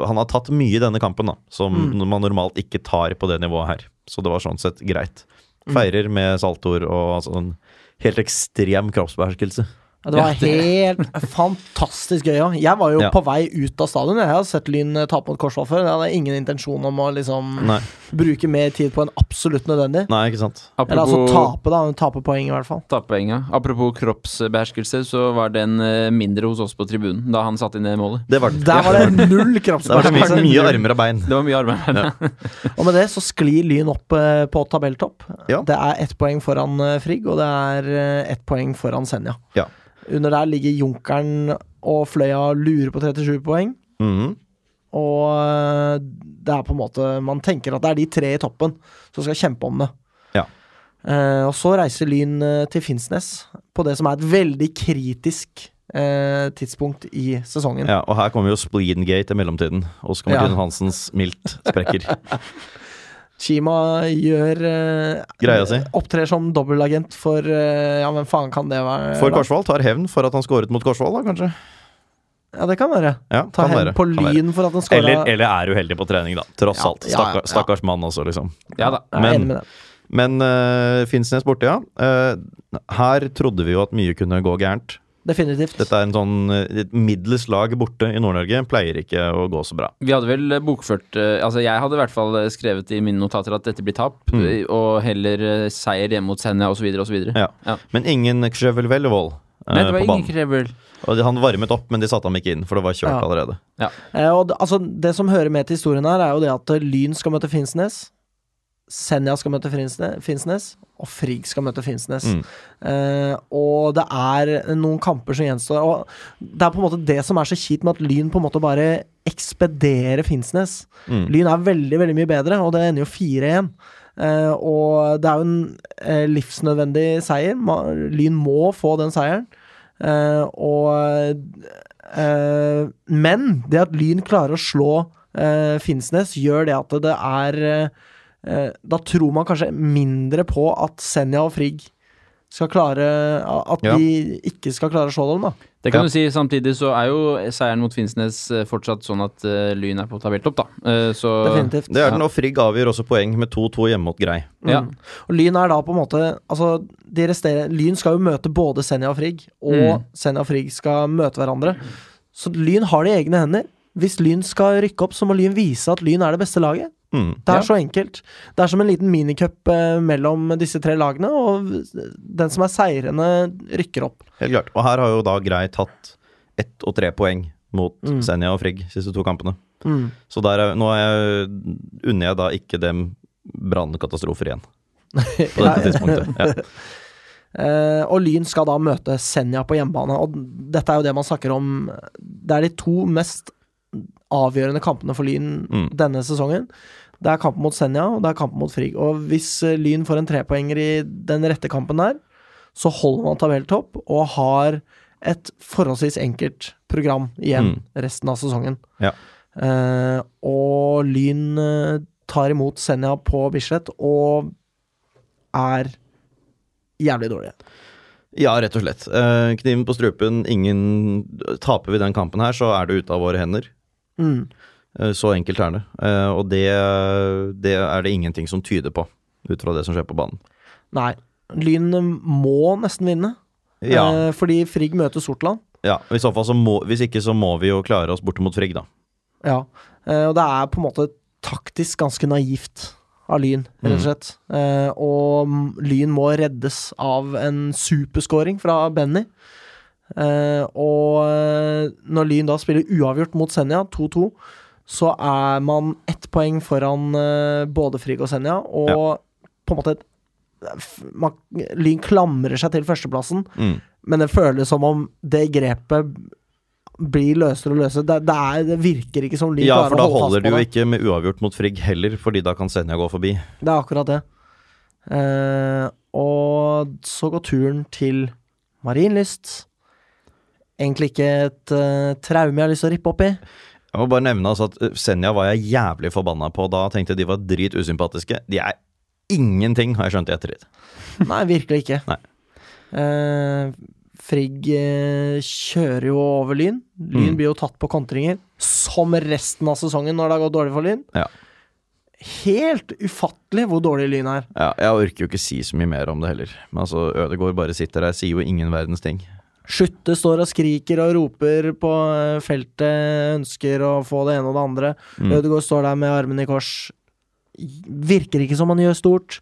Speaker 2: Han har tatt mye i denne kampen, da, som man normalt ikke tar på det nivået her. Så det var sånn sett
Speaker 1: Mm.
Speaker 2: greit. Feirer med saltoer og altså en helt ekstrem sånn kroppsbeherskelse.
Speaker 1: Ja, det var
Speaker 2: Ja, det-
Speaker 1: helt fantastisk gøy òg. Jeg var jo
Speaker 2: Ja.
Speaker 1: på vei ut av stadion. Jeg har sett Lyn eh, tape mot Korsvoll før. Jeg hadde ingen intensjon om å liksom
Speaker 2: Nei,
Speaker 1: bruke mer tid på enn absolutt nødvendig.
Speaker 2: nei, ikke sant.
Speaker 1: Eller altså
Speaker 3: Apropos
Speaker 1: tape, da. Tape poeng, i hvert fall.
Speaker 3: tappoenga. Apropos kroppsbeherskelse, så var den eh, mindre hos oss på tribunen da han satte inn det målet.
Speaker 2: Det var det.
Speaker 1: Der var det null
Speaker 2: Det var så mye,
Speaker 1: kroppsbeherskelse.
Speaker 2: mye armer og bein.
Speaker 3: Det var mye arbeid.
Speaker 1: Og med det så sklir Lyn opp eh, på tabelltopp.
Speaker 2: Ja.
Speaker 1: Det er ett poeng foran eh, Frigg, og det er eh, ett poeng foran Senja.
Speaker 2: Ja.
Speaker 1: Under der ligger Junkeren og Fløya lurer på 37 poeng. Mm.
Speaker 2: Mhm.
Speaker 1: Og eh, det er på en måte Man tenker at det er de tre i toppen som skal kjempe om det.
Speaker 2: Ja.
Speaker 1: Eh, og så reiser Lyn eh, til Finnsnes på det som er et veldig kritisk eh, tidspunkt i sesongen.
Speaker 2: ja, og her kommer jo Spleengate i mellomtiden. Oskar
Speaker 1: Ja.
Speaker 2: Martin Hansens mildt sprekker.
Speaker 1: Chima gjør eh,
Speaker 2: Greia si.
Speaker 1: Opptrer som dobbelagent for eh, Ja, hvem faen kan det være?
Speaker 2: For Korsvoll tar hevn for at han skåret mot Korsvoll, da, kanskje.
Speaker 1: Ja, det kan være.
Speaker 2: Ja,
Speaker 1: Ta
Speaker 2: kan
Speaker 1: hevn
Speaker 2: være,
Speaker 1: på
Speaker 2: kan være.
Speaker 1: Lyn for at han skåra.
Speaker 2: Eller, eller er uheldig på trening, da. Tross
Speaker 1: Ja,
Speaker 2: alt.
Speaker 1: ja, ja,
Speaker 2: Stakkar,
Speaker 1: ja.
Speaker 2: Stakkars mann, altså, liksom.
Speaker 3: Ja da.
Speaker 1: Jeg er
Speaker 2: men-
Speaker 1: enig med det.
Speaker 2: Men øh, Finnsnes borte, ja. Øh, her trodde vi jo at mye kunne gå gærent.
Speaker 1: Definitivt.
Speaker 2: Dette er en sånn øh, et middels lag borte i Nord-Norge. Pleier ikke å gå så bra.
Speaker 3: Vi hadde vel bokført eh, Altså, jeg hadde i hvert fall skrevet i mine notater at dette blir tap,
Speaker 2: Mm.
Speaker 3: og heller eh, seier hjemme mot Senja, osv., osv.
Speaker 2: Ja. Men ingen Kjøvel Vellevold øh,
Speaker 3: Nei, det var
Speaker 2: på
Speaker 3: ingen
Speaker 2: banen.
Speaker 3: krevel.
Speaker 2: Og de- han varmet opp, men de satte ham ikke inn, for det var kjørt
Speaker 1: Ja.
Speaker 2: allerede.
Speaker 1: Eh, og det, altså, det som hører med til historien her, er jo det at eh, Lyn skal møte Finnsnes. Senja skal møte Finnsne- Finnsnes, og Frigg skal møte Finnsnes.
Speaker 2: Mm.
Speaker 1: Eh, og det er noen kamper som gjenstår. Og det er på en måte det som er så kjipt med at Lyn på en måte bare ekspederer Finnsnes.
Speaker 2: Mm.
Speaker 1: Lyn er veldig, veldig mye bedre, og det ender jo 4-1. Eh, og det er jo en eh, livsnødvendig seier. Ma Lyn må få den seieren. Eh, og eh, Men det at Lyn klarer å slå eh, Finnsnes, gjør det at det er eh, eh, Da tror man kanskje mindre på at Senja og Frigg skal klare At
Speaker 2: Ja.
Speaker 1: de ikke skal klare å slå dem, da.
Speaker 3: Det kan
Speaker 2: Ja.
Speaker 3: du si. Samtidig så er jo seieren mot Finnsnes eh, fortsatt sånn at eh, Lyn er på tabelltopp, da. Eh, så
Speaker 1: Definitivt.
Speaker 2: Det er den, og Frigg avgjør også poeng med 2-2 hjemme mot Grei.
Speaker 3: Ja.
Speaker 1: Mm. Og Lyn er da på en måte Altså, de resterende Lyn skal jo møte både Senja og Frigg, og
Speaker 3: Mm.
Speaker 1: Senja og Frigg skal møte hverandre. Så Lyn har det i egne hender. Hvis Lyn skal rykke opp, så må Lyn vise at Lyn er det beste laget.
Speaker 2: Mm.
Speaker 1: Det er
Speaker 3: Ja.
Speaker 1: så enkelt. Det er som en liten minicup eh, mellom disse tre lagene, og den som er seirende, rykker opp.
Speaker 2: Helt klart. Og her har jo da Grei tatt ett og tre poeng mot
Speaker 1: Mm.
Speaker 2: Senja og Frigg siste to kampene.
Speaker 1: Mm.
Speaker 2: Så der er, nå er jeg, unner jeg da ikke dem brannkatastrofer igjen. På dette tidspunktet. Ja.
Speaker 1: Eh, og Lyn skal da møte Senja på hjemmebane, og dette er jo det man snakker om Det er de to mest avgjørende kampene for Lyn
Speaker 2: Mm.
Speaker 1: denne sesongen. Det er kampen mot Senja, og det er kampen mot Frigg. Og hvis eh, Lyn får en trepoenger i den rette kampen der, så holder man tabelltopp og har et forholdsvis enkelt program igjen resten av sesongen.
Speaker 2: Ja.
Speaker 1: Eh, og Lyn eh, tar imot Senja på Bislett og er jævlig dårlige.
Speaker 2: ja, rett og slett. Eh, kniven på strupen, ingen Taper vi den kampen her, så er det ute av våre hender.
Speaker 1: Mm.
Speaker 2: Eh, så enkelt er det. Eh, og det, det er det ingenting som tyder på, ut fra det som skjer på banen.
Speaker 1: Nei. Lyn må nesten vinne,
Speaker 2: Ja,
Speaker 1: eh, fordi Frigg møter Sortland.
Speaker 2: ja. I så fall så må Hvis ikke så må vi jo klare oss borte mot Frigg, da.
Speaker 1: Ja. Eh, og det er på en måte taktisk ganske naivt av Lyn, rett og slett. Eh, og m- Lyn må reddes av en superscoring fra Benny. Eh, og eh, når Lyn da spiller uavgjort mot Senja, 2-2, så er man ett poeng foran eh, både Frigg og Senja, og
Speaker 2: Ja.
Speaker 1: på en måte et f- man, Lyn klamrer seg til førsteplassen,
Speaker 2: Mm.
Speaker 1: men det føles som om det grepet blir løsere og løsere. Det, det, er, det virker ikke som Lyn
Speaker 2: Ja,
Speaker 1: klarer
Speaker 2: for da
Speaker 1: å holde
Speaker 2: holder
Speaker 1: fast
Speaker 2: det
Speaker 1: på
Speaker 2: jo
Speaker 1: det.
Speaker 2: ikke med uavgjort mot Frigg heller, fordi da kan Senja gå forbi.
Speaker 1: Det er akkurat det. Eh, og så går turen til Marienlyst. Egentlig ikke et eh, traume jeg har lyst til å rippe opp i.
Speaker 2: Jeg må bare nevne altså at eh, Senja var jeg jævlig forbanna på da. Tenkte de var drit usympatiske. De er ingenting, har jeg skjønt i ettertid.
Speaker 1: Nei, virkelig ikke.
Speaker 2: Nei.
Speaker 1: Eh, Frigg eh, kjører jo over Lyn. Lyn
Speaker 2: Mm.
Speaker 1: blir jo tatt på kontringer, som resten av sesongen når det har gått dårlig for Lyn.
Speaker 2: Ja.
Speaker 1: Helt ufattelig hvor dårlig Lyn er.
Speaker 2: Ja, jeg orker jo ikke si så mye mer om det heller. Men altså, Ødegaard bare sitter der, sier jo ingen verdens ting.
Speaker 1: Skytte står og skriker og roper på eh, feltet, ønsker å få det ene og det andre. Ødegaard står der med armene i kors. Virker ikke som han gjør stort.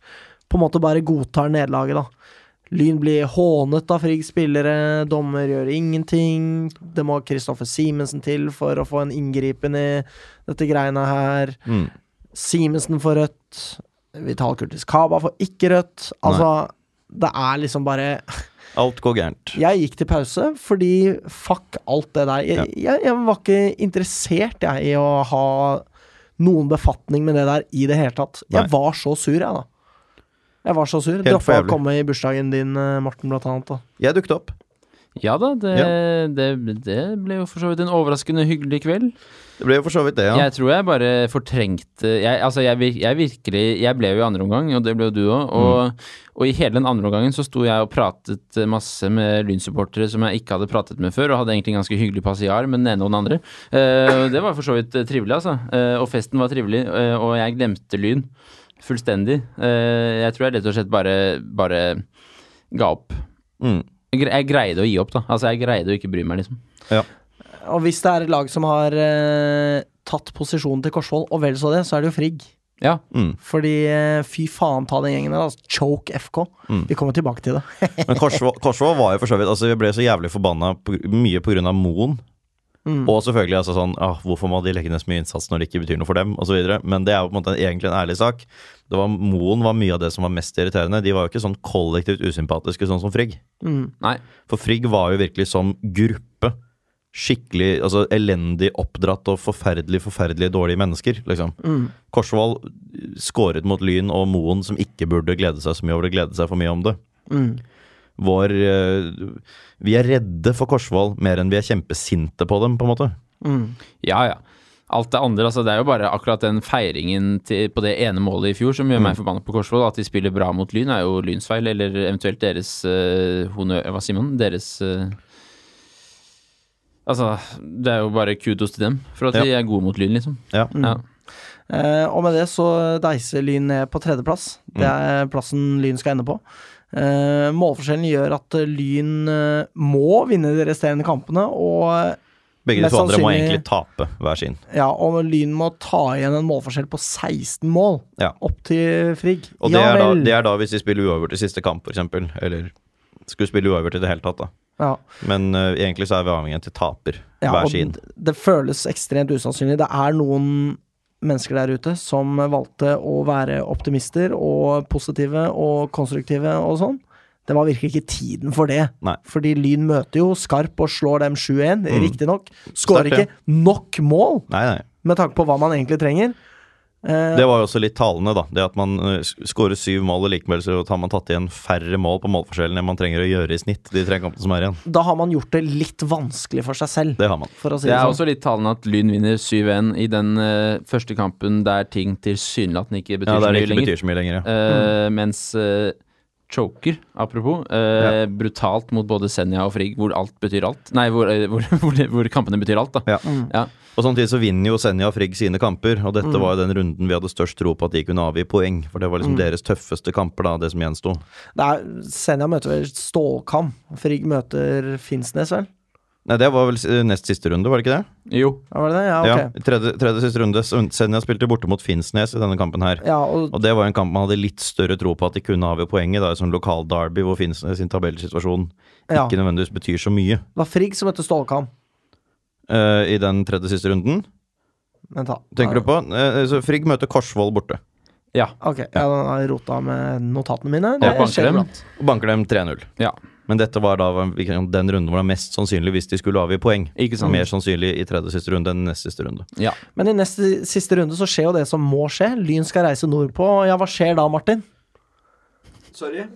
Speaker 1: På en måte bare godtar nederlaget, da. Lyn blir hånet av Friggs spillere, dommer gjør ingenting. Det må Kristoffer Simensen til for å få en inngripen i dette greiene her.
Speaker 2: Mm.
Speaker 1: Simensen får rødt. Vital Kurtis Kaba får ikke rødt. Altså, det er liksom bare
Speaker 2: Alt går gærent.
Speaker 1: jeg gikk til pause fordi fuck alt det der. Jeg, jeg, jeg var ikke interessert jeg, i å ha noen befatning med det der i det hele tatt.
Speaker 2: Nei.
Speaker 1: Jeg var så sur, jeg, da. Jeg var så sur.
Speaker 2: Helt for
Speaker 1: Droppa å
Speaker 2: jævlig.
Speaker 1: komme i bursdagen din, eh, Morten, blant annet. Da.
Speaker 2: Jeg dukket opp.
Speaker 3: Ja da, det, Det, det ble jo for så vidt en overraskende hyggelig kveld.
Speaker 2: Det ble jo for så vidt det, ja.
Speaker 3: Jeg tror jeg bare fortrengte jeg, Altså, jeg, vir- jeg virkelig Jeg ble jo i andre omgang, og det ble jo du òg. Og, og i hele den andre omgangen så sto jeg og pratet masse med Lyn-supportere som jeg ikke hadde pratet med før, og hadde egentlig en ganske hyggelig passiar med den ene og den andre. Eh, og det var for så vidt eh, trivelig, altså. Eh, og festen var trivelig, eh, og jeg glemte Lyn fullstendig. Eh, jeg tror jeg rett og slett bare, bare ga opp.
Speaker 2: Mm.
Speaker 3: Jeg gre- jeg greide å gi opp, da. Altså, jeg greide å ikke bry meg, liksom.
Speaker 1: Og hvis det er et lag som har eh, tatt posisjonen til Korsvoll, og vel så det, så er det jo Frigg.
Speaker 3: Ja.
Speaker 2: Mm.
Speaker 1: Fordi eh, fy faen ta den gjengen der. Altså, choke FK.
Speaker 2: Mm.
Speaker 1: Vi kommer tilbake til det.
Speaker 2: Men Korsvoll Korsvoll var jo for så vidt Altså, vi ble så jævlig forbanna på, mye på grunn av Moen. Og selvfølgelig altså sånn ah, Hvorfor må de legge ned så mye innsats når det ikke betyr noe for dem, osv. Men det er jo på en måte egentlig en ærlig sak. Det var, Moen var mye av det som var mest irriterende. De var jo ikke sånn kollektivt usympatiske, sånn som Frigg.
Speaker 3: Nei.
Speaker 2: For Frigg var jo virkelig som gruppe skikkelig altså elendig oppdratt og forferdelig, forferdelig dårlige mennesker, liksom.
Speaker 1: Mm.
Speaker 2: Korsvoll eh, skåret mot Lyn og Moen, som ikke burde glede seg så mye over det, glede seg for mye om det.
Speaker 1: Mm.
Speaker 2: Vår eh, Vi er redde for Korsvoll mer enn vi er kjempesinte på dem, på en måte.
Speaker 3: Ja, ja. Alt det andre, altså det er jo bare akkurat den feiringen til, på det ene målet i fjor som gjør meg
Speaker 2: Mm.
Speaker 3: forbanna på Korsvoll. At de spiller bra mot Lyn er jo Lyns feil, eller eventuelt deres eh, honør... Hva sier man? Deres eh, Altså, det er jo bare kudos til dem for at de er gode mot Lyn, liksom.
Speaker 2: Ja. Mm.
Speaker 3: Ja.
Speaker 1: Eh, og med det så deiser Lyn ned på tredjeplass.
Speaker 2: Mm.
Speaker 1: Det er plassen Lyn skal ende på. Eh, målforskjellen gjør at eh, Lyn eh, må vinne de resterende kampene, og, eh,
Speaker 2: Begge de
Speaker 1: Mest
Speaker 2: to andre må
Speaker 1: sannsynlig-
Speaker 2: egentlig tape hver sin.
Speaker 1: ja, og Lyn må ta igjen en målforskjell på 16 mål
Speaker 2: Ja.
Speaker 1: opp til Frigg.
Speaker 2: Og det, er da, det er da hvis de spiller uavgjort i siste kamp, f.eks. Eller skulle spille uavgjort i det hele tatt, da.
Speaker 1: ja.
Speaker 2: Men eh, egentlig så er vi avhengig av at de taper
Speaker 1: Ja,
Speaker 2: hver
Speaker 1: og
Speaker 2: sin.
Speaker 1: d- Det føles ekstremt usannsynlig. Det er noen mennesker der ute som valgte å være optimister og positive og konstruktive og sånn. Det var virkelig ikke tiden for det.
Speaker 2: Nei. Mm.
Speaker 1: Fordi Lyn møter jo Skarp og slår dem 7-1, riktignok.
Speaker 2: Sterkt,
Speaker 1: Skårer
Speaker 2: ja.
Speaker 1: ikke nok mål
Speaker 2: Nei, nei.
Speaker 1: med tanke på hva man egentlig trenger.
Speaker 2: Det var jo også litt talende, da. Det at man eh, sk- skårer syv mål, og likevel så har man tatt igjen færre mål på målforskjellen enn man trenger å gjøre i snitt de tre kampene som er igjen.
Speaker 1: Da har man gjort det litt vanskelig for seg selv,
Speaker 2: Det har man.
Speaker 1: for å si
Speaker 3: Det
Speaker 1: det,
Speaker 3: er
Speaker 1: sånn.
Speaker 3: også litt talende at Lyn vinner 7-1 i den eh, første kampen der ting tilsynelatende ikke betyr
Speaker 2: Ja,
Speaker 3: så
Speaker 2: det er
Speaker 3: mye
Speaker 2: ikke
Speaker 3: lenger.
Speaker 2: betyr så mye lenger, ja.
Speaker 3: Eh, Mens eh, Choker, apropos, eh, brutalt mot både Senja og Frigg, hvor alt betyr alt. Nei, hvor, eh, hvor, hvor, det- hvor kampene betyr alt, da.
Speaker 2: Ja.
Speaker 3: Ja.
Speaker 2: Og samtidig så vinner jo Senja og Frigg sine kamper, og dette var jo den runden vi hadde størst tro på at de kunne avgi poeng, for det var liksom deres tøffeste kamper, da, det som gjensto.
Speaker 1: sånn. Det er Senja møter vel Stålkam. Frigg møter Finnsnes, vel?
Speaker 2: Nei, det var vel s- eh, nest siste runde, var det ikke det?
Speaker 3: Jo.
Speaker 1: Ja, Var det det? Ja, ok.
Speaker 2: Ja, tredje, tredje siste runde. Senja spilte borte mot Finnsnes i denne kampen her.
Speaker 1: Ja, og
Speaker 2: Og det var en kamp man hadde litt større tro på at de kunne avgjøre poenget, da, i sånn lokal derby hvor Finnsnes sin tabellsituasjon
Speaker 1: Ja.
Speaker 2: ikke nødvendigvis betyr så mye.
Speaker 1: det var Frigg som møtte Stålkam.
Speaker 2: eh, i den tredje siste runden.
Speaker 1: Vent, da.
Speaker 2: Tenker du på? Eh, så Frigg møter Korsvoll borte.
Speaker 3: Ja.
Speaker 1: Ah, Ok, jeg har rota med notatene mine.
Speaker 3: Og banker dem.
Speaker 1: iblant.
Speaker 2: Og banker dem 3-0.
Speaker 3: ja.
Speaker 2: Men dette var da den runden hvor det er mest sannsynlig hvis de skulle avgi poeng.
Speaker 3: Ikke sant.
Speaker 2: Mer sannsynlig i tredje siste runde enn nest siste runde.
Speaker 3: ja.
Speaker 1: Men i neste siste runde så skjer jo det som må skje. Lyn skal reise nordpå. og Ja, hva skjer da, Martin?
Speaker 4: Sorry.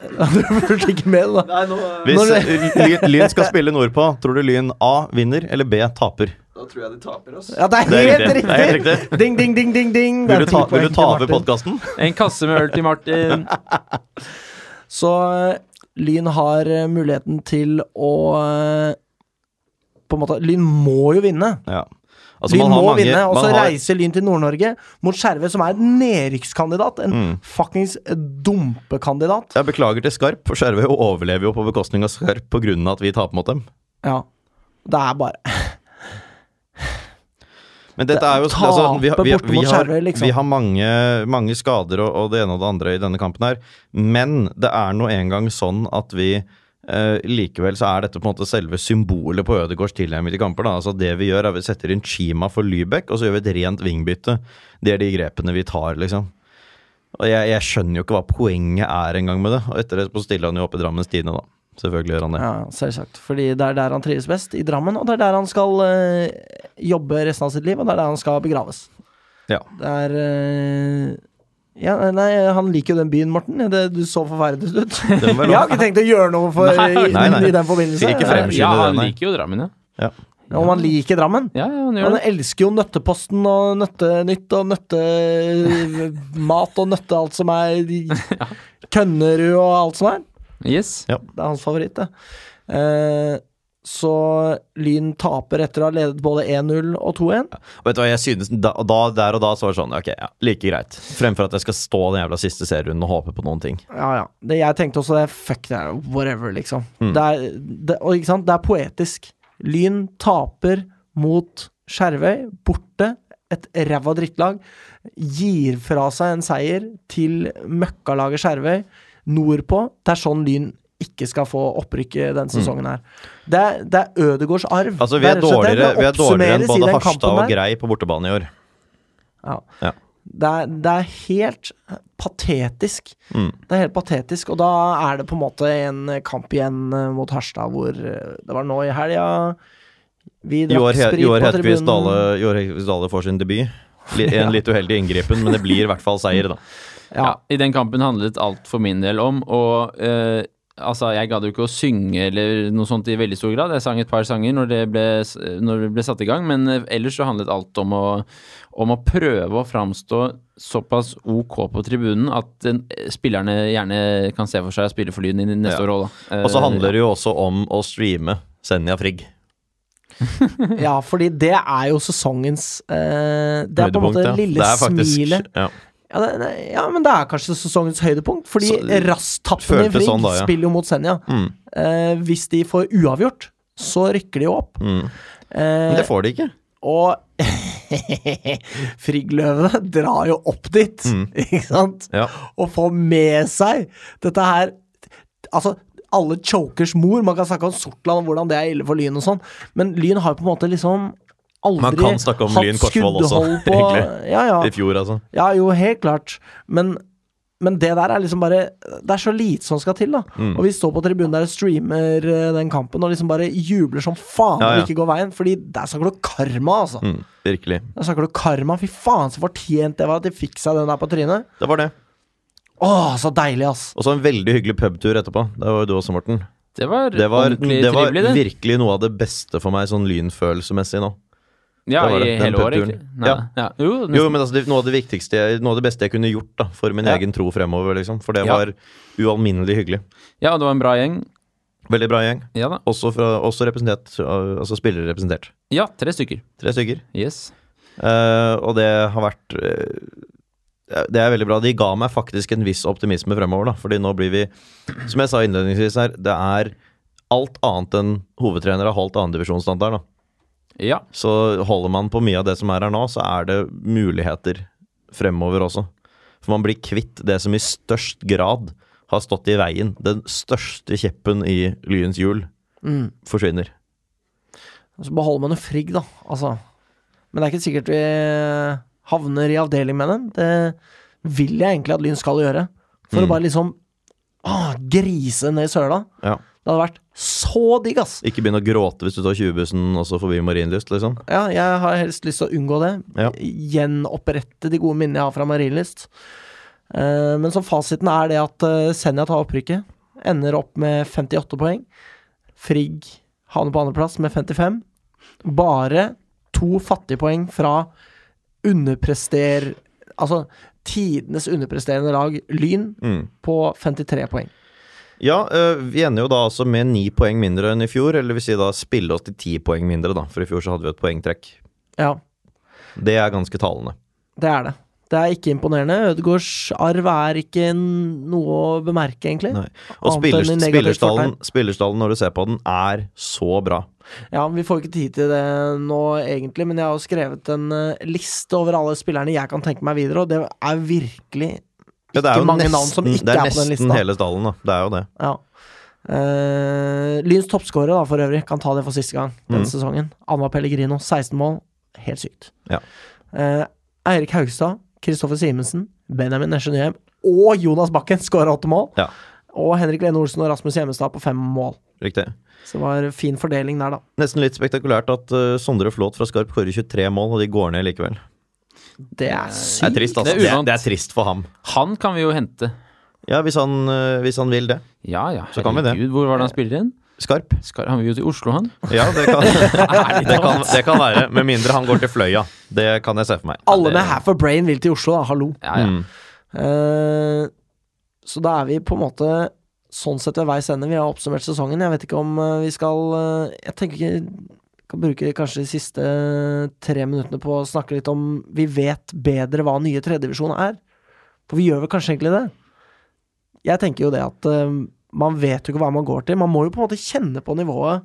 Speaker 1: Du fulgte ikke med, da.
Speaker 4: Nei, nå, eh,
Speaker 2: Hvis
Speaker 1: Når
Speaker 2: Lyn- Lyn skal spille nordpå, tror du Lyn A vinner eller B taper?
Speaker 4: da tror jeg de taper, altså.
Speaker 1: Ja, det er
Speaker 2: Det er
Speaker 1: helt
Speaker 2: riktig.
Speaker 1: riktig!
Speaker 2: Det er helt riktig.
Speaker 1: Ding, ding, ding, ding, ding. Det er
Speaker 2: Vil du ta,
Speaker 1: ti
Speaker 2: vil
Speaker 1: poeng
Speaker 2: du ta
Speaker 1: til
Speaker 2: over
Speaker 1: Martin.
Speaker 2: podkasten?
Speaker 3: En kasse med øl til Martin.
Speaker 1: Så eh, Lyn har eh, muligheten til å eh, På en måte Lyn må jo vinne.
Speaker 2: Ja. Altså,
Speaker 1: Lyn
Speaker 2: man har
Speaker 1: må
Speaker 2: mange-
Speaker 1: vinne, og
Speaker 2: man
Speaker 1: så
Speaker 2: har-
Speaker 1: reiser Lyn til Nord-Norge mot Skjerve, som er en nedrykkskandidat. En
Speaker 2: Mm.
Speaker 1: fuckings dumpekandidat.
Speaker 2: Jeg beklager til Skarp, for Skjervøy overlever jo på bekostning av Skarp pga. at vi taper mot dem.
Speaker 1: Ja. Det er bare
Speaker 2: Men dette er jo
Speaker 1: Tape
Speaker 2: altså, vi, har- vi,
Speaker 1: borte
Speaker 2: vi,
Speaker 1: mot
Speaker 2: har,
Speaker 1: Skjervøy, liksom.
Speaker 2: vi har mange, mange skader og, og det ene og det andre i denne kampen her, men det er nå engang sånn at vi eh, likevel så er dette på en måte selve symbolet på Ødegårds tilnærming til kamper. Da. Altså det vi gjør, er vi setter inn Chima for Lybekk, og så gjør vi et rent vingbytte. Det er de grepene vi tar, liksom. Og jeg, jeg skjønner jo ikke hva poenget er engang med det. Og etter det så stiller han jo opp i Drammens Tidende, da. Selvfølgelig gjør han det.
Speaker 1: ja, Selvsagt. Fordi det er der han trives best, i Drammen. Og det er der han skal eh, jobbe resten av sitt liv, og det er der han skal begraves.
Speaker 2: Ja.
Speaker 1: Det er eh, ja, Nei, han liker jo den byen, Morten. Det, du så forferdet ut. Jeg
Speaker 2: Det må være lov.
Speaker 1: har ikke tenkt å gjøre noe for, i,
Speaker 2: Nei, nei.
Speaker 1: i den forbindelse.
Speaker 2: Skal ikke
Speaker 1: Ja,
Speaker 2: fremskynde
Speaker 3: Ja,
Speaker 2: det,
Speaker 3: han
Speaker 2: nei.
Speaker 3: liker jo Drammen, ja.
Speaker 1: Om han liker Drammen?
Speaker 3: Ja, ja, han gjør
Speaker 1: Han
Speaker 3: det.
Speaker 1: elsker jo Nøtteposten og Nøttenytt og Nøttemat og Nøtte alt som er Kønnerud og alt som er.
Speaker 3: Yes.
Speaker 1: Det er hans favoritt, det. Eh, så Lyn taper etter å ha ledet både 1-0 og 2-1.
Speaker 2: Og vet du hva, jeg synes da, da, Der og da så var det sånn Ok, ja, like greit. Fremfor at jeg skal stå den jævla siste serierunden og håpe på noen ting.
Speaker 1: Ja, ja. Det, jeg tenkte også det. Fuck det, er whatever, liksom.
Speaker 2: Mm.
Speaker 1: Det, er, det, og, ikke sant? det er poetisk. Lyn taper mot Skjervøy, borte. Et ræva drittlag. Gir fra seg en seier til møkkalaget Skjervøy nordpå. Det er sånn Lyn ikke skal få opprykket den sesongen her. Det er, det er Ødegårds arv.
Speaker 2: Mm. Altså, Vi
Speaker 1: Det
Speaker 2: er
Speaker 1: rett og slett det.
Speaker 2: dårligere,
Speaker 1: Det
Speaker 2: vi er dårligere enn
Speaker 1: oppsummeres i
Speaker 2: både
Speaker 1: den
Speaker 2: Harstad
Speaker 1: kampen
Speaker 2: og
Speaker 1: der.
Speaker 2: Grei på bortebane i år.
Speaker 1: Ja.
Speaker 2: Ja.
Speaker 1: Det, er, det er helt patetisk.
Speaker 2: Mm.
Speaker 1: Det er helt patetisk, og da er det på en måte en kamp igjen eh, mot Harstad, hvor eh, det var nå i helga Vi
Speaker 2: I år,
Speaker 1: drakk
Speaker 2: he-
Speaker 1: sprit
Speaker 2: i år
Speaker 1: på
Speaker 2: Hedquist Dale,
Speaker 1: tribunen.
Speaker 2: i år Hedquist Dale får sin debut. Li- En litt uheldig inngripen, men det blir i hvert fall seier, da.
Speaker 1: Ja.
Speaker 3: Ja, I den kampen handlet alt for min del om, og eh, altså, jeg gadd jo ikke å synge eller noe sånt i veldig stor grad. Jeg sang et par sanger når det ble, når det ble satt i gang, men eh, ellers så handlet alt om å, om å prøve å framstå såpass ok på tribunen at eh, spillerne gjerne kan se for seg å spille for Lyn i neste
Speaker 2: Ja.
Speaker 3: år òg, da.
Speaker 1: Eh,
Speaker 3: Eh,
Speaker 2: Og så handler det jo også om å streame Senja Frigg.
Speaker 1: ja, fordi det er jo sesongens eh, Det er på en måte
Speaker 2: Høydepunkt, ja.
Speaker 1: lille
Speaker 2: Det er faktisk-
Speaker 1: smilet
Speaker 2: Ja.
Speaker 1: ja, det, det- ja, men det er kanskje sesongens høydepunkt, fordi
Speaker 2: Så-
Speaker 1: Rastappen i
Speaker 2: føltes
Speaker 1: Frigg
Speaker 2: sånn da, ja.
Speaker 1: spiller jo mot Senja.
Speaker 2: Mm.
Speaker 1: Eh, hvis de får uavgjort, så rykker de jo opp.
Speaker 2: Mm.
Speaker 1: Eh,
Speaker 2: Men det får de ikke.
Speaker 1: Og Friggløvene drar jo opp dit,
Speaker 2: Mm.
Speaker 1: ikke sant?
Speaker 2: Ja.
Speaker 1: Og får med seg dette her Altså, alle chokers mor. Man kan snakke om Sortland og hvordan det er ille for Lyn og sånn, men Lyn har jo på en måte liksom aldri
Speaker 2: Man kan snakke om
Speaker 1: hatt
Speaker 2: Lyn Korsvoll også,
Speaker 1: skuddehold på
Speaker 2: egentlig.
Speaker 1: Ja, ja.
Speaker 2: I fjor, altså.
Speaker 1: Ja, jo, helt klart. Men, men det der er liksom bare Det er så lite som skal til, da.
Speaker 2: Mm.
Speaker 1: Og vi står på tribunen der og streamer eh, den kampen og liksom bare jubler som faen
Speaker 2: Ja,
Speaker 1: når
Speaker 2: ja.
Speaker 1: det ikke går veien. Fordi der snakker du karma, altså.
Speaker 2: Mm. Virkelig.
Speaker 1: Der snakker du karma. Fy faen, så fortjent det var at de fikk seg den der på trynet.
Speaker 2: Det var det.
Speaker 1: Å, så deilig, ass.
Speaker 2: Og så en veldig hyggelig pubtur etterpå. Det var jo du også, Morten.
Speaker 3: Det var,
Speaker 2: Det var,
Speaker 3: ordentlig
Speaker 2: det var
Speaker 3: trivelig, det.
Speaker 2: virkelig noe av det beste for meg sånn lynfølelsesmessig nå.
Speaker 3: ja,
Speaker 2: det var det,
Speaker 3: i
Speaker 2: den
Speaker 3: hele år,
Speaker 2: pubturen.
Speaker 3: egentlig. Nei,
Speaker 2: Ja.
Speaker 3: ja. Jo, nesten.
Speaker 2: Jo, men altså, det, noe av det viktigste Noe av det beste jeg kunne gjort da for min
Speaker 3: Ja.
Speaker 2: egen tro fremover, liksom. For det
Speaker 3: Ja.
Speaker 2: var ualminnelig hyggelig.
Speaker 3: ja, det var en bra gjeng.
Speaker 2: Veldig bra gjeng.
Speaker 3: Ja da.
Speaker 2: Også, fra, også representert, uh, altså spillere representert.
Speaker 3: Ja, tre stykker.
Speaker 2: Tre stykker.
Speaker 3: Yes.
Speaker 2: Eh, og det har vært eh, Det er veldig bra. De ga meg faktisk en viss optimisme fremover, da. Fordi nå blir vi, som jeg sa innledningsvis her, det er alt annet enn hovedtrener har holdt andredivisjonsstandard, da.
Speaker 3: Ja.
Speaker 2: Så holder man på mye av det som er her nå, så er det muligheter fremover også. For man blir kvitt det som i størst grad har stått i veien. Den største kjeppen i lyens hjul
Speaker 1: Mm.
Speaker 2: forsvinner.
Speaker 1: Så beholder man jo Frigg, da. Altså. Men det er ikke sikkert vi havner i avdeling med dem. Det vil jeg egentlig at Lyn skal gjøre. For
Speaker 2: Mm.
Speaker 1: å bare liksom ah, grise ned i søla.
Speaker 2: Ja.
Speaker 1: Det hadde vært så digg, ass!
Speaker 2: Ikke begynn å gråte hvis du tar 20-bussen også forbi Marienlyst, liksom.
Speaker 1: Ja, jeg har helst lyst til å unngå det.
Speaker 2: Ja.
Speaker 1: Gjenopprette de gode minnene jeg har fra Marienlyst. Eh, men så fasiten er det at eh, Senja tar opprykket. Ender opp med 58 poeng. Frigg havner på andreplass med 55. Bare to fattige poeng fra underprester... Altså tidenes underpresterende lag, Lyn,
Speaker 2: Mm.
Speaker 1: på 53 poeng.
Speaker 2: Ja, øh, vi ender jo da altså med ni poeng mindre enn i fjor, eller vil si da spille oss til ti poeng mindre, da, for i fjor så hadde vi et poengtrekk.
Speaker 1: Ja.
Speaker 2: Det er ganske talende.
Speaker 1: Det er det. Det er ikke imponerende. Ødegaards arv er ikke n- noe å bemerke, egentlig.
Speaker 2: Nei. Og
Speaker 1: Annet enn
Speaker 2: spillers,
Speaker 1: i negativt
Speaker 2: spillerstallen, spillerstallen, når du ser på den, er så bra.
Speaker 1: Ja, men Vi får ikke tid til det nå, egentlig, men jeg har jo skrevet en eh, liste over alle spillerne jeg kan tenke meg videre, og det er virkelig
Speaker 2: Ja, det
Speaker 1: Ikke
Speaker 2: er jo
Speaker 1: mange
Speaker 2: nesten,
Speaker 1: navn som ikke
Speaker 2: det
Speaker 1: er
Speaker 2: er
Speaker 1: på den
Speaker 2: nesten
Speaker 1: lista.
Speaker 2: hele stallen, da. Det er jo det.
Speaker 1: Ja. Eh, Lyns toppskårer, da, for øvrig, kan ta det for siste gang denne
Speaker 2: Mm.
Speaker 1: sesongen. Anna Pellegrino, 16 mål. Helt sykt.
Speaker 2: Ja.
Speaker 1: Eh, Eirik Haugstad, Kristoffer Simensen, Benjamin Nesje Nyheim og Jonas Bakken skåra åtte mål.
Speaker 2: Ja.
Speaker 1: Og Henrik Lene Olsen og Rasmus Hjemmestad på fem mål.
Speaker 2: Riktig.
Speaker 1: Så det var fin fordeling der, da.
Speaker 2: Nesten litt spektakulært at eh, Sondre Flåt fra Skarp skårer 23 mål, og de går ned likevel.
Speaker 1: Det er
Speaker 2: Det er
Speaker 1: sykt.
Speaker 2: trist, altså.
Speaker 3: Det er
Speaker 2: Det er,
Speaker 3: uvant.
Speaker 2: det er trist for ham.
Speaker 3: Han kan vi jo hente.
Speaker 2: Ja, hvis han, eh, hvis han vil det.
Speaker 3: Ja ja,
Speaker 2: Så kan vi det.
Speaker 3: herregud, hvor var det han spiller inn?
Speaker 2: Skarp.
Speaker 3: Skal, han vil jo til Oslo, han.
Speaker 2: Ja, det kan, det kan, det kan være. Med mindre han går til Fløya. Det kan jeg se for meg.
Speaker 1: Alle
Speaker 2: Det-
Speaker 1: med half a brain vil til Oslo, da. Hallo.
Speaker 3: Ja, ja.
Speaker 2: Mm.
Speaker 1: Eh, så da er vi på en måte sånn sett ved veis ende. Vi har oppsummert sesongen. Jeg vet ikke om eh, vi skal eh, Jeg tenker ikke kan bruke kanskje de siste eh, tre minuttene på å snakke litt om vi vet bedre hva nye tredjedivisjon er. For vi gjør vel kanskje egentlig det. Jeg tenker jo det at eh, man vet jo ikke hva man går til. Man må jo på en måte kjenne på nivået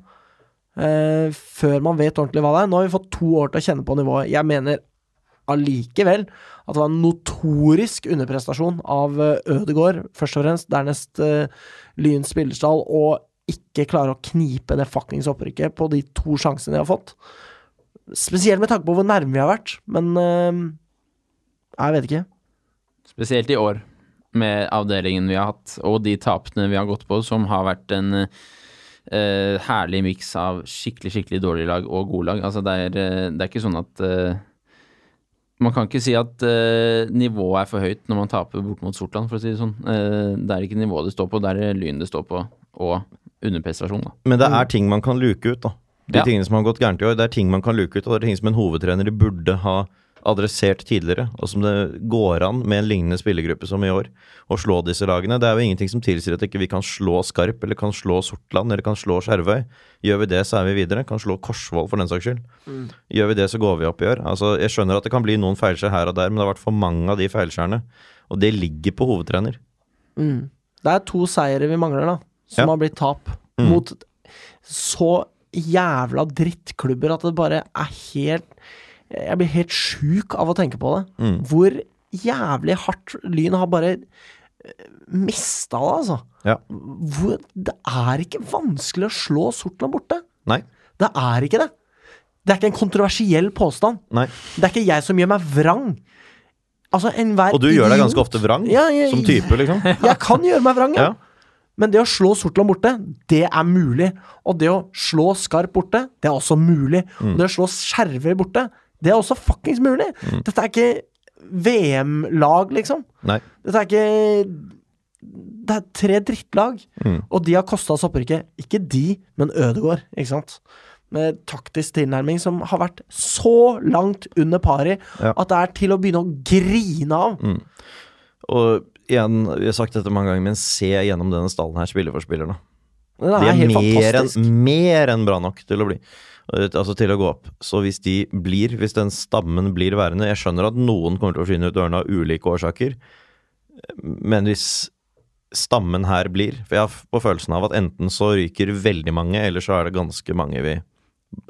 Speaker 1: eh, før man vet ordentlig hva det er. Nå har vi fått to år til å kjenne på nivået. Jeg mener allikevel at det var en notorisk underprestasjon av eh, Ødegaard, først og fremst, dernest eh, Lyns spillerstall, og ikke klare å knipe det fuckings opprykket på de to sjansene de har fått. Spesielt med tanke på hvor nærme vi har vært, men eh, Jeg vet ikke.
Speaker 3: Spesielt i år, med avdelingen vi har hatt, og de tapene vi har gått på, som har vært en eh, herlig miks av skikkelig, skikkelig dårlige lag og gode lag. Altså, det er, eh, det er ikke sånn at eh, Man kan ikke si at eh, nivået er for høyt når man taper bort mot Sortland, for å si det sånn. Eh, det er ikke nivået det står på, det er Lyn det står på, og underprestasjon, da.
Speaker 2: Men det er ting man kan luke ut, da. De
Speaker 3: Ja.
Speaker 2: tingene som har gått gærent i år, det er ting man kan luke ut, og det er ting som en hovedtrener burde ha adressert tidligere, og som det går an med en lignende spillergruppe som i år, å slå disse lagene. Det er jo ingenting som tilsier at ikke vi kan slå Skarp, eller kan slå Sortland, eller kan slå Skjervøy. Gjør vi det, så er vi videre. Kan slå Korsvoll, for den saks skyld. Gjør vi det, så går vi opp i år. Altså, jeg skjønner at det kan bli noen feilskjær her og der, men det har vært for mange av de feilskjærene. Og det ligger på hovedtrener.
Speaker 1: Mm. Det er to seire vi mangler, da, som
Speaker 2: Ja. Mm.
Speaker 1: har blitt tap mot så jævla drittklubber at det bare er helt Jeg blir helt sjuk av å tenke på det.
Speaker 2: Mm.
Speaker 1: Hvor jævlig hardt Lyn har bare mista det, altså.
Speaker 2: Ja.
Speaker 1: Hvor, det er ikke vanskelig å slå Sortland borte.
Speaker 2: Nei.
Speaker 1: Det er ikke det. Det er ikke en kontroversiell påstand.
Speaker 2: Nei.
Speaker 1: Det er ikke jeg som gjør meg vrang. Altså, enhver
Speaker 2: Og du gjør deg
Speaker 1: idiot-
Speaker 2: ganske ofte vrang,
Speaker 1: Ja, jeg-
Speaker 2: som type, liksom.
Speaker 1: Jeg kan gjøre meg vrang, ja.
Speaker 2: Ja.
Speaker 1: Men det å slå Sortland borte, det er mulig. Og det å slå Skarp borte, det er også mulig.
Speaker 2: Mm.
Speaker 1: Og det å slå Skjervøy borte, det er også fuckings mulig.
Speaker 2: Mm.
Speaker 1: Dette er ikke VM-lag, liksom.
Speaker 2: Nei.
Speaker 1: Dette er ikke Det er tre drittlag,
Speaker 2: Mm.
Speaker 1: og de har kosta oss opprykket. Ikke de, men Ødegaard, ikke sant. Med taktisk tilnærming som har vært så langt under pari
Speaker 2: Ja. Mm.
Speaker 1: at det er til å begynne å grine av.
Speaker 2: Og igjen, vi har sagt dette mange ganger, men se gjennom denne stallen her, spiller for spiller, da.
Speaker 1: Den
Speaker 2: De
Speaker 1: er,
Speaker 2: er
Speaker 1: helt
Speaker 2: mer
Speaker 1: fantastisk.
Speaker 2: enn mer enn bra nok til å bli. eh, Altså til å gå opp. Så hvis de blir, hvis den stammen blir værende Jeg skjønner at noen kommer til å forsvinne ut dørene av ulike årsaker, men hvis stammen her blir For jeg har f- på følelsen av at enten så ryker veldig mange, eller så er det ganske mange vi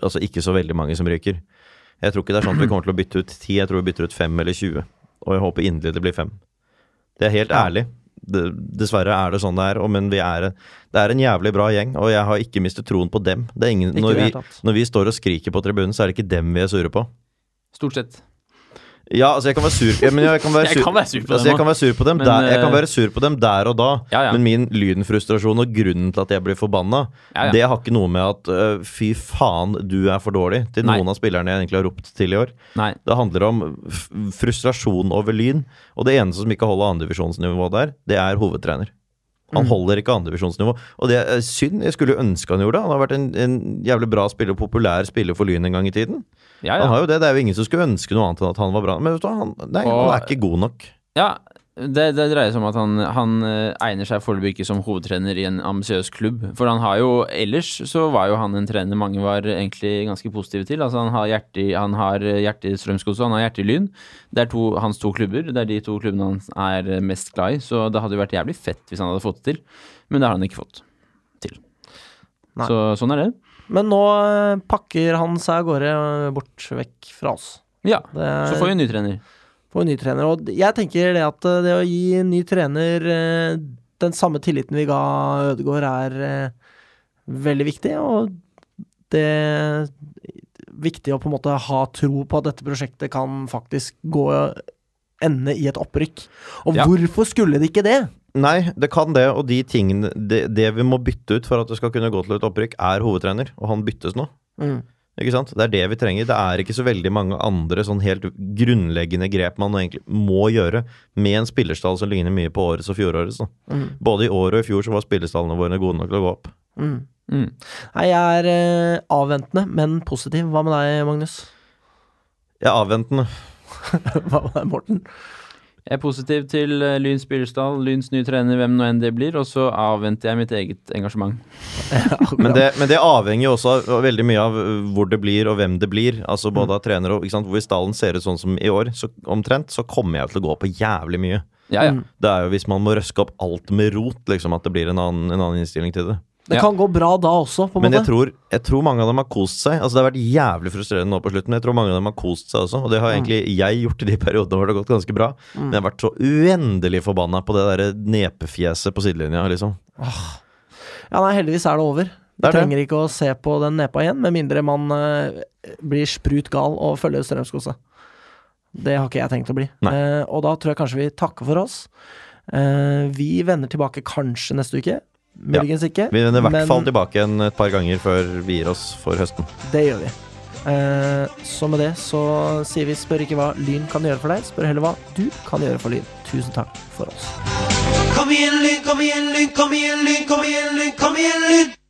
Speaker 2: Altså ikke så veldig mange som ryker. Jeg tror ikke det er sånn at vi kommer til å bytte ut ti, jeg tror vi bytter ut fem eller 20. Og jeg håper inderlig det blir fem. Det er helt ærlig. Det, dessverre er det sånn det er, og, men vi er, det er en jævlig bra gjeng, og jeg har ikke mistet troen på dem. Det er ingen,
Speaker 1: Ikke i
Speaker 2: når,
Speaker 1: det
Speaker 2: vi,
Speaker 1: hele tatt.
Speaker 2: når vi står og skriker på tribunen, så er det ikke dem vi er sure på.
Speaker 3: Stort sett.
Speaker 2: Ja, altså jeg kan være sur ja, men jeg kan være
Speaker 3: Jeg
Speaker 2: sur,
Speaker 3: kan være sur på
Speaker 2: altså,
Speaker 3: dem
Speaker 2: jeg kan være sur på dem
Speaker 3: men,
Speaker 2: der, Jeg kan
Speaker 3: eh,
Speaker 2: være sur på dem der og da,
Speaker 3: Ja, ja.
Speaker 2: men min lynfrustrasjon og grunnen til at jeg blir forbanna,
Speaker 3: Ja, ja.
Speaker 2: det har ikke noe med at øh, fy faen, du er for dårlig, til
Speaker 3: Nei.
Speaker 2: noen av spillerne jeg egentlig har ropt til i år.
Speaker 3: Nei.
Speaker 2: Det handler om f- frustrasjon over Lyn, og det eneste som ikke holder andredivisjonsnivå der, det er hovedtrener. Han holder ikke andredivisjonsnivå, og det er synd. Jeg skulle ønske han gjorde det. Han har vært en, en jævlig bra spiller, populær spiller for Lyn en gang i tiden.
Speaker 3: Ja,
Speaker 2: Han
Speaker 3: ja.
Speaker 2: har jo det, det er jo ingen som skulle ønske noe annet enn at han var bra. Men vet du hva, han, nei,
Speaker 3: Og-
Speaker 2: han er ikke god nok.
Speaker 3: ja Det, det dreier seg om at han, han eh, egner seg foreløpig ikke som hovedtrener i en ambisiøs klubb. For han har jo ellers så var jo han en trener mange var egentlig ganske positive til. Altså han har hjerte i- han har eh, hjerte i Strømsgodset, og han har hjerte i Lyn. Det er to, hans to klubber. Det er de to klubbene han er eh, mest glad i. Så det hadde jo vært jævlig fett hvis han hadde fått det til. Men det har han ikke fått til.
Speaker 1: Nei.
Speaker 3: Så sånn er det.
Speaker 1: Men nå eh, pakker han seg av gårde eh, bort vekk fra oss.
Speaker 3: Ja.
Speaker 1: Det er,
Speaker 3: Så får vi en ny trener.
Speaker 1: får vi ny trener. Og jeg tenker det at eh, det å gi en ny trener eh, den samme tilliten vi ga Ødegaard, er eh, veldig viktig. Og det er viktig å på en måte ha tro på at dette prosjektet kan faktisk gå eh, ende i et opprykk. Og
Speaker 2: Ja.
Speaker 1: hvorfor skulle det ikke det?
Speaker 2: Nei, det kan det, og de tingene det, det vi må bytte ut for at det skal kunne gå til et opprykk, er hovedtrener, og han byttes nå.
Speaker 1: Mm.
Speaker 2: Ikke sant? Det er det vi trenger. Det er ikke så veldig mange andre sånn helt grunnleggende grep man egentlig må gjøre med en spillerstall som ligner mye på årets og fjorårets. Da.
Speaker 1: Mm.
Speaker 2: Både i år og i fjor så var spillerstallene våre gode nok til å gå opp.
Speaker 1: Mm.
Speaker 3: Mm.
Speaker 1: Nei, jeg er eh, avventende, men positiv. Hva med deg, Magnus?
Speaker 2: Jeg er avventende.
Speaker 1: Hva med deg, Morten?
Speaker 3: Jeg er positiv til eh, Lyn Spillestad, Lyns nye trener, hvem nå enn det blir, og så avventer jeg mitt eget engasjement.
Speaker 2: Men det, men det avhenger jo også av, veldig mye av øh, hvor det blir og hvem det blir. Altså både av trenere og ikke sant? Hvor stallen ser ut sånn som i år, så omtrent, så kommer jeg til å gå på jævlig mye.
Speaker 3: Ja, ja.
Speaker 1: Mm.
Speaker 2: Det er jo hvis man må røske opp alt med rot, liksom, at det blir en annen, en annen innstilling til det.
Speaker 1: Det
Speaker 3: Ja.
Speaker 1: kan gå bra da også, på en
Speaker 2: Men jeg
Speaker 1: måte.
Speaker 2: tror, jeg tror mange av dem har kost seg. Altså Det har vært jævlig frustrerende nå på slutten, men jeg tror mange av dem har kost seg også. Og det har
Speaker 1: Mm.
Speaker 2: egentlig jeg gjort i de periodene hvor det har gått ganske bra. Men jeg har vært så uendelig forbanna på det derre nepefjeset på sidelinja, liksom.
Speaker 1: Ja, nei, heldigvis er det over. Vi
Speaker 2: Det er det.
Speaker 1: trenger ikke å se på den nepa igjen, med mindre man eh, blir sprut gal og følger Strømsgodset. Det har ikke jeg tenkt å bli.
Speaker 2: Nei.
Speaker 1: Eh, og da tror jeg kanskje vi takker for oss. Eh, vi vender tilbake kanskje neste uke. Muligens ikke.
Speaker 2: Vi vender i hvert
Speaker 1: men
Speaker 2: fall tilbake igjen et par ganger før vi gir oss for høsten.
Speaker 1: Det gjør vi. Eh, så med det så sier vi spør ikke hva Lyn kan gjøre for deg, spør heller hva du kan gjøre for Lyn. Tusen takk for oss.
Speaker 6: Kom igjen, Lyn, kom igjen, Lyn, kom igjen, Lyn, kom igjen, Lyn, kom igjen, Lyn!